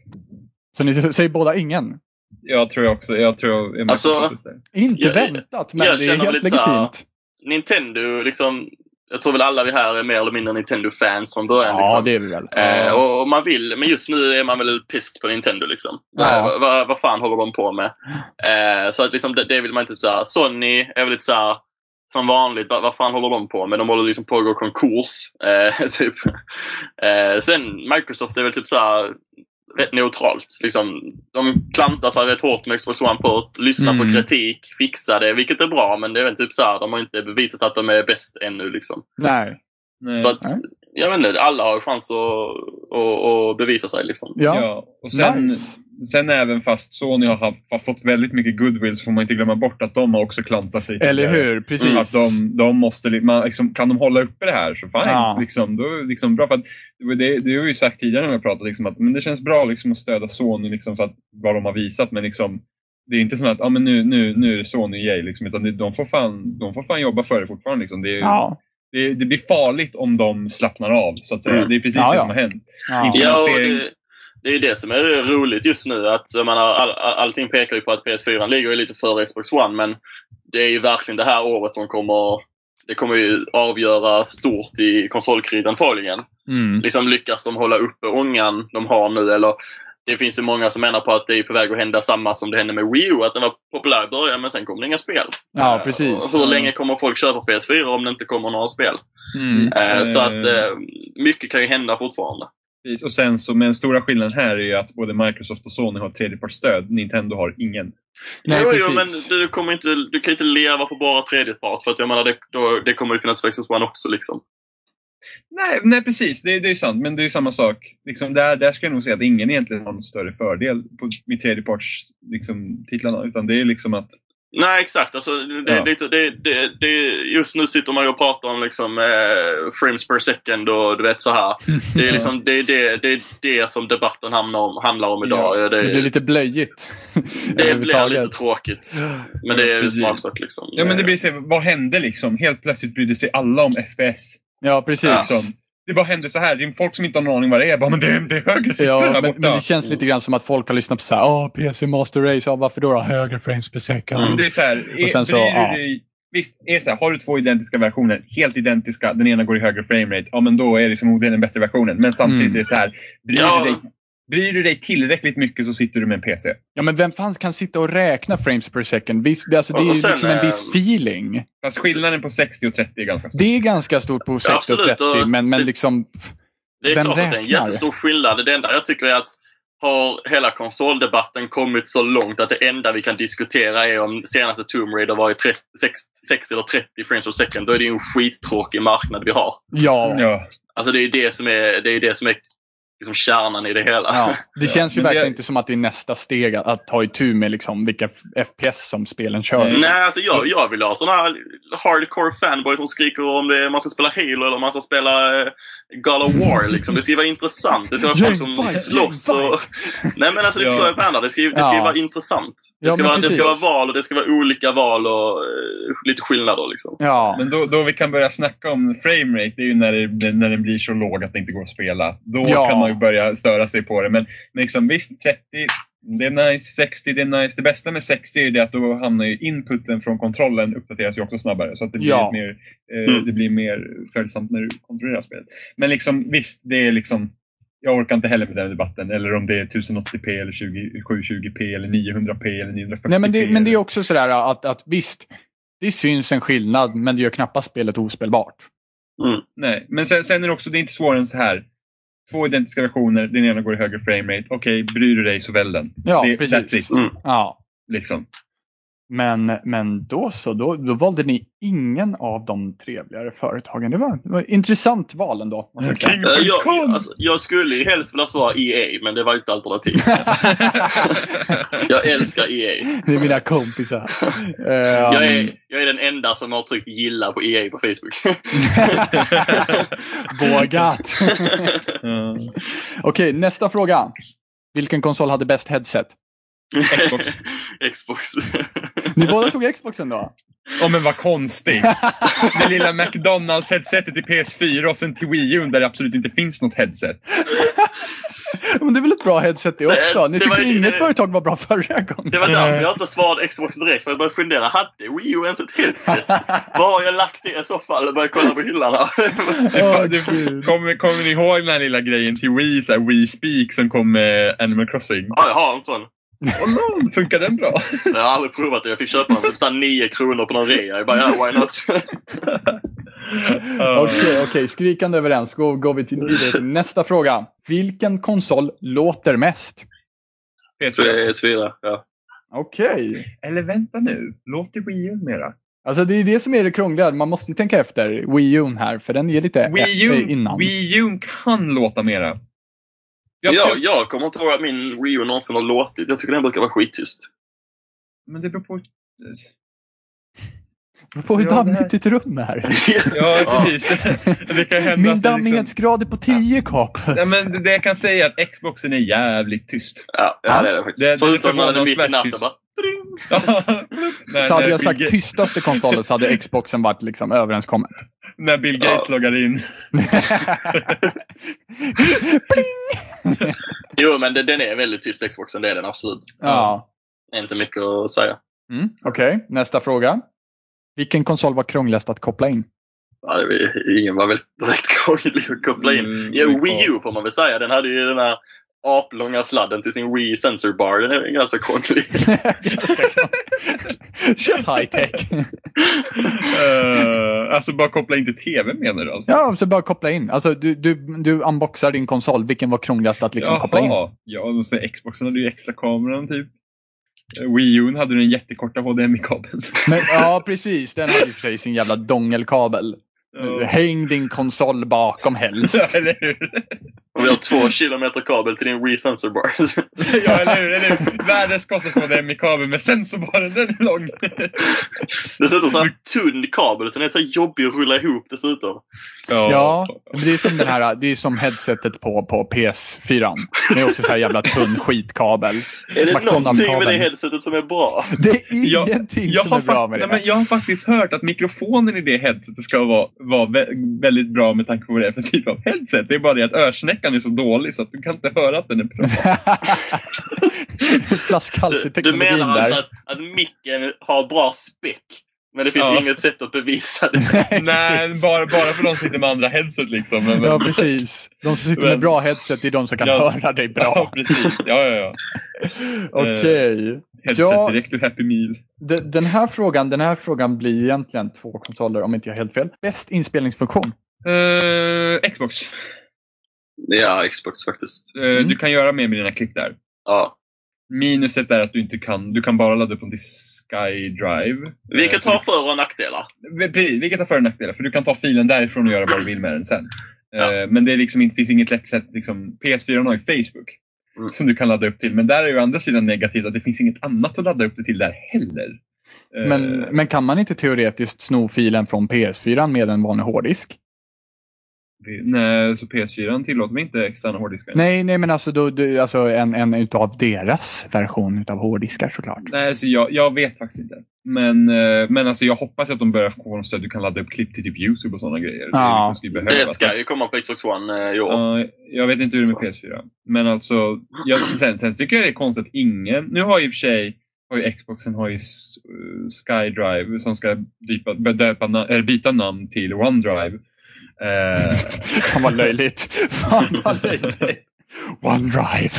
Speaker 1: Så ni säger båda ingen?
Speaker 2: Jag tror jag också, jag tror jag är med
Speaker 3: Alltså-
Speaker 2: Pontus där.
Speaker 1: Inte
Speaker 3: Jag-
Speaker 1: väntat, men
Speaker 3: jag
Speaker 1: det är
Speaker 3: känner
Speaker 1: helt
Speaker 3: väl lite så här-
Speaker 1: legitimt.
Speaker 3: Nintendo, liksom, jag tror väl alla vi här är mer eller mindre Nintendo-fans från början.
Speaker 1: Ja,
Speaker 3: liksom.
Speaker 1: det är vi väl.
Speaker 3: Eh, och, och man vill, men just nu är man väl pist på Nintendo liksom.
Speaker 1: Ja.
Speaker 3: Eh, vad- vad, vad fan håller de på med? Eh, så att liksom, det, det vill man inte såhär. Sony är väl lite såhär, som vanligt, vad, vad fan håller de på med? De håller liksom på att gå i konkurs. Eh, typ. eh, sen Microsoft är väl typ såhär rätt neutralt. Liksom, de klantar sig rätt hårt med Xbox One först, lyssnar
Speaker 1: Mm.
Speaker 3: på kritik, fixar det, vilket är bra, men det är väl typ såhär, de har inte bevisat att de är bäst ännu liksom.
Speaker 1: Nej.
Speaker 2: Nej.
Speaker 3: Så att,
Speaker 1: Nej.
Speaker 3: jag vet inte, alla har chans att, att, att bevisa sig liksom.
Speaker 1: Ja.
Speaker 2: ja, och sen,
Speaker 1: nice.
Speaker 2: sen även fast Sony har, haft, har fått väldigt mycket goodwill så får man inte glömma bort att de har också klantat sig.
Speaker 1: Eller
Speaker 2: tidigare.
Speaker 1: hur? Precis.
Speaker 2: Att de, de måste, li- man, liksom, kan de hålla uppe det här så fine.
Speaker 1: Ja.
Speaker 2: Liksom, då, är det liksom, bra, för att, det, var det, det har vi ju sagt tidigare när vi har pratat, liksom, att men det känns bra liksom, att stödja Sony liksom, för att, vad de har visat. Men liksom, det är inte så att ah, men nu, nu, nu är det Sony yay, liksom, utan det, de, får fan, de får fan jobba för det fortfarande. Liksom. Det, är-
Speaker 1: Ja.
Speaker 2: det, det blir farligt om de slappnar av, så att säga.
Speaker 3: Mm.
Speaker 2: Det är precis
Speaker 1: Ja,
Speaker 2: det
Speaker 1: ja.
Speaker 2: som har hänt.
Speaker 1: Ja.
Speaker 2: Inte-
Speaker 3: Ja, och
Speaker 2: Finansiering.
Speaker 3: det, det är ju det som är roligt just nu. Att, jag menar, all, all- allting pekar ju på att PS4 ligger ju lite före Xbox One, men det är ju verkligen det här året som kommer... Det kommer ju avgöra stort i konsolkriget antagligen.
Speaker 1: Mm.
Speaker 3: Liksom lyckas de hålla uppe ångan de har nu? Eller det finns ju många som menar på att det är på väg att hända samma som det hände med Wii U. Att den var populär i början, men sen kom det inga spel.
Speaker 1: Ja,
Speaker 3: Eh,
Speaker 1: precis.
Speaker 3: och Hur länge kommer folk köpa PS4 om det inte kommer några spel?
Speaker 1: Mm.
Speaker 3: Eh, Så
Speaker 2: Eh.
Speaker 3: att eh, mycket kan ju hända fortfarande.
Speaker 2: Precis. Och sen så, men stora skillnaden här är ju att både Microsoft och Sony har tredjepartsstöd. Nintendo har ingen.
Speaker 1: Nej,
Speaker 3: jo, jo,
Speaker 1: precis.
Speaker 3: men du, du kommer inte, du kan inte leva på bara tredjepart. För att jag menar, det, då, det kommer ju finnas för Xbox One också. Liksom.
Speaker 2: Nej, nej precis. Det, det är ju sant. Men det är ju samma sak. Liksom där, där ska jag nog säga att ingen egentligen har någon större fördel på, med tredjeparts liksom, titlarna. Utan det är liksom att
Speaker 3: Nej, exakt. Alltså, det,
Speaker 2: Ja.
Speaker 3: det, det, det, det, just nu sitter man ju och pratar om liksom, eh, frames per second och du vet så här. Det är, liksom, det, är det, det, är det som debatten hamnar om, handlar om idag. Det,
Speaker 1: Det blir
Speaker 3: det,
Speaker 1: lite blöjigt.
Speaker 3: blir
Speaker 1: överhuvudtaget.
Speaker 3: lite tråkigt. Men det är ju
Speaker 2: Precis.
Speaker 3: smaksak. Liksom.
Speaker 2: Ja men det blir så, här, vad hände liksom? Helt plötsligt brydde sig alla om FPS.
Speaker 1: Ja, precis.
Speaker 3: Ja.
Speaker 2: Liksom. Det bara hände så här. Det är folk som inte har någon aning vad det är. Bara, men det är, det är högre siffror
Speaker 1: Ja,
Speaker 2: där
Speaker 1: men,
Speaker 2: borta.
Speaker 1: men det känns lite grann som att folk har lyssnat på så här, "Ah, PC Master Race, ja, varför då? då? Högre frames per second.
Speaker 3: Mm.
Speaker 2: Det är så här,
Speaker 1: Och
Speaker 2: är,
Speaker 1: sen så,
Speaker 2: bryr du
Speaker 1: ja.
Speaker 2: dig, Visst, är så här, har du två identiska versioner, helt identiska, den ena går i högre framerate, ja men då är det förmodligen den bättre versionen. Men samtidigt
Speaker 1: Mm.
Speaker 2: är det så här, bryr,
Speaker 3: Ja.
Speaker 2: du dig, bryr du dig tillräckligt mycket så sitter du med en PC.
Speaker 1: Ja, men vem fan kan sitta och räkna frames per second? Visst, det, alltså, det är ju
Speaker 3: Och sen,
Speaker 1: liksom en viss
Speaker 3: eh,
Speaker 1: feeling.
Speaker 2: Fast skillnaden på 60 och 30 är ganska stor.
Speaker 1: Det är ganska stort på 60 och
Speaker 3: absolut,
Speaker 1: 30,
Speaker 3: och typ-
Speaker 1: men, men
Speaker 3: det-
Speaker 1: liksom...
Speaker 3: Det är
Speaker 1: Vem
Speaker 3: klart att det är en
Speaker 1: räknar?
Speaker 3: jättestor skillnad. Det enda jag tycker är att har hela konsoldebatten kommit så långt att det enda vi kan diskutera är om senaste Tomb Raider var i 30, 60 eller 30 frames per second. Då är det ju en skittråkig marknad vi har.
Speaker 1: Ja, ja.
Speaker 2: Ja.
Speaker 3: Alltså det är ju det som är, det är, ju det som är liksom kärnan i det hela.
Speaker 1: Det känns ju
Speaker 2: men det-
Speaker 1: verkligen inte som att det är nästa steg att, att ta itu med liksom vilka f- FPS som spelen kör.
Speaker 2: Mm.
Speaker 3: Nej, alltså jag, jag vill ha såna här hardcore fanboys som skriker om det, man ska spela Halo eller om man ska spela eh, God of War. Liksom. Det ska vara intressant. Det ska vara folk som
Speaker 1: Gängfight,
Speaker 3: slåss. Och... Nej, men alltså, du
Speaker 2: Ja.
Speaker 3: förstår vad jag menar. Det ska, ju- det ska ju
Speaker 1: Ja.
Speaker 3: vara intressant. Det
Speaker 1: Ja,
Speaker 3: ska,
Speaker 1: men
Speaker 3: vara, det ska vara
Speaker 1: precis.
Speaker 3: val och det ska vara olika val och eh, lite skillnader. Liksom.
Speaker 1: Ja.
Speaker 2: Men då, då vi kan börja snacka om framerate, det är ju när, det, när den blir så låg att det inte går att spela. Då
Speaker 1: Ja.
Speaker 2: kan man ju börja störa sig på det. Men men liksom, visst, 30, det är nice, 60, det är nice. Det bästa med 60 är ju det att då hamnar ju inputen från kontrollen uppdateras ju också snabbare. Så att det blir,
Speaker 1: Ja.
Speaker 2: ett mer, eh,
Speaker 3: Mm.
Speaker 2: det blir mer följsamt när du kontrollerar spelet. Men liksom, visst, det är liksom jag orkar inte heller med den debatten. Eller om det är 1080p, eller 20, 720p, eller 900p eller 940p.
Speaker 1: Nej, men, det, men det är
Speaker 2: eller-
Speaker 1: också sådär att, att visst, det syns en skillnad, men det gör knappast spelet ospelbart.
Speaker 2: Nej, men sen, sen är det också, det är inte svårare än så här. Två identiska versioner, den ena går i högre framerate. Okej, bryr du dig så välj den.
Speaker 1: Ja,
Speaker 2: det, That's
Speaker 1: precis.
Speaker 2: it,
Speaker 3: Mm.
Speaker 1: Ja.
Speaker 2: liksom.
Speaker 1: Men, men då så, då, då valde ni ingen av de trevligare företagen. Det var, det var ett intressant val ändå. måste jag säga.
Speaker 2: King
Speaker 3: Eh, Jag,
Speaker 2: Kong!
Speaker 3: alltså, jag skulle ju helst vilja svara EA, men det var ju ett alternativ. Jag älskar EA.
Speaker 1: Det är mina kompisar. Eh,
Speaker 3: Jag är, jag är den enda som har tryckt gilla på EA på Facebook.
Speaker 1: Vågat!
Speaker 2: Ja.
Speaker 1: Okej, nästa fråga. Vilken konsol hade bäst headset?
Speaker 2: Xbox.
Speaker 3: Xbox.
Speaker 1: Ni båda tog Xboxen då?
Speaker 2: Ja, Oh, men vad konstigt. Det lilla McDonalds-headsetet till PS4 och sen till Wii U där det absolut inte finns något headset.
Speaker 1: Men det är väl ett bra headset det också? Ni
Speaker 3: Det var-
Speaker 1: tyckte inget
Speaker 3: det-
Speaker 1: företag var bra förra gången?
Speaker 3: Det var
Speaker 2: Eh.
Speaker 3: därför jag inte svarade Xbox direkt, för jag började fundera. Hade Wii U ens ett headset? Var har jag lagt det i så fall? Jag började kolla på hyllan här.
Speaker 1: Åh,
Speaker 2: det-
Speaker 1: gud.
Speaker 2: Kommer, kommer ni ihåg den här lilla grejen till Wii, så här, Wii Speak som kom med Animal Crossing?
Speaker 3: Ja, jag har en sån.
Speaker 2: Åh, no, funkar den bra?
Speaker 3: Jag har aldrig provat det. Jag fick köpa den för typ såhär 9 kronor på någon rea. Jag bara, ja, why not?
Speaker 2: Ja.
Speaker 1: Okej, okej, skrikande överens. Då går vi till, vidare till nästa fråga. Vilken konsol låter mest?
Speaker 2: PS4.
Speaker 3: PS4, ja.
Speaker 1: Okej.
Speaker 2: Eller vänta nu, låter Wii U mera?
Speaker 1: Alltså det är det som är det krångliga. Man måste ju tänka efter. Wii U här, för den är lite
Speaker 2: Wii
Speaker 1: efter
Speaker 2: U,
Speaker 1: innan.
Speaker 2: Wii U kan låta mera. Jag
Speaker 3: Jag,
Speaker 2: tror-
Speaker 3: jag kommer inte ihåg att min Wii U någonsin har låtit. Jag tycker den brukar vara skittyst.
Speaker 2: Men det beror på...
Speaker 1: Det beror på hur
Speaker 2: Så jag-
Speaker 1: dammigt ditt rum är.
Speaker 2: Ja,
Speaker 3: Ja.
Speaker 2: precis. Det
Speaker 1: Min
Speaker 2: kan hända att det liksom...
Speaker 1: dammighetsgrad är på 10 kapus.
Speaker 2: Nej, men det jag kan säga är att Xboxen är jävligt tyst.
Speaker 3: Ja, ja det är det
Speaker 2: Det- det är
Speaker 3: faktiskt. Förutom när den är mitt i natten.
Speaker 2: förvånansvärt
Speaker 3: bara,
Speaker 2: Nej,
Speaker 1: Så hade
Speaker 2: nej,
Speaker 1: jag sagt
Speaker 2: Wii-
Speaker 1: tystaste konsolen så hade Xboxen varit liksom överenskommen.
Speaker 2: När Bill Gates loggar in.
Speaker 1: Pling!
Speaker 3: Jo, men det, den är väldigt tyst, Xboxen. Det är den absolut.
Speaker 1: ja.
Speaker 3: Det är inte mycket att säga.
Speaker 1: Mm, Okej, nästa fråga. Vilken konsol var krångligast att koppla in?
Speaker 3: Ja, det var- Ingen var väl direkt krånglig att koppla in. Ja, Wii U får man väl säga. Den hade ju den här aplånga sladden till sin Wii Sensor Bar. Den är väl ganska krånglig.
Speaker 1: Ganska krångligt. Kör high tech.
Speaker 2: Eh, alltså bara koppla in till TV menar du alltså?
Speaker 1: Ja, så bara koppla in. Alltså, du, du, du unboxar din konsol. Vilken var krångligast att liksom koppla in?
Speaker 2: Jaha. Ja, och så Xboxen hade ju extra kameran typ. Eh, Wii U hade den jättekorta HDMI-kabeln.
Speaker 1: Men, ja, precis. Den hade i och för sig sin jävla dongelkabel. Häng din konsol bakom helst.
Speaker 2: Ja, eller hur?
Speaker 3: Om vi har två kilometer kabel till din Wii Sensor Bar.
Speaker 2: Ja, eller hur? Eller hur? Världens kortaste HDMI-kabel, men sen så var den, den är lång.
Speaker 3: Dessutom så här tunn kabel, så den är så här jobbig att rulla ihop dessutom.
Speaker 1: Ja, men det är som den här, det är som headsetet på, på PS4. Det är också så här jävla tunn skitkabel.
Speaker 3: Är det
Speaker 1: McDonald's-kabeln.
Speaker 3: någonting med det headsetet som är bra?
Speaker 1: Det är
Speaker 2: Jag-
Speaker 1: ingenting
Speaker 2: Jag
Speaker 1: som
Speaker 2: har,
Speaker 1: är bra
Speaker 2: fakt-
Speaker 1: med
Speaker 2: nej,
Speaker 1: det.
Speaker 2: men jag har faktiskt hört att mikrofonen i det headsetet ska vara, vara vä- väldigt bra med tanke på vad det är för typ av headset. Det är bara det att örsnäckan är så dålig så att du kan inte höra att den är bra.
Speaker 1: Flaskhals i
Speaker 3: Du, du
Speaker 1: teknologin
Speaker 3: menar
Speaker 1: där.
Speaker 3: alltså att, att micken har bra speck, men det finns
Speaker 2: Ja.
Speaker 3: inget sätt att bevisa det?
Speaker 2: Nej,
Speaker 1: precis.
Speaker 2: bara, bara för de som sitter med andra headset liksom. Men, men,
Speaker 1: Ja, precis. De som sitter med
Speaker 2: Men-
Speaker 1: bra headset är de som kan
Speaker 2: Ja.
Speaker 1: höra dig
Speaker 2: Ja,
Speaker 1: bra.
Speaker 2: precis. Ja, ja, ja.
Speaker 1: Okej.
Speaker 2: Headset
Speaker 1: Ja.
Speaker 2: direkt ur Happy Meal.
Speaker 1: De- Den här frågan, den här frågan blir egentligen två konsoler om inte jag har helt fel. Bäst inspelningsfunktion?
Speaker 2: Eh, Xbox.
Speaker 3: Ja, Xbox faktiskt.
Speaker 2: Eh,
Speaker 1: Mm.
Speaker 2: Du kan göra mer med dina klipp där.
Speaker 3: Ja.
Speaker 2: Minuset är att du inte kan, du kan bara ladda upp dem till SkyDrive.
Speaker 3: Vilket
Speaker 2: Eh,
Speaker 3: har för och nackdelar.
Speaker 2: Precis, Vilket har för och nackdelar, för du kan ta filen därifrån och göra vad du vill med den sen.
Speaker 3: Ja.
Speaker 2: Eh, Men det är liksom, inte- finns inget lätt sätt. Liksom, PS4 har ju Facebook
Speaker 3: Mm.
Speaker 2: som du kan ladda upp till. Men där är ju å andra sidan negativt att det finns inget annat att ladda upp det till där heller. Eh,
Speaker 1: Men, men kan man inte teoretiskt sno filen från PS4 med en vanlig hårddisk?
Speaker 2: det- Nej, så PS4 tillåter inte externa hårddiskar?
Speaker 1: Nej, nej men alltså, då, du, alltså en, en utav deras version utav hårddiskar såklart.
Speaker 2: Nej, så jag, jag vet faktiskt inte. Men, eh, men alltså, jag hoppas att de börjar få så att du kan ladda upp klipp till typ Youtube och sådana grejer. Det
Speaker 1: Ja.
Speaker 2: är liksom skulle
Speaker 3: Det
Speaker 2: behövas.
Speaker 3: ska ju komma på Xbox One eh, i år.
Speaker 2: Ja, jag vet inte hur det är med PS4. Men alltså, jag, sen, sen tycker jag det är konstigt att ingen... Nu har ju i och för sig har ju Xboxen har ju S- eh, SkyDrive som ska dypa, börja döpa, na- eller byta namn till OneDrive. Eh,
Speaker 1: Fan vad löjligt. Fan vad löjligt. OneDrive.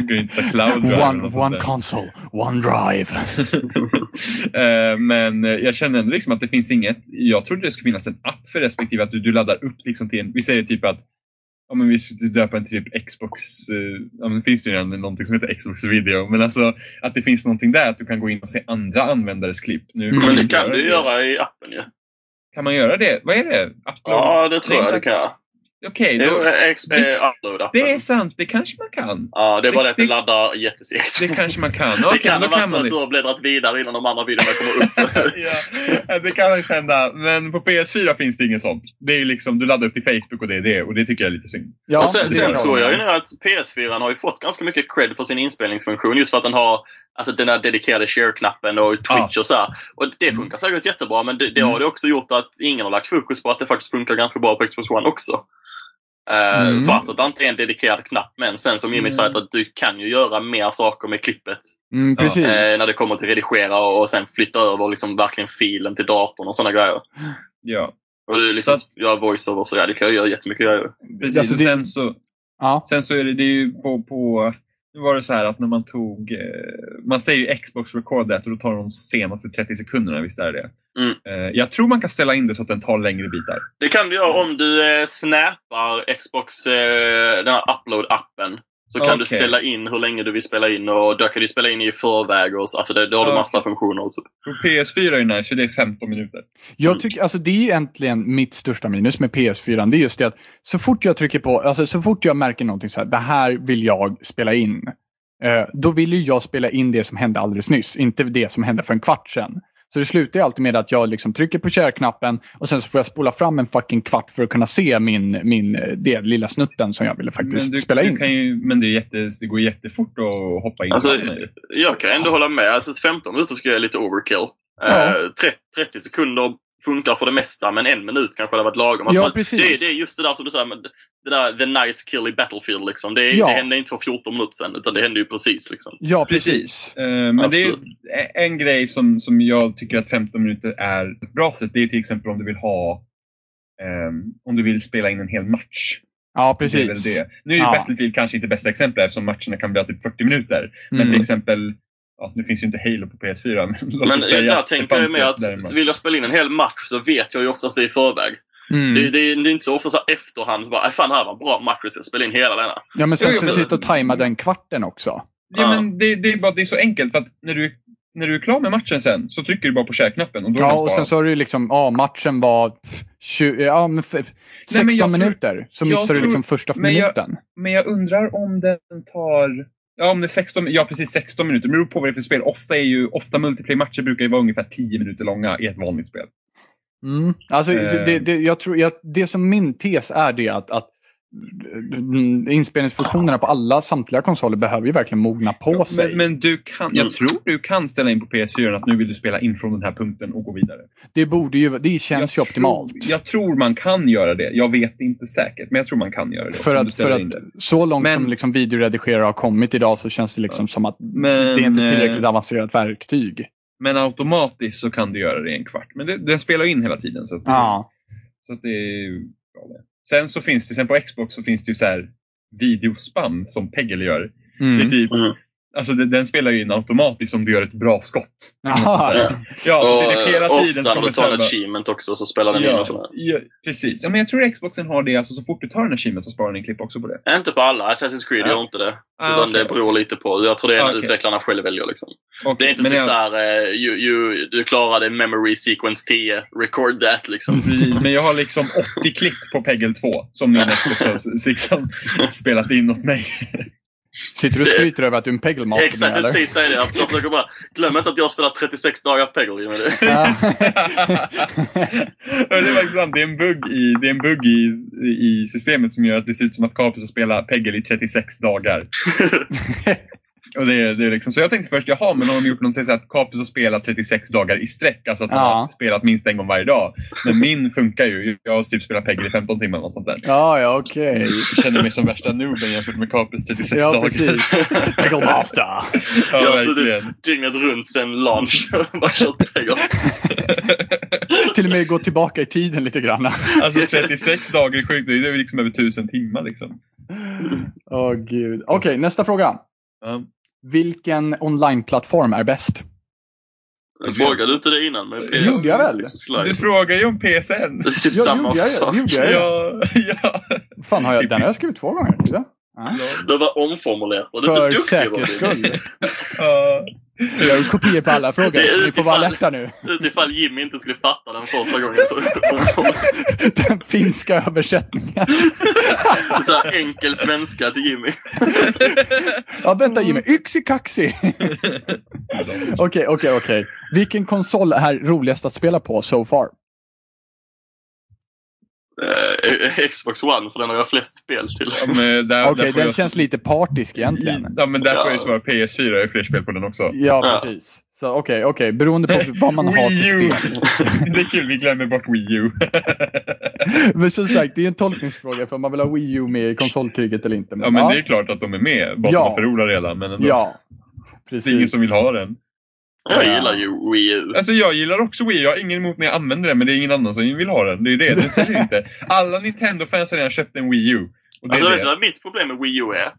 Speaker 2: går inte för Cloud Drive eller
Speaker 1: One,
Speaker 2: något
Speaker 1: one
Speaker 2: sånt
Speaker 1: console. OneDrive.
Speaker 2: där. Eh, men eh, jag känner ändå liksom att det finns inget. Jag trodde det skulle finnas en app för respektive att du, du laddar upp liksom till en... Vi säger typ att Ja, men vi skulle döpa en typ Xbox, eh, ja, men det finns ju redan någonting som heter Xbox video, men alltså att det finns någonting där att du kan gå in och se andra användares klipp. Nu
Speaker 1: Mm,
Speaker 3: Men det kan du göra i appen ju.
Speaker 2: Kan man göra det? Vad är det? Upload?
Speaker 3: Ja, det tror jag du kan göra.
Speaker 2: Okej,
Speaker 3: Jo,
Speaker 2: då,
Speaker 3: eh, X- eh, Upload-appen.
Speaker 2: det är sant. Det kanske man kan.
Speaker 3: Ja, det är bara det att det
Speaker 2: Det-
Speaker 3: laddar jättesegt.
Speaker 2: Det kanske man kan.
Speaker 3: Det
Speaker 2: Okej,
Speaker 3: kan
Speaker 2: då
Speaker 3: ha varit
Speaker 2: kan
Speaker 3: så
Speaker 2: man
Speaker 3: att
Speaker 2: det.
Speaker 3: du har bläddrat vidare innan de andra videorna kommer upp.
Speaker 2: ja, det kan faktiskt hända. Men på PS4 finns det inget sånt. Det är ju liksom, du laddar upp till Facebook och det är det. Och det tycker jag är lite synd.
Speaker 1: Ja,
Speaker 3: och sen,
Speaker 1: det
Speaker 3: sen
Speaker 1: är
Speaker 3: tror
Speaker 1: bra.
Speaker 3: jag ju nu att PS4 har ju fått ganska mycket cred för sin inspelningsfunktion just för att den har alltså, den här dedikerade share-knappen och Twitch och så här. Och det
Speaker 1: Mm.
Speaker 3: funkar säkert jättebra men det, det har ju också gjort att ingen har lagt fokus på att det faktiskt funkar ganska bra på Xbox One också. Eh,
Speaker 1: Mm.
Speaker 3: Fast att det inte är en dedikerad knapp men sen som Jimmy
Speaker 2: Mm.
Speaker 3: sa att du kan ju göra mer saker med klippet
Speaker 1: Mm,
Speaker 2: Ja,
Speaker 1: precis.
Speaker 3: eh, när det kommer till redigera och, och sen flytta över liksom verkligen filen till datorn och sådana grejer.
Speaker 2: Ja,
Speaker 3: Och du liksom
Speaker 2: Så
Speaker 3: göra voiceover och så ja, det kan jag göra jättemycket grejer.
Speaker 2: precis.
Speaker 1: Alltså,
Speaker 2: och
Speaker 1: det-
Speaker 2: sen så...
Speaker 1: ja.
Speaker 2: Sen så är det, det är ju på, på... Nu var det så här att när man tog... Eh, man säger ju Xbox record that och då tar de de senaste 30 sekunderna, visst är det det?
Speaker 3: Mm.
Speaker 2: Eh, jag tror man kan ställa in det så att den tar längre bitar.
Speaker 3: Det kan du
Speaker 2: Mm.
Speaker 3: göra om du eh, snappar Xbox, eh, den här upload-appen. Så kan du
Speaker 2: Okej.
Speaker 3: ställa in hur länge du vill spela in och då kan du spela in i förväg. Och så. Alltså det, då har du
Speaker 2: Ja,
Speaker 3: massa funktioner. Och så.
Speaker 2: På PS4 är den här, så det är 15 minuter.
Speaker 1: Jag tycker, alltså det är egentligen mitt största minus med PS4. Det är just det att så fort jag trycker på, alltså så fort jag märker någonting så här, det här vill jag spela in. Eh, då vill ju jag spela in det som hände alldeles nyss, inte det som hände för en kvart sedan. Så det slutar ju alltid med att jag liksom trycker på share-knappen och sen så får jag spola fram en fucking kvart för att kunna se min, min, eh, det lilla snutten som jag ville faktiskt
Speaker 2: du,
Speaker 1: spela
Speaker 2: Du
Speaker 1: in.
Speaker 2: kan ju, men det, är jätte, det går jättefort att hoppa in.
Speaker 3: Alltså,
Speaker 2: i den här.
Speaker 3: Jag kan ändå hålla med. Alltså 15 minuter skulle jag är lite overkill. Eh,
Speaker 1: Ja.
Speaker 3: 30, 30 sekunder funkar för det mesta, men en minut kanske hade varit lagom. Alltså,
Speaker 1: Ja,
Speaker 3: att
Speaker 1: precis.
Speaker 3: det, är- det är just det där som du säger, men det där the nice kill i Battlefield. Liksom. Det, är-
Speaker 1: Ja.
Speaker 3: det hände inte för 14 minuter sedan, utan det hände ju precis. Liksom.
Speaker 1: Ja,
Speaker 2: Precis.
Speaker 1: precis.
Speaker 2: Eh, men det är
Speaker 3: Absolut.
Speaker 2: en grej som, som jag tycker att 15 minuter är ett bra sätt. Det är till exempel om du vill ha ehm, om du vill spela in en hel match.
Speaker 1: Ja,
Speaker 2: Det är
Speaker 1: precis.
Speaker 2: väl det. Nu är ju
Speaker 1: Ja.
Speaker 2: Battlefield kanske inte bästa exemplet eftersom matcherna kan bli typ 40 minuter. Men till
Speaker 1: Mm.
Speaker 2: exempel, ja, nu finns ju inte Halo på PS4. Men, låt
Speaker 3: Men eh,
Speaker 2: oss säga
Speaker 3: där
Speaker 2: att det
Speaker 3: tänker jag
Speaker 2: fanns
Speaker 3: med
Speaker 2: det
Speaker 3: att
Speaker 2: där match.
Speaker 3: vill jag spela in en hel match så vet jag ju oftast det i förväg. Det,
Speaker 1: Mm.
Speaker 3: det, är- det är inte så ofta så här efterhand, så bara, "Aj, fan det här var en bra match, jag ska spela in hela denna.
Speaker 1: Ja, men sen
Speaker 2: Jo, Mm.
Speaker 1: ska du
Speaker 3: men-
Speaker 1: sitta och tajma den kvarten också.
Speaker 2: Ja,
Speaker 3: Ja.
Speaker 2: men det, det, är bara, det är så enkelt för att när du, när du är klar med matchen sen så trycker du bara på share-knappen och då är den
Speaker 1: Ja, och sen
Speaker 2: sparad.
Speaker 1: så har du liksom, ja, matchen var pff, 20, ja, men f- f- 16
Speaker 2: men jag tror-
Speaker 1: minuter. Så
Speaker 2: jag
Speaker 1: missar du
Speaker 2: tror-
Speaker 1: liksom första
Speaker 2: men jag-
Speaker 1: minuten.
Speaker 2: Men jag undrar om den tar... Ja, om det är 16, ja, precis 16 minuter. Men det beror på vad det är för spel. Ofta, är ju, ofta multiplayer-matcher brukar ju vara ungefär 10 minuter långa i ett vanligt spel.
Speaker 1: Mm. Alltså,
Speaker 2: Eh.
Speaker 1: det, det, jag tror, jag, det som min tes är det att, att mm, inspelningsfunktionerna på alla samtliga konsoler behöver ju verkligen mogna på sig.
Speaker 2: Men, men du kan, jag
Speaker 3: Mm.
Speaker 2: tror du kan ställa in på PS4 att nu vill du spela in från den här punkten och gå vidare.
Speaker 1: det borde ju, det känns ju optimalt.
Speaker 2: Tror, jag tror man kan göra det. Jag vet inte säkert, men jag tror man kan göra det.
Speaker 1: för
Speaker 2: om du
Speaker 1: att, för
Speaker 2: ställer in
Speaker 1: att
Speaker 2: det.
Speaker 1: så långt
Speaker 2: Men-
Speaker 1: som liksom videoredigerare har kommit idag så känns det liksom som att
Speaker 2: Men,
Speaker 1: det är inte tillräckligt
Speaker 2: eh,
Speaker 1: avancerat verktyg.
Speaker 2: Men automatiskt så kan du göra det i en kvart. Men det, den spelar in hela tiden. Så att,
Speaker 1: Ja.
Speaker 2: så att det är ju bra det. Sen så finns det, sen på Xbox så finns det ju så här videospam som Peggle gör. Det är
Speaker 1: Mm.
Speaker 2: typ,
Speaker 3: Mm.
Speaker 2: alltså den, den spelar ju in automatiskt om du gör ett bra skott.
Speaker 1: Aha.
Speaker 3: Ja.
Speaker 2: Ja, så Alltså, det
Speaker 3: eh,
Speaker 2: är hela tiden
Speaker 3: ofta
Speaker 2: som
Speaker 3: när
Speaker 2: kommer
Speaker 3: du
Speaker 2: så här
Speaker 3: tar en
Speaker 2: bara-
Speaker 3: achievement också så spelar den in
Speaker 2: Ja,
Speaker 3: och sådär.
Speaker 2: ja, precis. Ja, men jag tror Xboxen har det, alltså så fort du tar en achievement så sparar den en klipp också på det.
Speaker 3: Äh, Inte på alla. Assassin's Creed
Speaker 2: Ja.
Speaker 3: gör inte det.
Speaker 2: Ah,
Speaker 3: utan
Speaker 2: okej.
Speaker 3: det beror lite på. Jag tror det är
Speaker 2: Ah,
Speaker 3: när
Speaker 2: okej.
Speaker 3: utvecklarna själva väljer. Liksom. Det
Speaker 2: Okej,
Speaker 3: är inte
Speaker 2: men
Speaker 3: typ
Speaker 2: jag-
Speaker 3: såhär, eh, you, you, du klarade memory sequence 10, record that liksom.
Speaker 2: Precis, men jag har liksom 80 klipp på Peggle 2 som min Xbox har liksom spelat in åt mig.
Speaker 1: Sitter du och skryter över att du är en pegelmaster
Speaker 3: Exakt, jag precis säger det. Jag jag försöker bara, glöm inte att jag har spelat 36 dagar Peggle. Jimmy. Det-
Speaker 1: Ja.
Speaker 2: Ja, det är faktiskt sant. Det är en bugg, i, det är en bugg i, i systemet som gör att det ser ut som att Capus har spelat Peggle i 36 dagar. Och det, är- det är liksom, så jag tänkte först, jaha, men har de gjort något så att Capus har spelat 36 dagar i sträck? Alltså att han
Speaker 1: Ja.
Speaker 2: har spelat minst en gång varje dag. Men min funkar ju. Jag har typ spelat Peggle i 15 timmar eller något sånt där.
Speaker 1: ja, ja, okej.
Speaker 3: Mm.
Speaker 2: Jag känner mig som värsta nooben jämfört med Capus 36
Speaker 1: Ja,
Speaker 2: dagar.
Speaker 1: precis. Pegelmaster.
Speaker 2: Ja,
Speaker 3: Ja, så det-
Speaker 2: verkligen.
Speaker 3: Dygnet runt sen launch. bara kört Peggle.
Speaker 1: Till och med gå tillbaka i tiden lite grann.
Speaker 2: Alltså 36 dagar är sjukt. Det är liksom över 1000 timmar liksom.
Speaker 1: Åh gud. Okej, nästa fråga.
Speaker 2: Ja.
Speaker 1: Vilken online-plattform är bäst?
Speaker 3: Frågade du inte det innan? Men liksom,
Speaker 2: Det gjorde
Speaker 1: jag väl.
Speaker 2: Du frågar ju om PSN.
Speaker 3: Det är typ
Speaker 1: Ja,
Speaker 3: samma
Speaker 1: gjorde jag,
Speaker 3: sak.
Speaker 1: det gjorde jag. Ja.
Speaker 2: Ja, ja.
Speaker 1: Fan, har jag, den har jag skrivit två gånger. tror jag. Nej.
Speaker 3: Du var omformulerad. Du är så
Speaker 1: För
Speaker 3: duktig
Speaker 1: säkerhets
Speaker 3: Robin.
Speaker 1: skull.
Speaker 2: ja.
Speaker 1: Jag har kopior på alla frågor. Ni får vara alerta nu.
Speaker 3: Utifall Jimmy inte skulle fatta den första gången. Så, så
Speaker 1: Den finska översättningen.
Speaker 3: här enkel svenska till Jimmy.
Speaker 1: Ja, vänta Jimmy. Yxikaxi. Okej, okej, okej. Vilken konsol är roligast att spela på so far?
Speaker 3: Eh, Xbox One, för den har jag flest spel till.
Speaker 2: Ja, men där,
Speaker 1: Okej,
Speaker 2: där får
Speaker 1: den
Speaker 2: jag-
Speaker 1: känns lite partisk egentligen.
Speaker 2: Ja, men där får jag ju
Speaker 3: Ja.
Speaker 2: svara PS4. Jag har fler spel på den också.
Speaker 1: Ja,
Speaker 3: Ja.
Speaker 1: precis. Så okej, okej. Beroende på vad man har
Speaker 2: Wii U!
Speaker 1: för spel.
Speaker 2: Det är kul, vi glömmer bort Wii U.
Speaker 1: Men som sagt, det är en tolkningsfråga för om man vill ha Wii U med i konsolkriget eller inte.
Speaker 2: Ja, men det är klart att de är med. Bara
Speaker 1: Ja.
Speaker 2: ja. förlorar redan. Men ändå.
Speaker 1: ja, precis.
Speaker 2: Det är ingen som vill ha den.
Speaker 3: Jag
Speaker 1: Ja.
Speaker 3: gillar ju Wii U.
Speaker 2: Alltså jag gillar också Wii. Jag har ingen emot när jag använder den, men det är ingen annan som vill ha den. Det är ju det, den säljer inte. Alla Nintendo-fans har redan köpt en Wii U. Och det
Speaker 3: Alltså,
Speaker 2: är
Speaker 3: vet du
Speaker 2: det.
Speaker 3: vad mitt problem med Wii U är?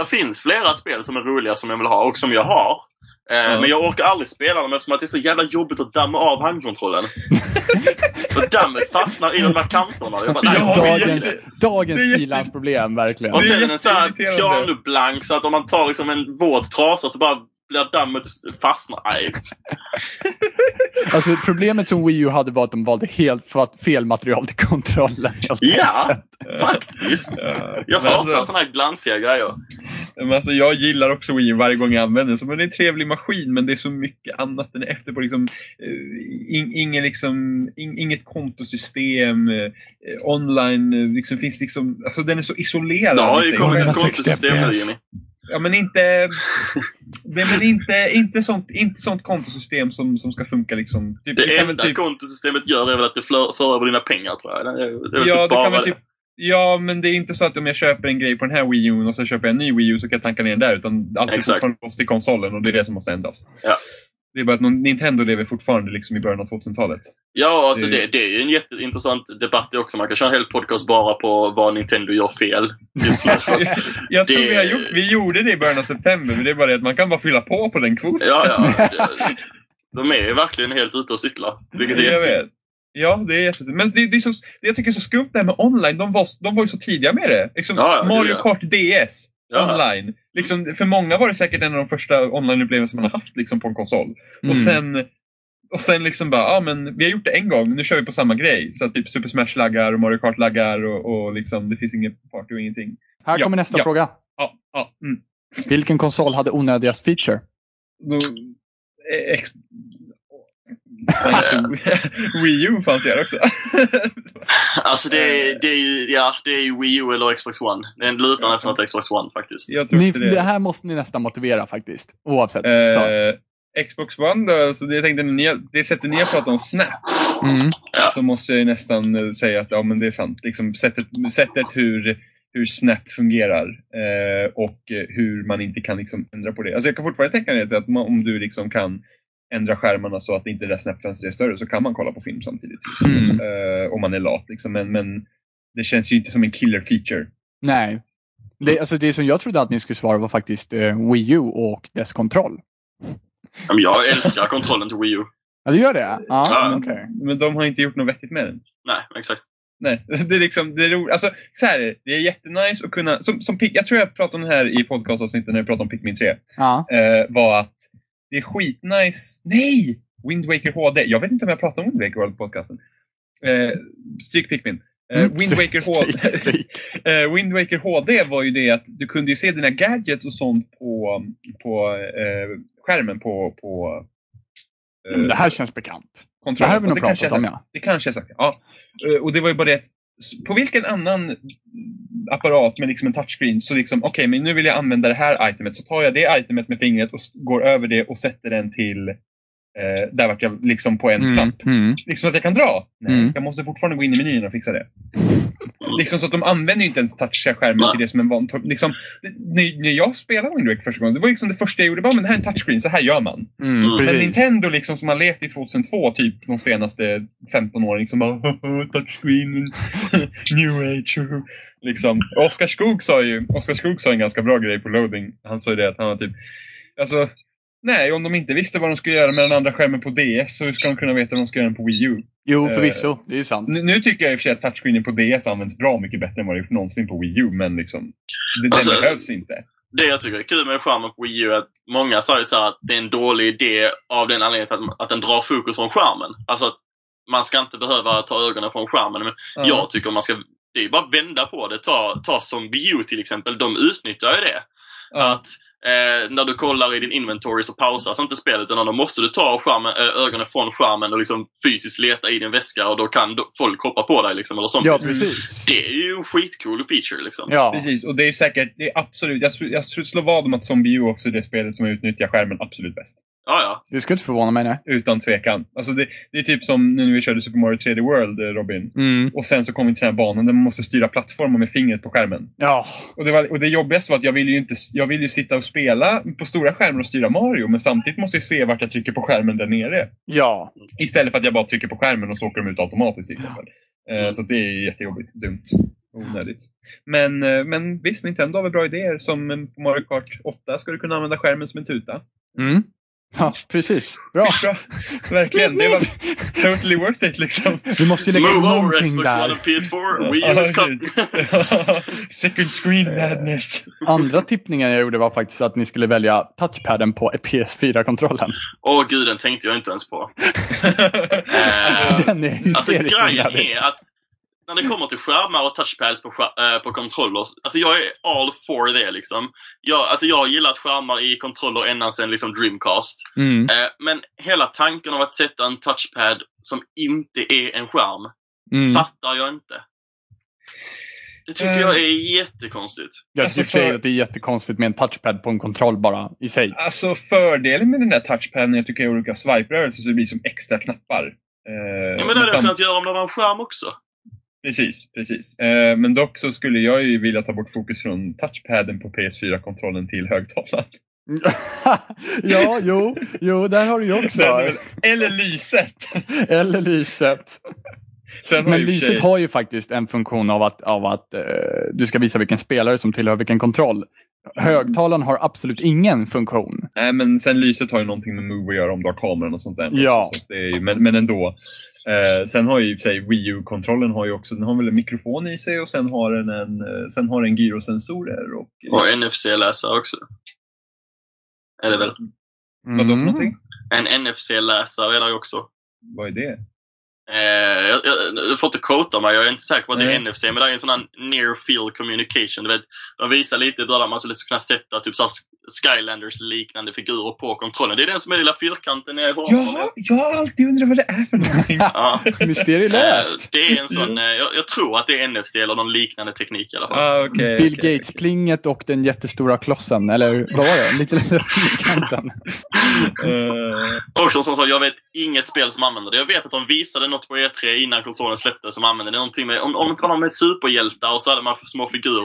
Speaker 3: Det finns flera spel som är roliga som jag vill ha och som jag har. Eh,
Speaker 2: Ja.
Speaker 3: Men jag orkar aldrig spela dem eftersom att det är så jävla jobbigt att damma av handkontrollen. och dammet fastnar i de här kanterna. Jag bara, nej,
Speaker 2: Ja,
Speaker 3: jag vill
Speaker 1: Dagens,
Speaker 2: det är
Speaker 1: dagens
Speaker 2: det är jätte-
Speaker 1: frilansproblem, verkligen.
Speaker 3: Och
Speaker 2: Det är
Speaker 3: sen en sån här
Speaker 2: jätteirriterande.
Speaker 3: pianoblank så att om man tar liksom en våt trasa så bara blir dammet fastnar. Nej.
Speaker 1: Alltså, problemet som Wii U hade var att de valde helt fa- fel material till kontrollen.
Speaker 3: Ja, faktiskt.
Speaker 2: Ja.
Speaker 3: Jag
Speaker 2: Men
Speaker 3: hatar
Speaker 2: alltså,
Speaker 3: såna här glansiga grejer.
Speaker 2: men alltså, jag gillar också Wii U varje gång jag använder den. Så, men det är en trevlig maskin, men det är så mycket annat den är efter på. Liksom, eh, in, ingen, liksom, in, inget kontosystem, eh, online. eh, Liksom, finns liksom, alltså, den är så isolerad.
Speaker 3: Det har
Speaker 2: i
Speaker 3: ju
Speaker 2: sig.
Speaker 3: kommit ett
Speaker 1: 160
Speaker 3: kontosystem nu
Speaker 1: FPS.
Speaker 3: Jimmy.
Speaker 2: Ja, men inte, det, men inte, inte, sånt, inte sånt kontosystem som, som ska funka. Liksom. Typ,
Speaker 3: Det
Speaker 2: kan väl
Speaker 3: enda kontosystemet gör är väl att det flö- för över dina pengar tror jag. Det är, det är väl
Speaker 2: ja,
Speaker 3: typ
Speaker 2: det
Speaker 3: bara
Speaker 2: kan väl
Speaker 3: det.
Speaker 2: typ, ja, men det är inte så att om jag köper en grej på den här Wii U och sen köper jag en ny Wii U så kan jag tanka ner den där. Utan allt är
Speaker 3: Exakt.
Speaker 2: fortfarande låst till konsolen och det är det som måste ändras.
Speaker 3: Ja.
Speaker 2: Det är bara att någon- Nintendo lever fortfarande liksom i början av 2000-talet.
Speaker 3: Ja, alltså
Speaker 2: Det-
Speaker 3: det, det är ju en jätteintressant debatt det också. Man kan köra en hel podcast bara på vad Nintendo gör fel. Just nu.
Speaker 2: Jag tror
Speaker 3: Det-
Speaker 2: vi, har gjort, vi gjorde det i början av september, men det är bara det att man kan bara fylla på på den kvoten.
Speaker 3: ja, ja. det- De är ju verkligen helt ute och cyklar. Vilket är
Speaker 2: jag
Speaker 3: jättesynd.
Speaker 2: vet. Ja, det är jättesynd. Men det, det, är så, det jag tycker är så skumt det här med online, de var, de var ju så tidiga med det. Liksom,
Speaker 3: Ja, ja,
Speaker 2: Mario
Speaker 3: gud, ja.
Speaker 2: Kart DS
Speaker 3: Ja.
Speaker 2: online. Liksom, för många var det säkert en av de första online-upplevelser man har haft liksom, på en konsol.
Speaker 1: Mm.
Speaker 2: Och sen, och sen liksom bara, ja ah, men vi har gjort det en gång, nu kör vi på samma grej. Så att typ Super Smash laggar och Mario Kart laggar och, och liksom, det finns inget party och ingenting.
Speaker 1: Här
Speaker 2: Ja,
Speaker 1: kommer nästa
Speaker 2: ja.
Speaker 1: fråga.
Speaker 2: Ja, ja. Mm.
Speaker 1: Vilken konsol hade onödigast feature?
Speaker 2: Då, eh, ex- Fan, stod- Wii U fanns ju här också.
Speaker 3: Alltså det
Speaker 2: Eh.
Speaker 3: är, det är ju ja, det är ju Wii U eller Xbox One. Den lutar
Speaker 2: Ja.
Speaker 3: nästan åt Xbox One faktiskt.
Speaker 2: Jag tror
Speaker 1: Ni,
Speaker 2: inte det.
Speaker 1: det här måste ni nästan motivera faktiskt. Oavsett. Så.
Speaker 2: Eh, Xbox One då, alltså det, jag tänkte, när ni- det sättet ni har pratat om Snap,
Speaker 1: Mm.
Speaker 2: så måste jag ju nästan eh, säga att ja, men det är sant. Liksom, sättet sättet hur, hur Snap fungerar eh, och eh, hur man inte kan liksom, ändra på det. Alltså, jag kan fortfarande tänka mig att man, om du liksom kan ändra skärmarna så att inte det där Snap-fönstret är större så kan man kolla på film samtidigt.
Speaker 1: Mm.
Speaker 2: Eh, om man är lat. Liksom. Men, men det känns ju inte som en killer feature.
Speaker 1: Nej. Det, alltså det som jag trodde att ni skulle svara var faktiskt eh, Wii U och dess kontroll.
Speaker 3: Ja, men jag älskar kontrollen till Wii U.
Speaker 1: Ja, det gör det? Ja,
Speaker 3: Ja.
Speaker 1: Ah, okej.
Speaker 2: Men de har inte gjort något vettigt med den.
Speaker 3: Nej, exakt.
Speaker 2: Nej, det är liksom, det är roligt. Alltså, så här, är det. det är jättenice att kunna, som, som, Pic- jag tror jag pratade om det här i podcastavsnittet när vi pratade om Pikmin 3, eh,
Speaker 1: Ja.
Speaker 2: var att det är skitnice, nej! Wind Waker HD, jag vet inte om jag pratade om Wind Waker World på podcasten. Eh, stryk Pikmin. Eh,
Speaker 1: Mm,
Speaker 2: Wind, Waker HD,
Speaker 1: Stryk, stryk.
Speaker 2: eh, Wind Waker HD var ju det att du kunde ju se dina gadgets och sånt på, på eh, skärmen på, på eh,
Speaker 1: Mm, Det här känns bekant. Det
Speaker 2: kontrollen.
Speaker 1: här har vi
Speaker 2: Och
Speaker 1: nog
Speaker 2: kanske
Speaker 1: pratat
Speaker 2: är-
Speaker 1: om ja.
Speaker 2: det kanske är sagt. Ja. Eh, Och det var ju bara det att s- på vilken annan apparat med liksom en touchscreen så liksom, okej, men nu vill jag använda det här itemet. Så tar jag det itemet med fingret och s- går över det och sätter den till eh, där vart jag liksom på en
Speaker 1: Mm,
Speaker 2: knapp.
Speaker 1: mm.
Speaker 2: Liksom att jag kan dra. Nej,
Speaker 1: Mm.
Speaker 2: jag måste fortfarande gå in i menyn och fixa det. Liksom så att de använder ju inte ens touchskärmen till det som en van... Liksom, det- när, när jag spelade Wind Waker första gången, det var liksom det första jag gjorde. Bara, men det här är en touchscreen, så här gör man.
Speaker 1: Mm,
Speaker 3: Men
Speaker 1: precis.
Speaker 2: Men Nintendo liksom som har levt i 2002 typ de senaste 15 åren liksom bara touchscreen, new age. liksom. Oskar Skog sa ju Oskar Skog sa en ganska bra grej på loading. Han sa ju det att han var typ alltså nej om de inte visste vad de skulle göra med den andra skärmen på DS så hur ska de kunna veta vad de ska göra på Wii U?
Speaker 1: Jo,
Speaker 2: eh,
Speaker 1: förvisso. Det är ju sant.
Speaker 2: Nu, nu tycker jag i och för sig att touchscreenen på DS används bra mycket bättre än vad det gjort någonsin på Wii U men liksom det,
Speaker 3: Alltså-
Speaker 2: den behövs inte.
Speaker 3: Det jag tycker är kul med skärmen på Wii U är att många säger så här att det är en dålig idé av den anledningen att, att den drar fokus från skärmen. Alltså att man ska inte behöva ta ögonen från skärmen. Men
Speaker 2: Ja.
Speaker 3: jag tycker man ska, det är ju bara att vända på det. Ta, ta som Wii U till exempel, de utnyttjar ju det.
Speaker 2: Ja.
Speaker 3: Att eh, när du kollar i din inventory så pausas inte spelet utan då måste du ta skärmen, eh, ögonen från skärmen och liksom fysiskt leta i din väska och då kan do- folk hoppa på dig liksom eller sånt.
Speaker 1: Ja, precis.
Speaker 3: Det är ju en skitcool feature liksom.
Speaker 1: Ja.
Speaker 2: Precis, och det är säkert, det är absolut, jag, tror- jag tror- slår vad om att Zombie U också är det spelet som utnyttjar skärmen absolut bäst.
Speaker 3: Ja, ja.
Speaker 1: Det skulle inte förvåna mig. Nej.
Speaker 2: Utan tvekan. Alltså det, det är typ som nu när vi körde Super Mario 3D World, eh, Robin.
Speaker 1: Mm.
Speaker 2: Och sen så kom vi till den här banan där man måste styra plattformar med fingret på skärmen.
Speaker 1: Ja.
Speaker 2: Och det, var, och det jobbigaste var att jag ville ju inte, jag ville ju sitta och spela på stora skärmar och styra Mario, men samtidigt måste jag se vart jag trycker på skärmen där nere.
Speaker 1: Ja.
Speaker 2: Istället för att jag bara trycker på skärmen och så åker de ut automatiskt till exempel. Eh,
Speaker 3: Mm.
Speaker 2: Så att det är jättejobbigt. Dumt. Onödigt. Men, eh, men visst, Nintendo har väl bra idéer. Som eh, på Mario Kart 8 ska du kunna använda skärmen som en tuta.
Speaker 1: Mm. Ja, precis. Bra.
Speaker 2: Bra. Verkligen. Det var totally worth it liksom.
Speaker 1: Vi måste ju lägga in
Speaker 3: Move over
Speaker 1: någonting
Speaker 3: Xbox One
Speaker 1: där.
Speaker 3: and PS4, Wii Eh.
Speaker 2: Ja,
Speaker 3: U is coming.
Speaker 2: precis. Second screen madness.
Speaker 1: Andra tippningen jag gjorde var faktiskt att ni skulle välja touchpaden på PS4-kontrollen.
Speaker 3: Åh gud, den tänkte jag inte ens på. Eh,
Speaker 1: Den liksom är
Speaker 3: alltså
Speaker 1: hysteriskt
Speaker 3: grejen
Speaker 1: onödig.
Speaker 3: är att när det kommer till skärmar och touchpads på, skär- eh, på kontroller, alltså jag är all for det liksom. Jag, alltså jag har gillat skärmar i kontroller ända sedan liksom Dreamcast.
Speaker 1: Mm.
Speaker 3: Eh, men hela tanken av att sätta en touchpad som inte är en skärm
Speaker 1: Mm.
Speaker 3: fattar jag inte. Det tycker jag är jättekonstigt.
Speaker 1: Jag
Speaker 2: Alltså,
Speaker 1: tycker i och för sig
Speaker 2: för-
Speaker 1: att det är jättekonstigt med en touchpad på en kontroll bara i sig.
Speaker 2: Alltså fördelen med den där touchpaden, jag tycker jag är olika swipe-rörelser så det blir som extra knappar. Eh,
Speaker 3: Ja, men det hade jag
Speaker 2: sam-
Speaker 3: kunnat göra om det var en skärm också.
Speaker 2: Precis, precis. Eh, men dock så skulle jag ju vilja ta bort fokus från touchpaden på PS4-kontrollen till högtalaren.
Speaker 1: ja, jo, jo, där har du ju också.
Speaker 2: Den är väl- Eller lyset!
Speaker 1: Eller lyset.
Speaker 2: Sen har
Speaker 1: Men
Speaker 2: ju i och för
Speaker 1: lyset
Speaker 2: sig-
Speaker 1: har ju faktiskt en funktion av att, av att eh, du ska visa vilken spelare som tillhör vilken kontroll. Högtalaren har absolut ingen funktion.
Speaker 2: Nej, men sen lyset har ju någonting med Move att göra om du har kameran och sånt där.
Speaker 1: Ja.
Speaker 2: Så att det är ju, men, men ändå. Eh, sen har ju i och för sig Wii U-kontrollen har ju också, den har väl en mikrofon i sig och sen har den en, eh, sen har den gyrosensorer. Och,
Speaker 3: Och NFC-läsare också. Är det väl?
Speaker 2: Vadå för någonting?
Speaker 3: En NFC-läsare är där ju också.
Speaker 2: Vad är det?
Speaker 3: Eh, jag, jag, du får inte quota mig, jag är inte säker på att det
Speaker 2: Nej.
Speaker 3: är NFC, men det är en sån här near field communication. Du vet, de visar lite där man skulle kunna sätta typ så här Skylanders-liknande figurer på kontrollen. Det är den som är den lilla fyrkanten nere i hörnet.
Speaker 2: Jaha, jag har alltid undrat vad det är för någonting.
Speaker 3: Ja.
Speaker 1: Mysteriet
Speaker 3: Eh,
Speaker 1: löst!
Speaker 3: det är en sån, eh, jag, jag tror att det är NFC eller någon liknande teknik i alla fall.
Speaker 2: ah, okej,
Speaker 1: Bill
Speaker 2: okej,
Speaker 1: Gates-plinget och den jättestora klossen, eller vad var det? Lite lilla fyrkanten.
Speaker 2: okej. Eh,
Speaker 3: Också som sagt, jag vet inget spel som använder det. Jag vet att de visade något på E3 innan konsolen släpptes som använde det. Någonting med, om, om det inte var någon med superhjältar och så hade man små figurer.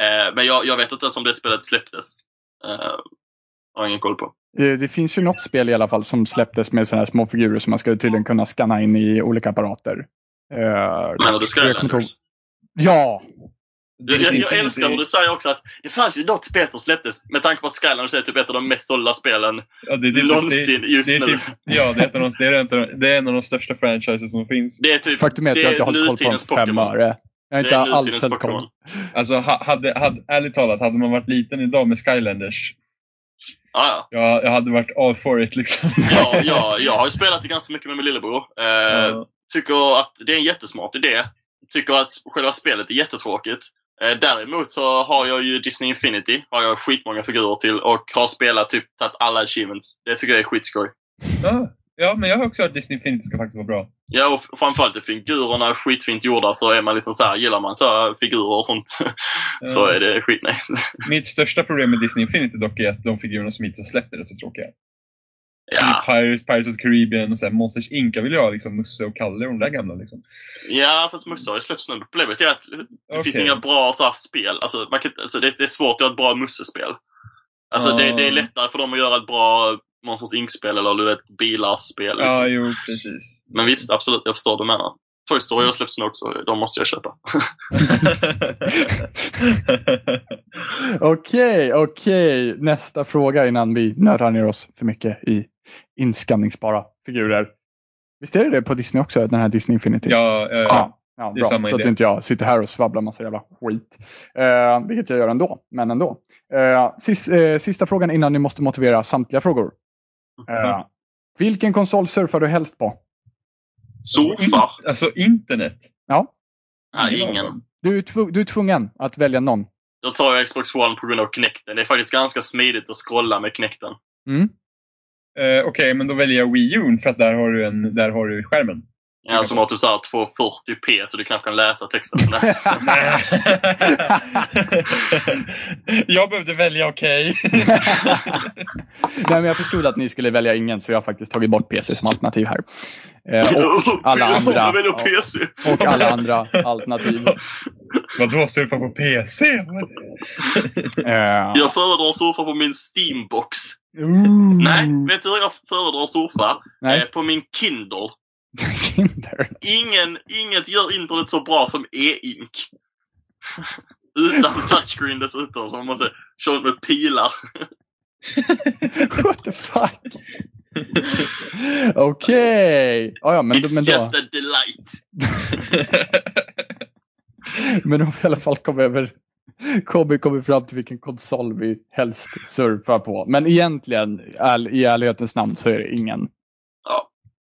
Speaker 3: Eh, men jag, jag vet inte ens om det spelet släpptes. Eh, har ingen koll på.
Speaker 1: Eh, Det finns ju något spel i alla fall som släpptes med sådana här små figurer som man skulle tydligen kunna skanna in i olika apparater. Eh,
Speaker 3: Men du
Speaker 1: jag kommer inte ihåg-
Speaker 3: Skylanders?
Speaker 1: Ja!
Speaker 3: Jag, jag, jag
Speaker 2: Disney
Speaker 3: älskar hur du
Speaker 2: Infinity-
Speaker 3: säger också att det fanns ju något spel som släpptes med tanke på att Skylanders är typ ett av de mest sålda spelen
Speaker 2: Ja, det, är typ- det,
Speaker 3: någonsin just
Speaker 2: det är
Speaker 3: nu.
Speaker 2: typ- ja, det är ett av de- det är en av de- det är en av de största franchises som finns.
Speaker 3: det är typ
Speaker 1: Faktum är att
Speaker 3: det
Speaker 1: jag inte har hållit koll på dem
Speaker 3: nutidens
Speaker 1: för fem
Speaker 3: Pokémon.
Speaker 1: öre. Jag har
Speaker 3: det
Speaker 1: inte
Speaker 3: är
Speaker 1: alls
Speaker 3: nutidens
Speaker 1: hållit koll.
Speaker 3: Pokémon.
Speaker 2: Alltså, ha- hade, hade, ärligt talat, hade man varit liten idag med Skylanders,
Speaker 3: Ja, ja.
Speaker 2: jag, jag hade varit all for it liksom.
Speaker 3: Ja, ja, jag har ju spelat det ganska mycket med min lillebror. Eh,
Speaker 2: Ja.
Speaker 3: Tycker att det är en jättesmart idé. Tycker att själva spelet är jättetråkigt. Eh, däremot så har jag ju Disney Infinity. Har jag skitmånga figurer till och har spelat typ tagit alla achievements. Det tycker jag är skitskoj.
Speaker 2: Ja, ja, men jag har också hört att Disney Infinity ska faktiskt vara bra.
Speaker 3: Ja, och f- framförallt är figurerna är skitfint gjorda så är man liksom så här, gillar man så här figurer och sånt
Speaker 2: Ja.
Speaker 3: så är det skitnice.
Speaker 2: Eh, Mitt största problem med Disney Infinity dock är att de figurerna som hittills har släppt är rätt så tråkiga.
Speaker 3: Ja.
Speaker 2: Typ Pirates, Pirates of the Caribbean och så här Monsters Inc. Jag vill ju ha liksom Musse och Kalle och de där gamla liksom.
Speaker 3: ja, fast Musse har ju släppts nu. Problemet är att det finns
Speaker 2: Okej.
Speaker 3: inga bra så här, spel. Alltså, man kan, inte- alltså, det, det är svårt att göra ett bra Musse-spel. Alltså, det,
Speaker 2: Ja.
Speaker 3: det är lättare för dem att göra ett bra Monsters Inc-spel eller du vet, bilarspel. Liksom.
Speaker 2: Ja, jo precis.
Speaker 3: Men visst, absolut, jag förstår vad du menar. Toy Story har släppts nu också. De måste jag köpa.
Speaker 1: Okej, okej. Nästa fråga innan vi nördar ner oss för mycket i inskanningsbara figurer. Visst är det det på Disney också, den här Disney Infinity?
Speaker 2: ja, eh, ja, ja.
Speaker 1: Ja, ja
Speaker 2: det är
Speaker 1: bra.
Speaker 2: samma
Speaker 1: så att
Speaker 2: idé.
Speaker 1: inte jag sitter här och svabblar massa jävla skit. Eh, vilket jag gör ändå, men ändå. Eh, sis, eh, sista frågan innan ni måste motivera samtliga frågor. Eh,
Speaker 2: Ja.
Speaker 1: Vilken konsol surfar du helst på?
Speaker 3: Surfar?
Speaker 2: Alltså internet.
Speaker 1: Ja,
Speaker 3: Nej,
Speaker 2: Ingen
Speaker 3: Ah, ingen.
Speaker 2: av dem.
Speaker 1: du är, tv- du är tvungen att välja någon.
Speaker 3: Då tar jag Xbox One på grund av Kinecten. Det är faktiskt ganska smidigt att scrolla med Kinecten.
Speaker 1: Mm.
Speaker 2: Eh, Okej, men då väljer jag Wii U för att där har du, en, där har du skärmen.
Speaker 3: Ja, som har typ såhär 240p så du knappt kan läsa texten. Nej.
Speaker 2: Nej. jag behövde välja okej.
Speaker 1: Nej, men jag förstod att ni skulle välja ingen, så jag har faktiskt tagit bort PC som alternativ här. Eh, och, alla
Speaker 3: Jag
Speaker 1: andra. Ja.
Speaker 3: väljer PC.
Speaker 1: och alla andra alternativ.
Speaker 2: Vadå surfa på PC?
Speaker 1: Eh,
Speaker 3: Jag föredrar att surfa på min Steambox.
Speaker 1: ooh.
Speaker 3: Nej, vet du hur jag föredrar att surfa?
Speaker 1: Mm. Nej.
Speaker 3: Eh, på min Kindle.
Speaker 1: Kinder.
Speaker 3: Ingen, inget gör internet så bra som e-ink. Utan touchscreen dessutom, så man måste köra med pilar.
Speaker 1: What the fuck? Okej. Ah, Ja, ja, men,
Speaker 3: It's
Speaker 1: men, då,
Speaker 3: just a delight.
Speaker 1: men om vi i alla fall kom över kommer kommer fram till vilken konsol vi helst surfar på. Men egentligen, all, i ärlighetens namn, så är det ingen.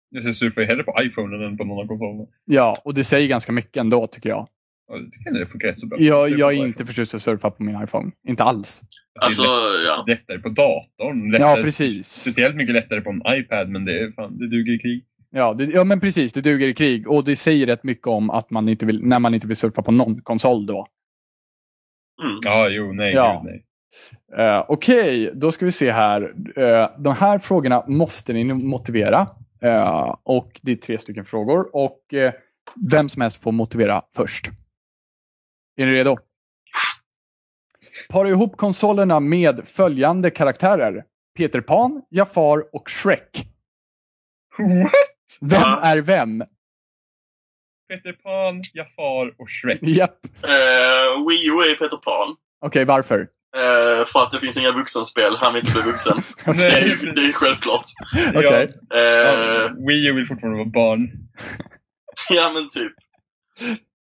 Speaker 2: jag surfar ju hellre på iPhone än på någon av konsolerna.
Speaker 1: Ja, och det säger ganska mycket ändå tycker jag.
Speaker 2: Ja, Det tycker jag det funkar rätt så bra.
Speaker 1: Jag,
Speaker 2: Surfa
Speaker 1: jag
Speaker 2: på
Speaker 1: är inte
Speaker 2: iPhone.
Speaker 1: förtjust att surfa på min iPhone. Inte alls.
Speaker 3: Alltså,
Speaker 2: det är
Speaker 3: ja.
Speaker 2: lätt- lättare på datorn. Lättare,
Speaker 1: Ja, precis.
Speaker 2: Speciellt mycket lättare på en iPad, men det, är, fan, det duger i krig.
Speaker 1: Ja, det, ja, men precis. Det duger i krig och det säger rätt mycket om att man inte vill, när man inte vill surfa på någon konsol då.
Speaker 3: Mm.
Speaker 2: Ja, jo, nej,
Speaker 1: Ja.
Speaker 2: gud, nej.
Speaker 1: Eh, Okej, då ska vi se här. Eh, de här frågorna måste ni nog motivera. Eh, och Det är tre stycken frågor. Och eh, Vem som helst får motivera först. Är ni redo? Para ihop konsolerna med följande karaktärer. Peter Pan, Jafar och Shrek. Vem
Speaker 3: Va?
Speaker 1: är vem?
Speaker 2: Peter Pan, Jafar och Shrek.
Speaker 1: Japp. Okej,
Speaker 3: Eh, Wii U är Peter Pan.
Speaker 1: varför?
Speaker 3: Eh, för att det finns inga vuxenspel. Han vill inte bli vuxen. det, är ju, det är ju självklart.
Speaker 1: Okej.
Speaker 3: Eh,
Speaker 2: Ja, Wii U vill fortfarande vara barn.
Speaker 3: Ja, men typ.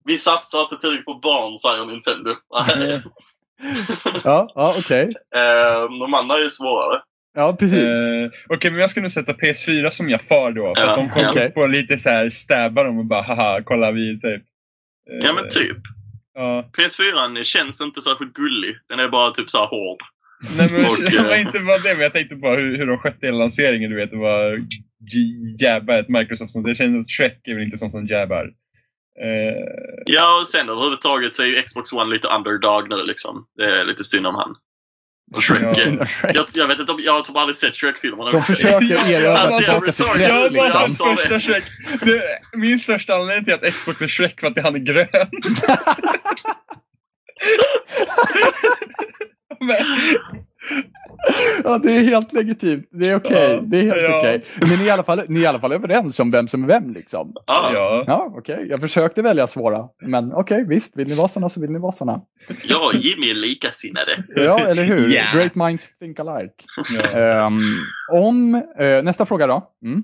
Speaker 3: Vi satsar inte tillräckligt på barn, säger Nintendo.
Speaker 2: Eh,
Speaker 3: Nej.
Speaker 1: Ja, ja okej.
Speaker 3: Eh, de andra är ju svårare.
Speaker 1: Ja,
Speaker 2: Eh,
Speaker 1: precis.
Speaker 2: Okej, men jag ska nog sätta PS4 som Jafar då. För
Speaker 3: Ja,
Speaker 2: att de kommer
Speaker 1: okej.
Speaker 2: upp och lite så här stäbbar dem och bara haha, kolla vi typ. Eh,
Speaker 3: Ja, men typ.
Speaker 2: ja.
Speaker 3: PS4 känns inte särskilt gullig. Den är bara typ så här hård.
Speaker 2: Nej, men
Speaker 3: Och,
Speaker 2: det var
Speaker 3: eh,
Speaker 2: inte bara det, men jag tänkte bara hur, hur de skötte hela lanseringen. Du vet, det var j- jabba ett Microsoft. Som, det känns att Shrek är väl inte sån som jabbar. Eh,
Speaker 3: Ja, och sen överhuvudtaget så är ju Xbox One lite underdog nu liksom. Det är lite synd om han. Och Shrek.
Speaker 2: Ja.
Speaker 3: eh,
Speaker 1: Synd om Shrek.
Speaker 3: Jag, jag vet inte, om- jag har typ aldrig sett Shrek-filmerna.
Speaker 1: De försöker
Speaker 2: Ja,
Speaker 1: erövra
Speaker 2: alltså,
Speaker 1: tillbaka sitt
Speaker 3: jag-
Speaker 2: jag
Speaker 1: press.
Speaker 2: har bara
Speaker 1: Liksom.
Speaker 2: sett första Shrek. Det, min största anledning till att Xbox är Shrek var att han är grön. men,
Speaker 1: Ja, det är helt legitimt. Det är okej.
Speaker 2: Ja,
Speaker 1: det är helt
Speaker 2: ja.
Speaker 1: okej. Men ni är, i alla fall, ni är i alla fall överens om vem som är vem liksom.
Speaker 3: Ja,
Speaker 2: ja.
Speaker 1: Ja, okej. Jag försökte välja svåra. Men okej, visst. Vill ni vara såna så vill ni vara såna.
Speaker 3: jag och Jimmy är likasinnade.
Speaker 1: Ja, eller hur?
Speaker 2: Ja.
Speaker 1: Great minds think alike.
Speaker 2: ja.
Speaker 1: Ehm, om, eh, nästa fråga då. Mm.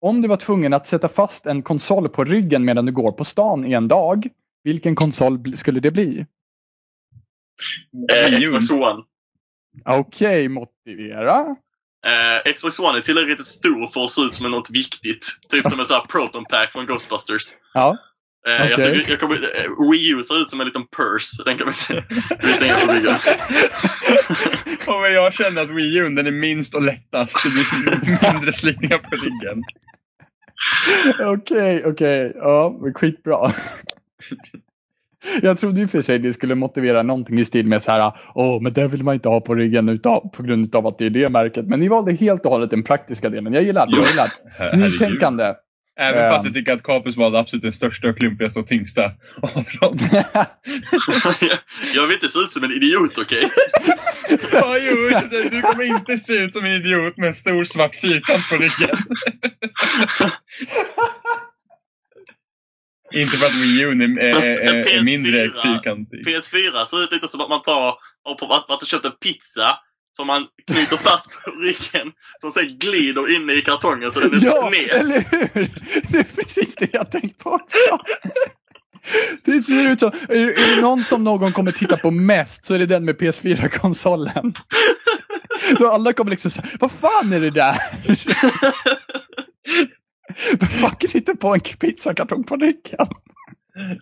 Speaker 1: Om du var tvungen att sätta fast en konsol på ryggen medan du går på stan i en dag, vilken konsol bl- skulle det bli?
Speaker 3: Eh,
Speaker 2: Miljon.
Speaker 3: Xbox One.
Speaker 1: Okej, motivera.
Speaker 3: Eh, Xbox One är tillräckligt stor för att se ut som något viktigt. Typ som en sån här proton pack från Ghostbusters.
Speaker 1: Ja,
Speaker 3: Eh, jag
Speaker 1: Okej.
Speaker 3: tycker, jag kommer, eh, Wii U ser ut som en liten purse. Den kommer inte hänga på ryggen.
Speaker 2: Ja, men jag känner att Wii U den är minst och lättast. Det blir mindre slitningar på ryggen.
Speaker 1: Okej, okej. Ja, men skitbra. Jag trodde ju för sig det skulle motivera någonting i stil med så här, åh, men det vill man inte ha på ryggen utav, på grund av att det är det märket. Men ni valde helt och hållet den praktiska delen. Jag gillar det. Jag
Speaker 2: Jo,
Speaker 1: gillar det.
Speaker 2: Herregud.
Speaker 1: Nytänkande.
Speaker 2: Även fast
Speaker 1: Ehm.
Speaker 2: jag tycker att Capus var det absolut den största, och klumpigaste och tyngsta av dem.
Speaker 3: Jag- jag vill inte se ut som en idiot, okej?
Speaker 2: Ja, jo, du kommer inte se ut som en idiot med en stor svart fyrkant på ryggen. inte för att Wii U är,
Speaker 3: Fast en
Speaker 2: är, är, är
Speaker 3: PS4
Speaker 2: mindre fyrkantig.
Speaker 3: PS4 ser ut lite som att man tar och på, att, att du köpt en pizza som man knyter fast på ryggen som sen glider in i kartongen så den är
Speaker 1: Ja,
Speaker 3: sned.
Speaker 1: eller hur? Det är precis det jag tänkt på också. Det ser ut som, är det- är det någon som någon kommer titta på mest så är det den med PS4-konsolen. Då alla kommer liksom säga, vad fan är det där? Vad fan inte på en pizzakartong på ryggen?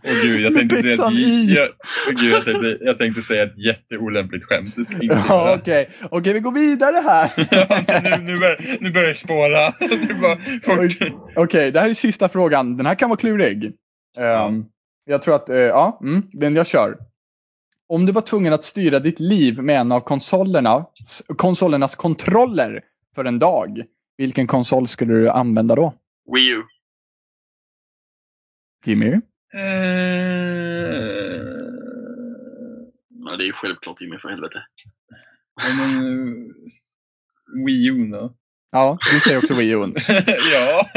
Speaker 2: Åh gud, jag
Speaker 1: Med
Speaker 2: tänkte säga
Speaker 1: pizzan
Speaker 2: att,
Speaker 1: i.
Speaker 2: jag, åh, gud, jag, tänkte, jag tänkte säga ett jätteolämpligt skämt. Det ska jag inte
Speaker 1: Ja,
Speaker 2: göra.
Speaker 1: okej. Okej, vi går vidare här.
Speaker 2: Ja, men nu, nu, börjar, nu börjar det spåra. Det var
Speaker 1: Oj.
Speaker 2: fort.
Speaker 1: Okej, det här är sista frågan. Den här kan vara klurig. Ehm, Jag tror att, eh, ja, mm, men jag kör. Om du var tvungen att styra ditt liv med en av konsolerna, s- konsolernas kontroller för en dag, vilken konsol skulle du använda då?
Speaker 3: Wii U.
Speaker 1: Jimmy?
Speaker 2: Eh,
Speaker 3: Men det är ju självklart Jimmy, för helvete.
Speaker 2: Men, eh, Wii U då?
Speaker 1: Ja, du säger också Wii U.
Speaker 2: ja.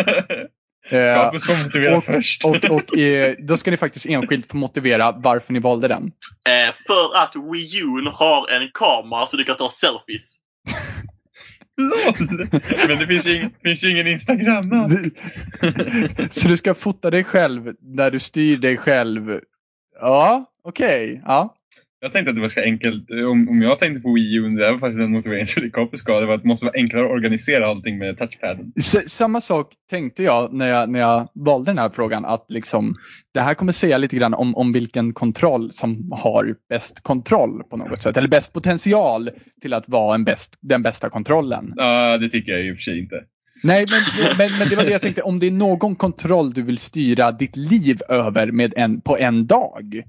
Speaker 1: Eh,
Speaker 2: Capus får motivera
Speaker 1: och-
Speaker 2: först.
Speaker 1: och och eh, då ska ni faktiskt enskilt få motivera varför ni valde den.
Speaker 3: Eh, för att Wii U har en kamera så du kan ta selfies.
Speaker 2: Lol. Men det finns ju, ing, finns ju ingen Instagram. alltså. va?
Speaker 1: Så du ska fota dig själv när du styr dig själv? Ja, okej. Ja.
Speaker 2: Jag tänkte att det var ganska enkelt. eh, Om, om jag tänkte på Wii U, det här var faktiskt en motivering till det Capus gav. Det var att det måste vara enklare att organisera allting med touchpaden.
Speaker 1: S- samma sak tänkte jag när, jag när jag valde den här frågan. Att liksom, det här kommer säga lite grann om, om vilken kontroll som har bäst kontroll på något sätt. Eller bäst potential till att vara en bäst, den bästa kontrollen.
Speaker 2: Ja, det tycker jag i och för sig inte.
Speaker 1: Nej, men, men, men det var det jag tänkte. Om det är någon kontroll du vill styra ditt liv över med en, på en dag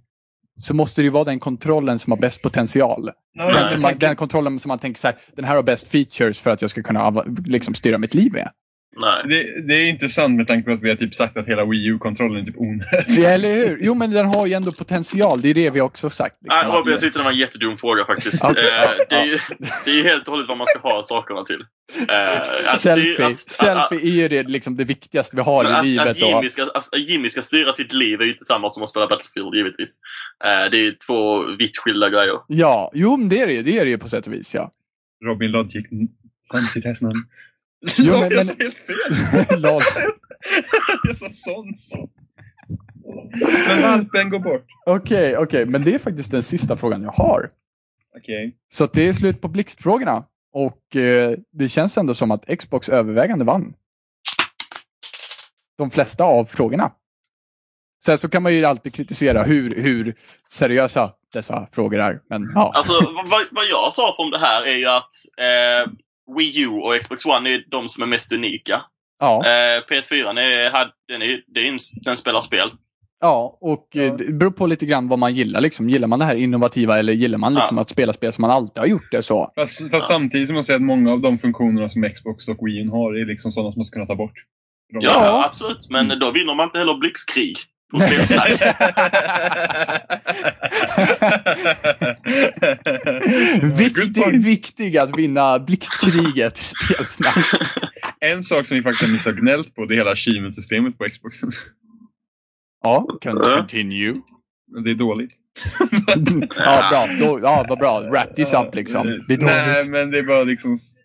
Speaker 1: så måste det ju vara den kontrollen som har bäst potential. Den, som alltså, man, den kontrollen som man tänker så här, den här har bäst features för att jag ska kunna av- liksom, styra mitt liv med.
Speaker 3: Nej.
Speaker 2: Det, det är intressant med tanke på att vi har typ sagt att hela Wii U-kontrollen är typ onödig.
Speaker 1: Ja, eller hur? Jo, men den har ju ändå potential. Det är det vi också sagt.
Speaker 3: Nej,
Speaker 1: liksom.
Speaker 3: Robin, jag tyckte det var en jättedum fråga faktiskt.
Speaker 1: Okej,
Speaker 3: Eh,
Speaker 1: ja,
Speaker 3: det, är
Speaker 1: ja.
Speaker 3: ju, det är ju helt och hållet vad man ska ha sakerna till. Eh, att styr-
Speaker 1: Selfie,
Speaker 3: att- att-
Speaker 1: selfie är ju det, liksom, det viktigaste vi har
Speaker 3: Men
Speaker 1: i
Speaker 3: att,
Speaker 1: livet.
Speaker 3: att, Jimmy
Speaker 1: Och,
Speaker 3: ska, att Jimmy ska styra sitt liv är ju inte samma som att spela Battlefield givetvis. Eh, det är ju två vitt skilda grejer.
Speaker 1: ja, jo, men det är det ju. Det är det ju på sätt och vis. Ja.
Speaker 2: Robin Logic, sant sitt hästnamn.
Speaker 1: Jo,
Speaker 2: Lol,
Speaker 1: men- men-
Speaker 2: Jag sa helt fel!
Speaker 1: Lol.
Speaker 2: Jag sa Sonson. Men valpen går bort.
Speaker 1: Okej, okej, men det är faktiskt den sista frågan jag har.
Speaker 2: Okej.
Speaker 1: Så att det är slut på blixtfrågorna. Och eh, det känns ändå som att Xbox övervägande vann. De flesta av frågorna. Sen så kan man ju alltid kritisera hur, hur seriösa dessa frågor är. Men ja.
Speaker 3: Alltså, vad, vad jag sa från det här är ju att eh, Wii U och Xbox One är de som är mest unika.
Speaker 1: ja.
Speaker 3: Eh, PS4 är, hade- den, är, det är en, den spelar spel.
Speaker 1: Ja, och eh, det beror på lite grann vad man gillar. Liksom. Gillar man det här innovativa eller gillar man liksom att spela spel som man alltid har gjort det så?
Speaker 2: Fast, fast samtidigt som man säger att många av de funktionerna som Xbox och Wii har är liksom sådana som man ska kunna ta bort.
Speaker 3: Ja,
Speaker 2: De-
Speaker 1: Ja.
Speaker 3: absolut. Men då vinner man inte heller blixtkrig. på spelsnack.
Speaker 2: Good
Speaker 1: Viktig,
Speaker 2: point.
Speaker 1: viktig att vinna blixtkriget i spelsnack.
Speaker 2: En sak som vi faktiskt har missat gnällt på det är hela achievement-systemet på Xboxen.
Speaker 1: Ja, kan
Speaker 3: Ja.
Speaker 1: continue.
Speaker 2: Det är dåligt.
Speaker 1: ja, bra. Då, ja, vad bra. Wrap this up liksom. Det är
Speaker 2: Nej,
Speaker 1: dåligt.
Speaker 2: men det är bara liksom s-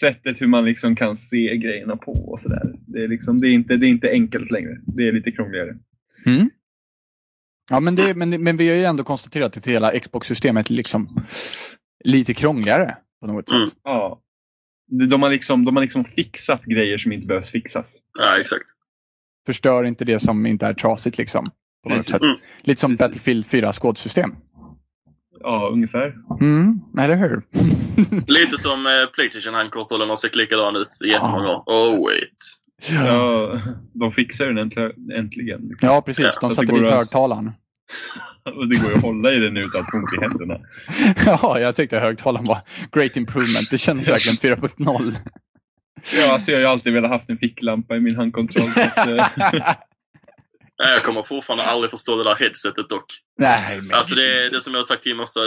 Speaker 2: sättet hur man liksom kan se grejerna på och sådär. Det, är liksom, det, är inte- det är inte enkelt längre. Det är lite krångligare.
Speaker 1: Ja, men, det, men, det- men vi har ju ändå konstaterat att hela Xbox-systemet är liksom lite krångligare på något sätt.
Speaker 3: Mm.
Speaker 2: Ja. De de har, liksom, de har liksom fixat grejer som inte behövs fixas.
Speaker 3: ja, exakt.
Speaker 1: Förstör inte det som inte är trasigt liksom. På något sätt.
Speaker 2: Precis. Mm.
Speaker 1: Lite som
Speaker 2: Precis.
Speaker 1: Battlefield 4 skådsystem.
Speaker 2: Ja, ungefär.
Speaker 1: Mm, eller hur?
Speaker 3: Lite som eh, Playstation-handkontrollen har sett likadan ut i jättemånga år. Oh wait.
Speaker 2: Ja, de fixar den äntl- äntligen.
Speaker 1: Ja, precis.
Speaker 3: Ja,
Speaker 2: så
Speaker 1: De
Speaker 2: att
Speaker 1: satte
Speaker 2: det går
Speaker 1: dit
Speaker 2: att-
Speaker 1: högtalaren.
Speaker 2: Och det går ju att hålla i den utan att få ont i händerna.
Speaker 1: ja, jag tyckte högtalaren var great improvement. Det kändes verkligen 4.0.
Speaker 2: Ja, alltså jag har ju alltid velat haft en ficklampa i min handkontroll. Så att, eh,
Speaker 3: Eh, Jag kommer fortfarande aldrig förstå det där headsetet dock.
Speaker 1: Nej, men...
Speaker 3: Alltså det, det som jag har sagt till Mossa,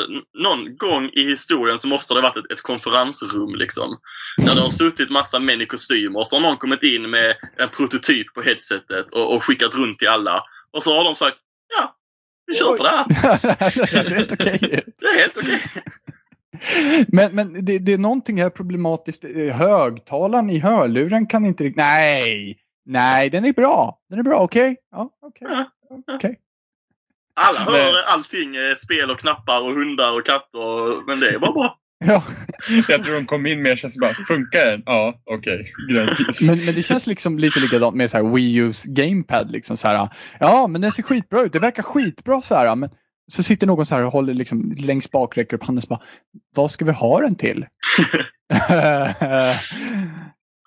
Speaker 3: någon gång i historien så måste det ha varit ett, ett konferensrum liksom. Där det har suttit massa män i kostymer och så har någon kommit in med en prototyp på headsetet och, och skickat runt till alla. Och så har de sagt ja, vi kör på det här.
Speaker 1: det ser helt okej ut.
Speaker 3: Det är helt okej.
Speaker 1: Men, men det, det är någonting här problematiskt. Eh, Högtalaren i hörluren kan inte riktigt... Nej! Nej, den är bra. Den är bra, okej? Ja, okej.
Speaker 3: Alla hör
Speaker 2: Nej.
Speaker 3: allting, eh, spel och knappar och hundar och katter. och- Men det är bara bra.
Speaker 1: Ja,
Speaker 2: jag tror de kom in med och kände så bara, funkar den? Ja, okej. Grönt ljus.
Speaker 1: men, men det känns liksom lite likadant med så här Wii U's gamepad. Liksom så här, ja, men den ser skitbra ut. Det verkar skitbra så här. Men så sitter någon så här och håller liksom längst bak, räcker upp handen och bara, vad ska vi ha den till?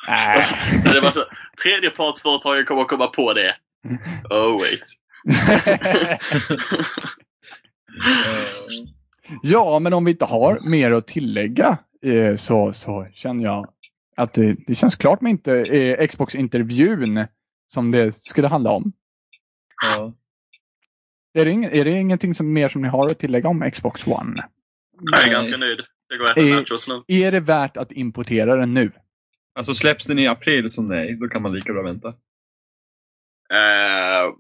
Speaker 1: Nej.
Speaker 3: Så det var så, tredjepartsföretagen kommer komma på det.
Speaker 1: Mm.
Speaker 3: Oh wait.
Speaker 2: Eh,
Speaker 1: Ja, men om vi inte har mer att tillägga eh, så, så känner jag att det, det känns klart med inte, eh, Xbox-intervjun som det skulle handla om.
Speaker 2: ja.
Speaker 1: Är det, ing- är det ingenting som, mer som ni har att tillägga om Xbox One?
Speaker 3: Jag är ganska nöjd. Jag går och äter
Speaker 1: Eh,
Speaker 3: nachos nu.
Speaker 1: Är det värt att importera den nu?
Speaker 2: Alltså släpps den i april så nej, då kan man lika bra vänta.
Speaker 3: Eh,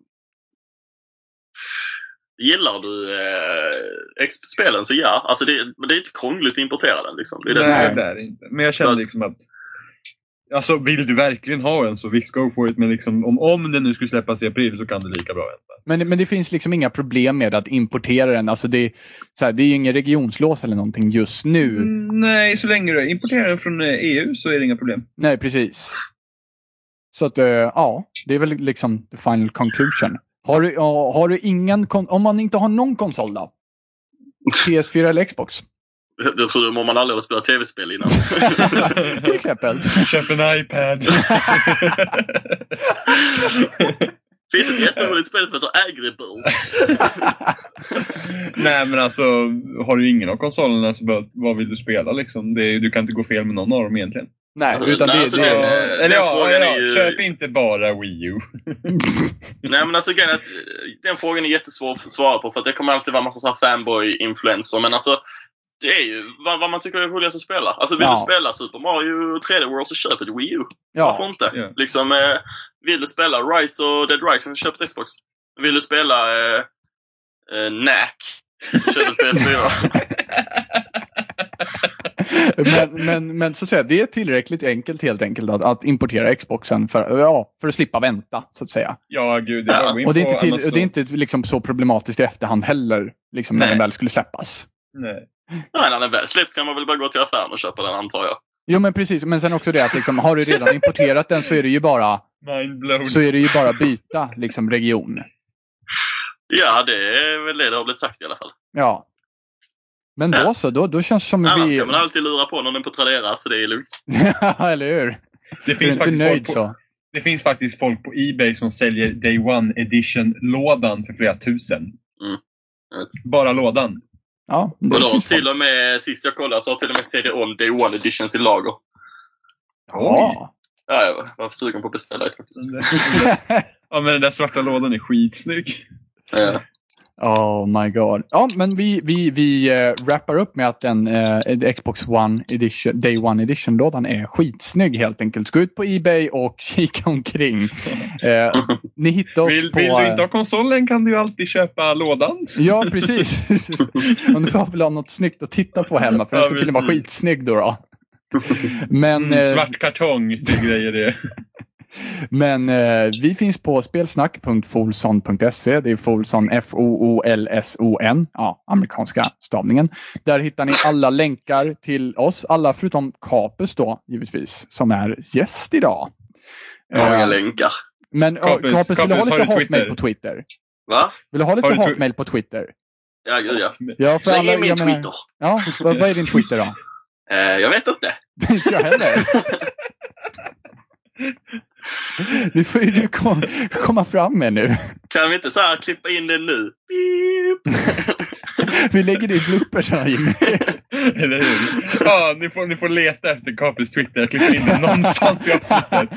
Speaker 3: gillar du eh, X- spelen så ja. Alltså det, men det är inte krångligt att importera den. Liksom. Det är det som
Speaker 2: Nej,
Speaker 3: är.
Speaker 2: det är det inte. Men jag känner
Speaker 3: Så att-
Speaker 2: liksom att Alltså vill du verkligen ha en så visst go for it. Men liksom, om, om den nu skulle släppas i april så kan du lika bra vänta.
Speaker 1: Men, men det finns liksom inga problem med att importera den. Alltså det, så här, det är ju ingen regionslås eller någonting just nu.
Speaker 2: Mm, nej, så länge du importerar den från eh, EU så är det inga problem.
Speaker 1: Nej, precis. Så att, eh, ja, det är väl liksom the final conclusion. Har du, ja, har du ingen kon- om man inte har någon konsol då? PS4 eller Xbox?
Speaker 3: Jag trodde man aldrig hade spelat tv-spel innan.
Speaker 1: Till exempel.
Speaker 2: Köp en iPad.
Speaker 3: Det finns ett jätteroligt spel som heter Agribult.
Speaker 2: Nej men alltså, har du ingen av konsolerna så bara, vad vill du spela liksom? Det, är- du kan inte gå fel med någon av dem egentligen.
Speaker 1: Nej, utan
Speaker 3: Nej,
Speaker 1: det,
Speaker 3: alltså
Speaker 1: det,
Speaker 2: Ja,
Speaker 3: det-
Speaker 1: är...
Speaker 2: eller ja,
Speaker 3: frågan
Speaker 2: ja,
Speaker 3: är ju-
Speaker 2: köp inte bara Wii U.
Speaker 3: Nej men alltså grejen är att eh, den frågan är jättesvår att svara på för att det kommer alltid vara en massa så här fanboy-influenser. Men alltså, det är ju vad, vad man tycker är roligast att spela. Alltså vill
Speaker 1: Ja.
Speaker 3: du spela Super Mario 3D World så köp ett Wii U. Varför
Speaker 1: Ja,
Speaker 3: inte?
Speaker 2: Ja.
Speaker 3: Liksom, eh, vill du spela Rise och Dead Rising så köp ett Xbox. Vill du spela eh, eh, Knack köp ett PS4.
Speaker 1: men, men, men så att säga, det är tillräckligt enkelt helt enkelt att, att importera Xboxen för, ja, för att slippa vänta så att säga.
Speaker 2: Ja, gud. Det är
Speaker 3: Ja,
Speaker 2: bara att gå in
Speaker 1: Och det är
Speaker 2: på
Speaker 1: inte, till,
Speaker 2: annars
Speaker 1: och det är
Speaker 2: så-
Speaker 1: inte liksom så problematiskt i efterhand heller, liksom när
Speaker 2: Nej.
Speaker 1: den väl skulle släppas.
Speaker 2: Nej.
Speaker 3: Nej, när den väl släpps kan man väl bara gå till affären och köpa den antar jag.
Speaker 1: Jo men precis, men sen också det att liksom, har du redan importerat den så är det ju bara,
Speaker 2: Mind blown.
Speaker 1: så är det ju bara byta liksom, region.
Speaker 3: Ja, det är väl det det har blivit sagt i alla fall.
Speaker 1: Ja. Men då så, då, då känns det som
Speaker 3: Annars
Speaker 1: vi...
Speaker 3: kan man alltid lura på någon på Tradera så det är lugnt.
Speaker 1: Eller hur?
Speaker 2: Det
Speaker 1: Du är
Speaker 2: finns,
Speaker 1: inte
Speaker 2: faktiskt
Speaker 1: nöjd
Speaker 2: folk på,
Speaker 1: så.
Speaker 2: det finns faktiskt folk på Ebay som säljer Day One Edition-lådan för flera tusen.
Speaker 3: Mm. Jag vet.
Speaker 2: Bara lådan.
Speaker 1: Ja, det
Speaker 3: Och då
Speaker 1: finns folk.
Speaker 3: till och med, sist jag kollade så har till och med CD-ON Day One Editions i lager.
Speaker 1: Ja.
Speaker 3: Ja, jag var- var sugen på att beställa ett faktiskt.
Speaker 2: Ja, men den där svarta lådan är skitsnygg.
Speaker 1: Mm.
Speaker 3: Eh,
Speaker 1: Oh my god. Ja, men vi, vi, vi eh, wrappar upp med att den eh, Xbox One Edition, Day One Edition-lådan är skitsnygg helt enkelt. Gå ut på Ebay och kika omkring. Eh, ni hittar oss
Speaker 2: Vill,
Speaker 1: på... eh,
Speaker 2: vill du inte ha konsolen kan du ju alltid köpa lådan.
Speaker 1: Ja, precis. Om du bara vill ha något snyggt att titta på hemma, för den
Speaker 2: Ja,
Speaker 1: ska tydligen vara
Speaker 2: precis.
Speaker 1: skitsnygg då. då. Men,
Speaker 2: Mm,
Speaker 1: eh,
Speaker 2: svart kartong, det grejer det.
Speaker 1: men eh, vi finns på spelsnack.folson.se. Det är Folson, F-O-O-L-S-O-N. Ja, amerikanska stavningen. Där hittar ni alla länkar till oss. Alla förutom Kapus då, givetvis, som är gäst idag.
Speaker 3: jag har inga
Speaker 1: Eh,
Speaker 3: länkar.
Speaker 1: men ja,
Speaker 2: Kapus,
Speaker 1: Kapus, vill du ha
Speaker 2: Kapus, har
Speaker 1: lite
Speaker 2: du
Speaker 1: hatmejl
Speaker 2: Twitter?
Speaker 1: på Twitter?
Speaker 3: Va?
Speaker 1: Vill du ha lite
Speaker 2: Har du twi-
Speaker 1: hatmejl på Twitter?
Speaker 3: Ja, gud ja.
Speaker 1: Ja,
Speaker 3: Släng in
Speaker 1: alla-
Speaker 3: min
Speaker 1: jag menar-
Speaker 3: Twitter.
Speaker 1: Ja, vad, vad är din Twitter då?
Speaker 3: Eh, jag vet inte.
Speaker 1: Inte jag heller. Det får ju du kom, komma fram med nu.
Speaker 3: Kan vi inte så här klippa in den nu? Beep.
Speaker 1: Vi lägger det i bloopers här Jimmy.
Speaker 2: Eller hur? Ja, ni, får, ni får leta efter Kapis Twitter. Jag klipper in det någonstans i avsnittet.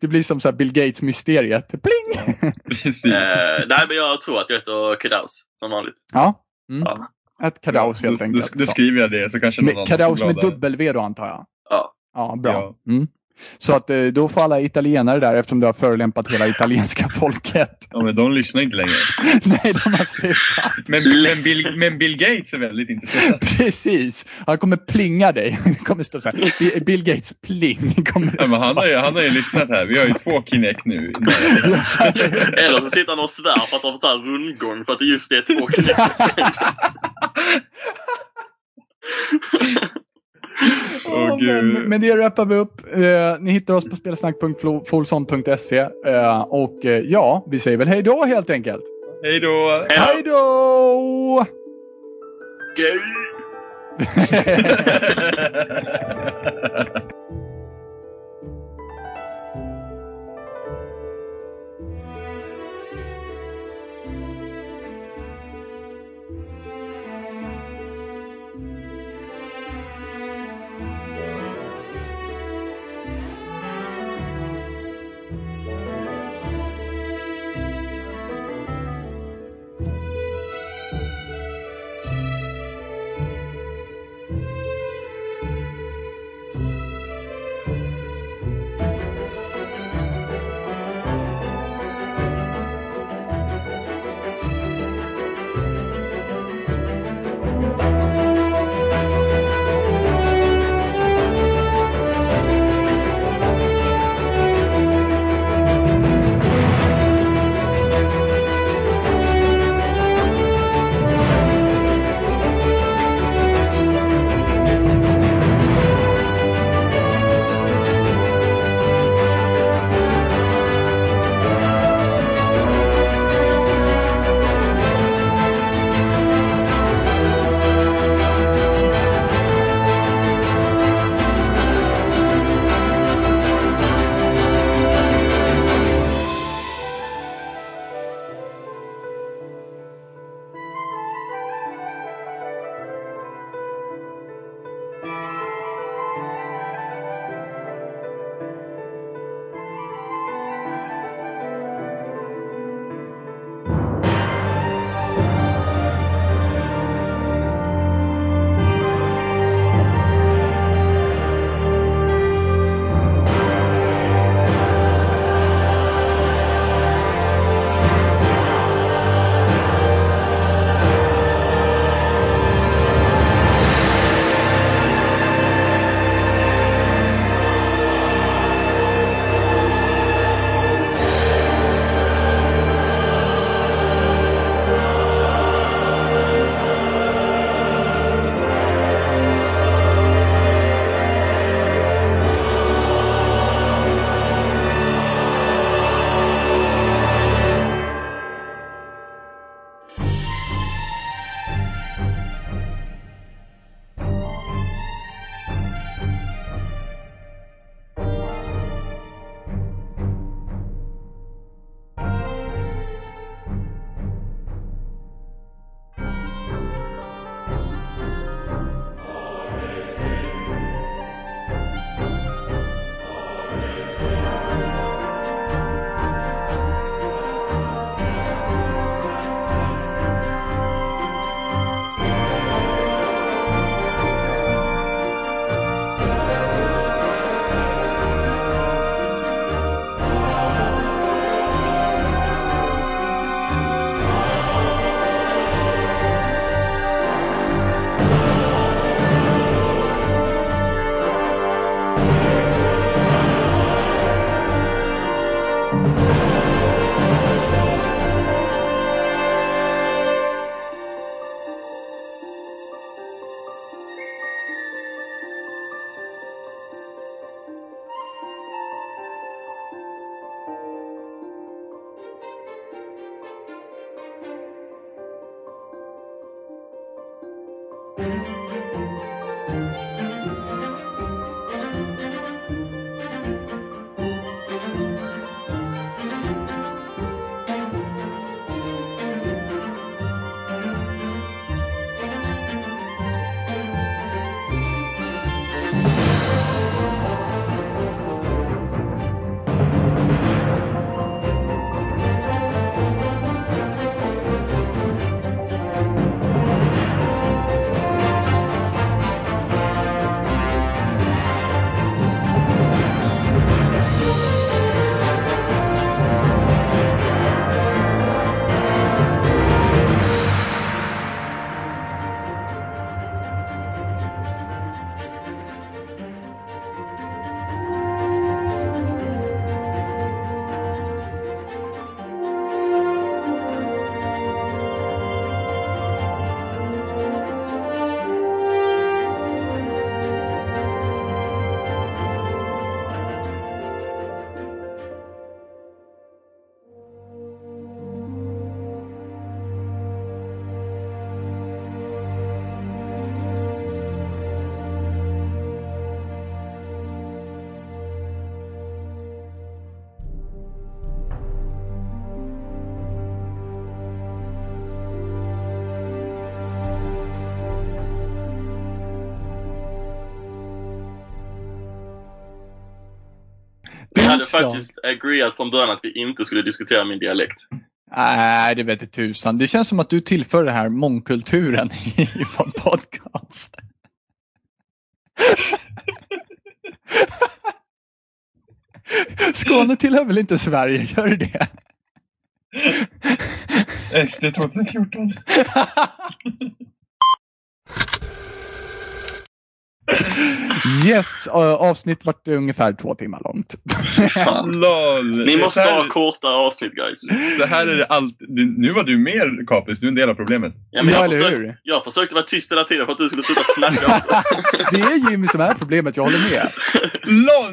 Speaker 1: Det blir som så här Bill Gates-mysteriet. Pling!
Speaker 2: Precis.
Speaker 1: Mm.
Speaker 3: Eh, nej, men jag tror att jag heter Kedaus, som vanligt.
Speaker 1: Ja. Mm.
Speaker 3: Ja.
Speaker 1: Ett kadaus helt
Speaker 2: då, då,
Speaker 1: enkelt.
Speaker 2: då skriver jag det så kanske någon
Speaker 1: Med,
Speaker 2: annan
Speaker 1: kadaus
Speaker 2: blir
Speaker 1: med
Speaker 2: gladare.
Speaker 1: W då antar jag?
Speaker 3: Ja.
Speaker 1: Ja, bra. Mm. Så att eh, då får alla italienare där eftersom du har förolämpat hela italienska folket.
Speaker 2: Ja, men de lyssnar inte längre.
Speaker 1: Nej, de har slutat.
Speaker 2: Men, men, Bill, men Bill Gates är väldigt intresserad.
Speaker 1: Precis. Han kommer plinga dig. Det kommer stå så här. Bi- Bill Gates pling. Kommer det
Speaker 2: Ja, men han,
Speaker 1: stå.
Speaker 2: har ju, han har ju lyssnat här. Vi har ju två Kinect nu.
Speaker 3: Eller så sitter han och svär för att han får så här rundgång för att det just är två
Speaker 1: Ja,
Speaker 2: Åh, gud.
Speaker 1: men, men det wrappar vi upp. Eh, ni hittar oss på spelsnack.folson.se. Eh, och eh, ja, vi säger väl hej då helt enkelt.
Speaker 2: Hej då!
Speaker 1: Hej då!
Speaker 3: Gay. Vi hade
Speaker 1: Ditt slag.
Speaker 3: faktiskt agreeat från början att vi inte skulle diskutera min dialekt.
Speaker 1: Nej, det vete tusan. Det känns som att du tillför den här mångkulturen i vår podcast. Skåne tillhör väl inte Sverige, gör det det?
Speaker 2: SD 2014.
Speaker 1: Yes, ö, Eh, avsnitt vart ungefär två timmar långt.
Speaker 3: Fan.
Speaker 2: LOL!
Speaker 3: Ni måste
Speaker 2: så,
Speaker 3: ha
Speaker 2: här,
Speaker 3: kortare avsnitt guys.
Speaker 2: så här är det allt. Nu var du mer kapis, du är en del av problemet.
Speaker 3: Ja, men
Speaker 1: ja,
Speaker 3: jag,
Speaker 1: eller
Speaker 3: försökte,
Speaker 1: hur?
Speaker 3: jag försökte vara tyst hela tiden för att du skulle sluta snacka. också.
Speaker 1: Det är Jimmy som är problemet, jag håller med.
Speaker 2: LOL!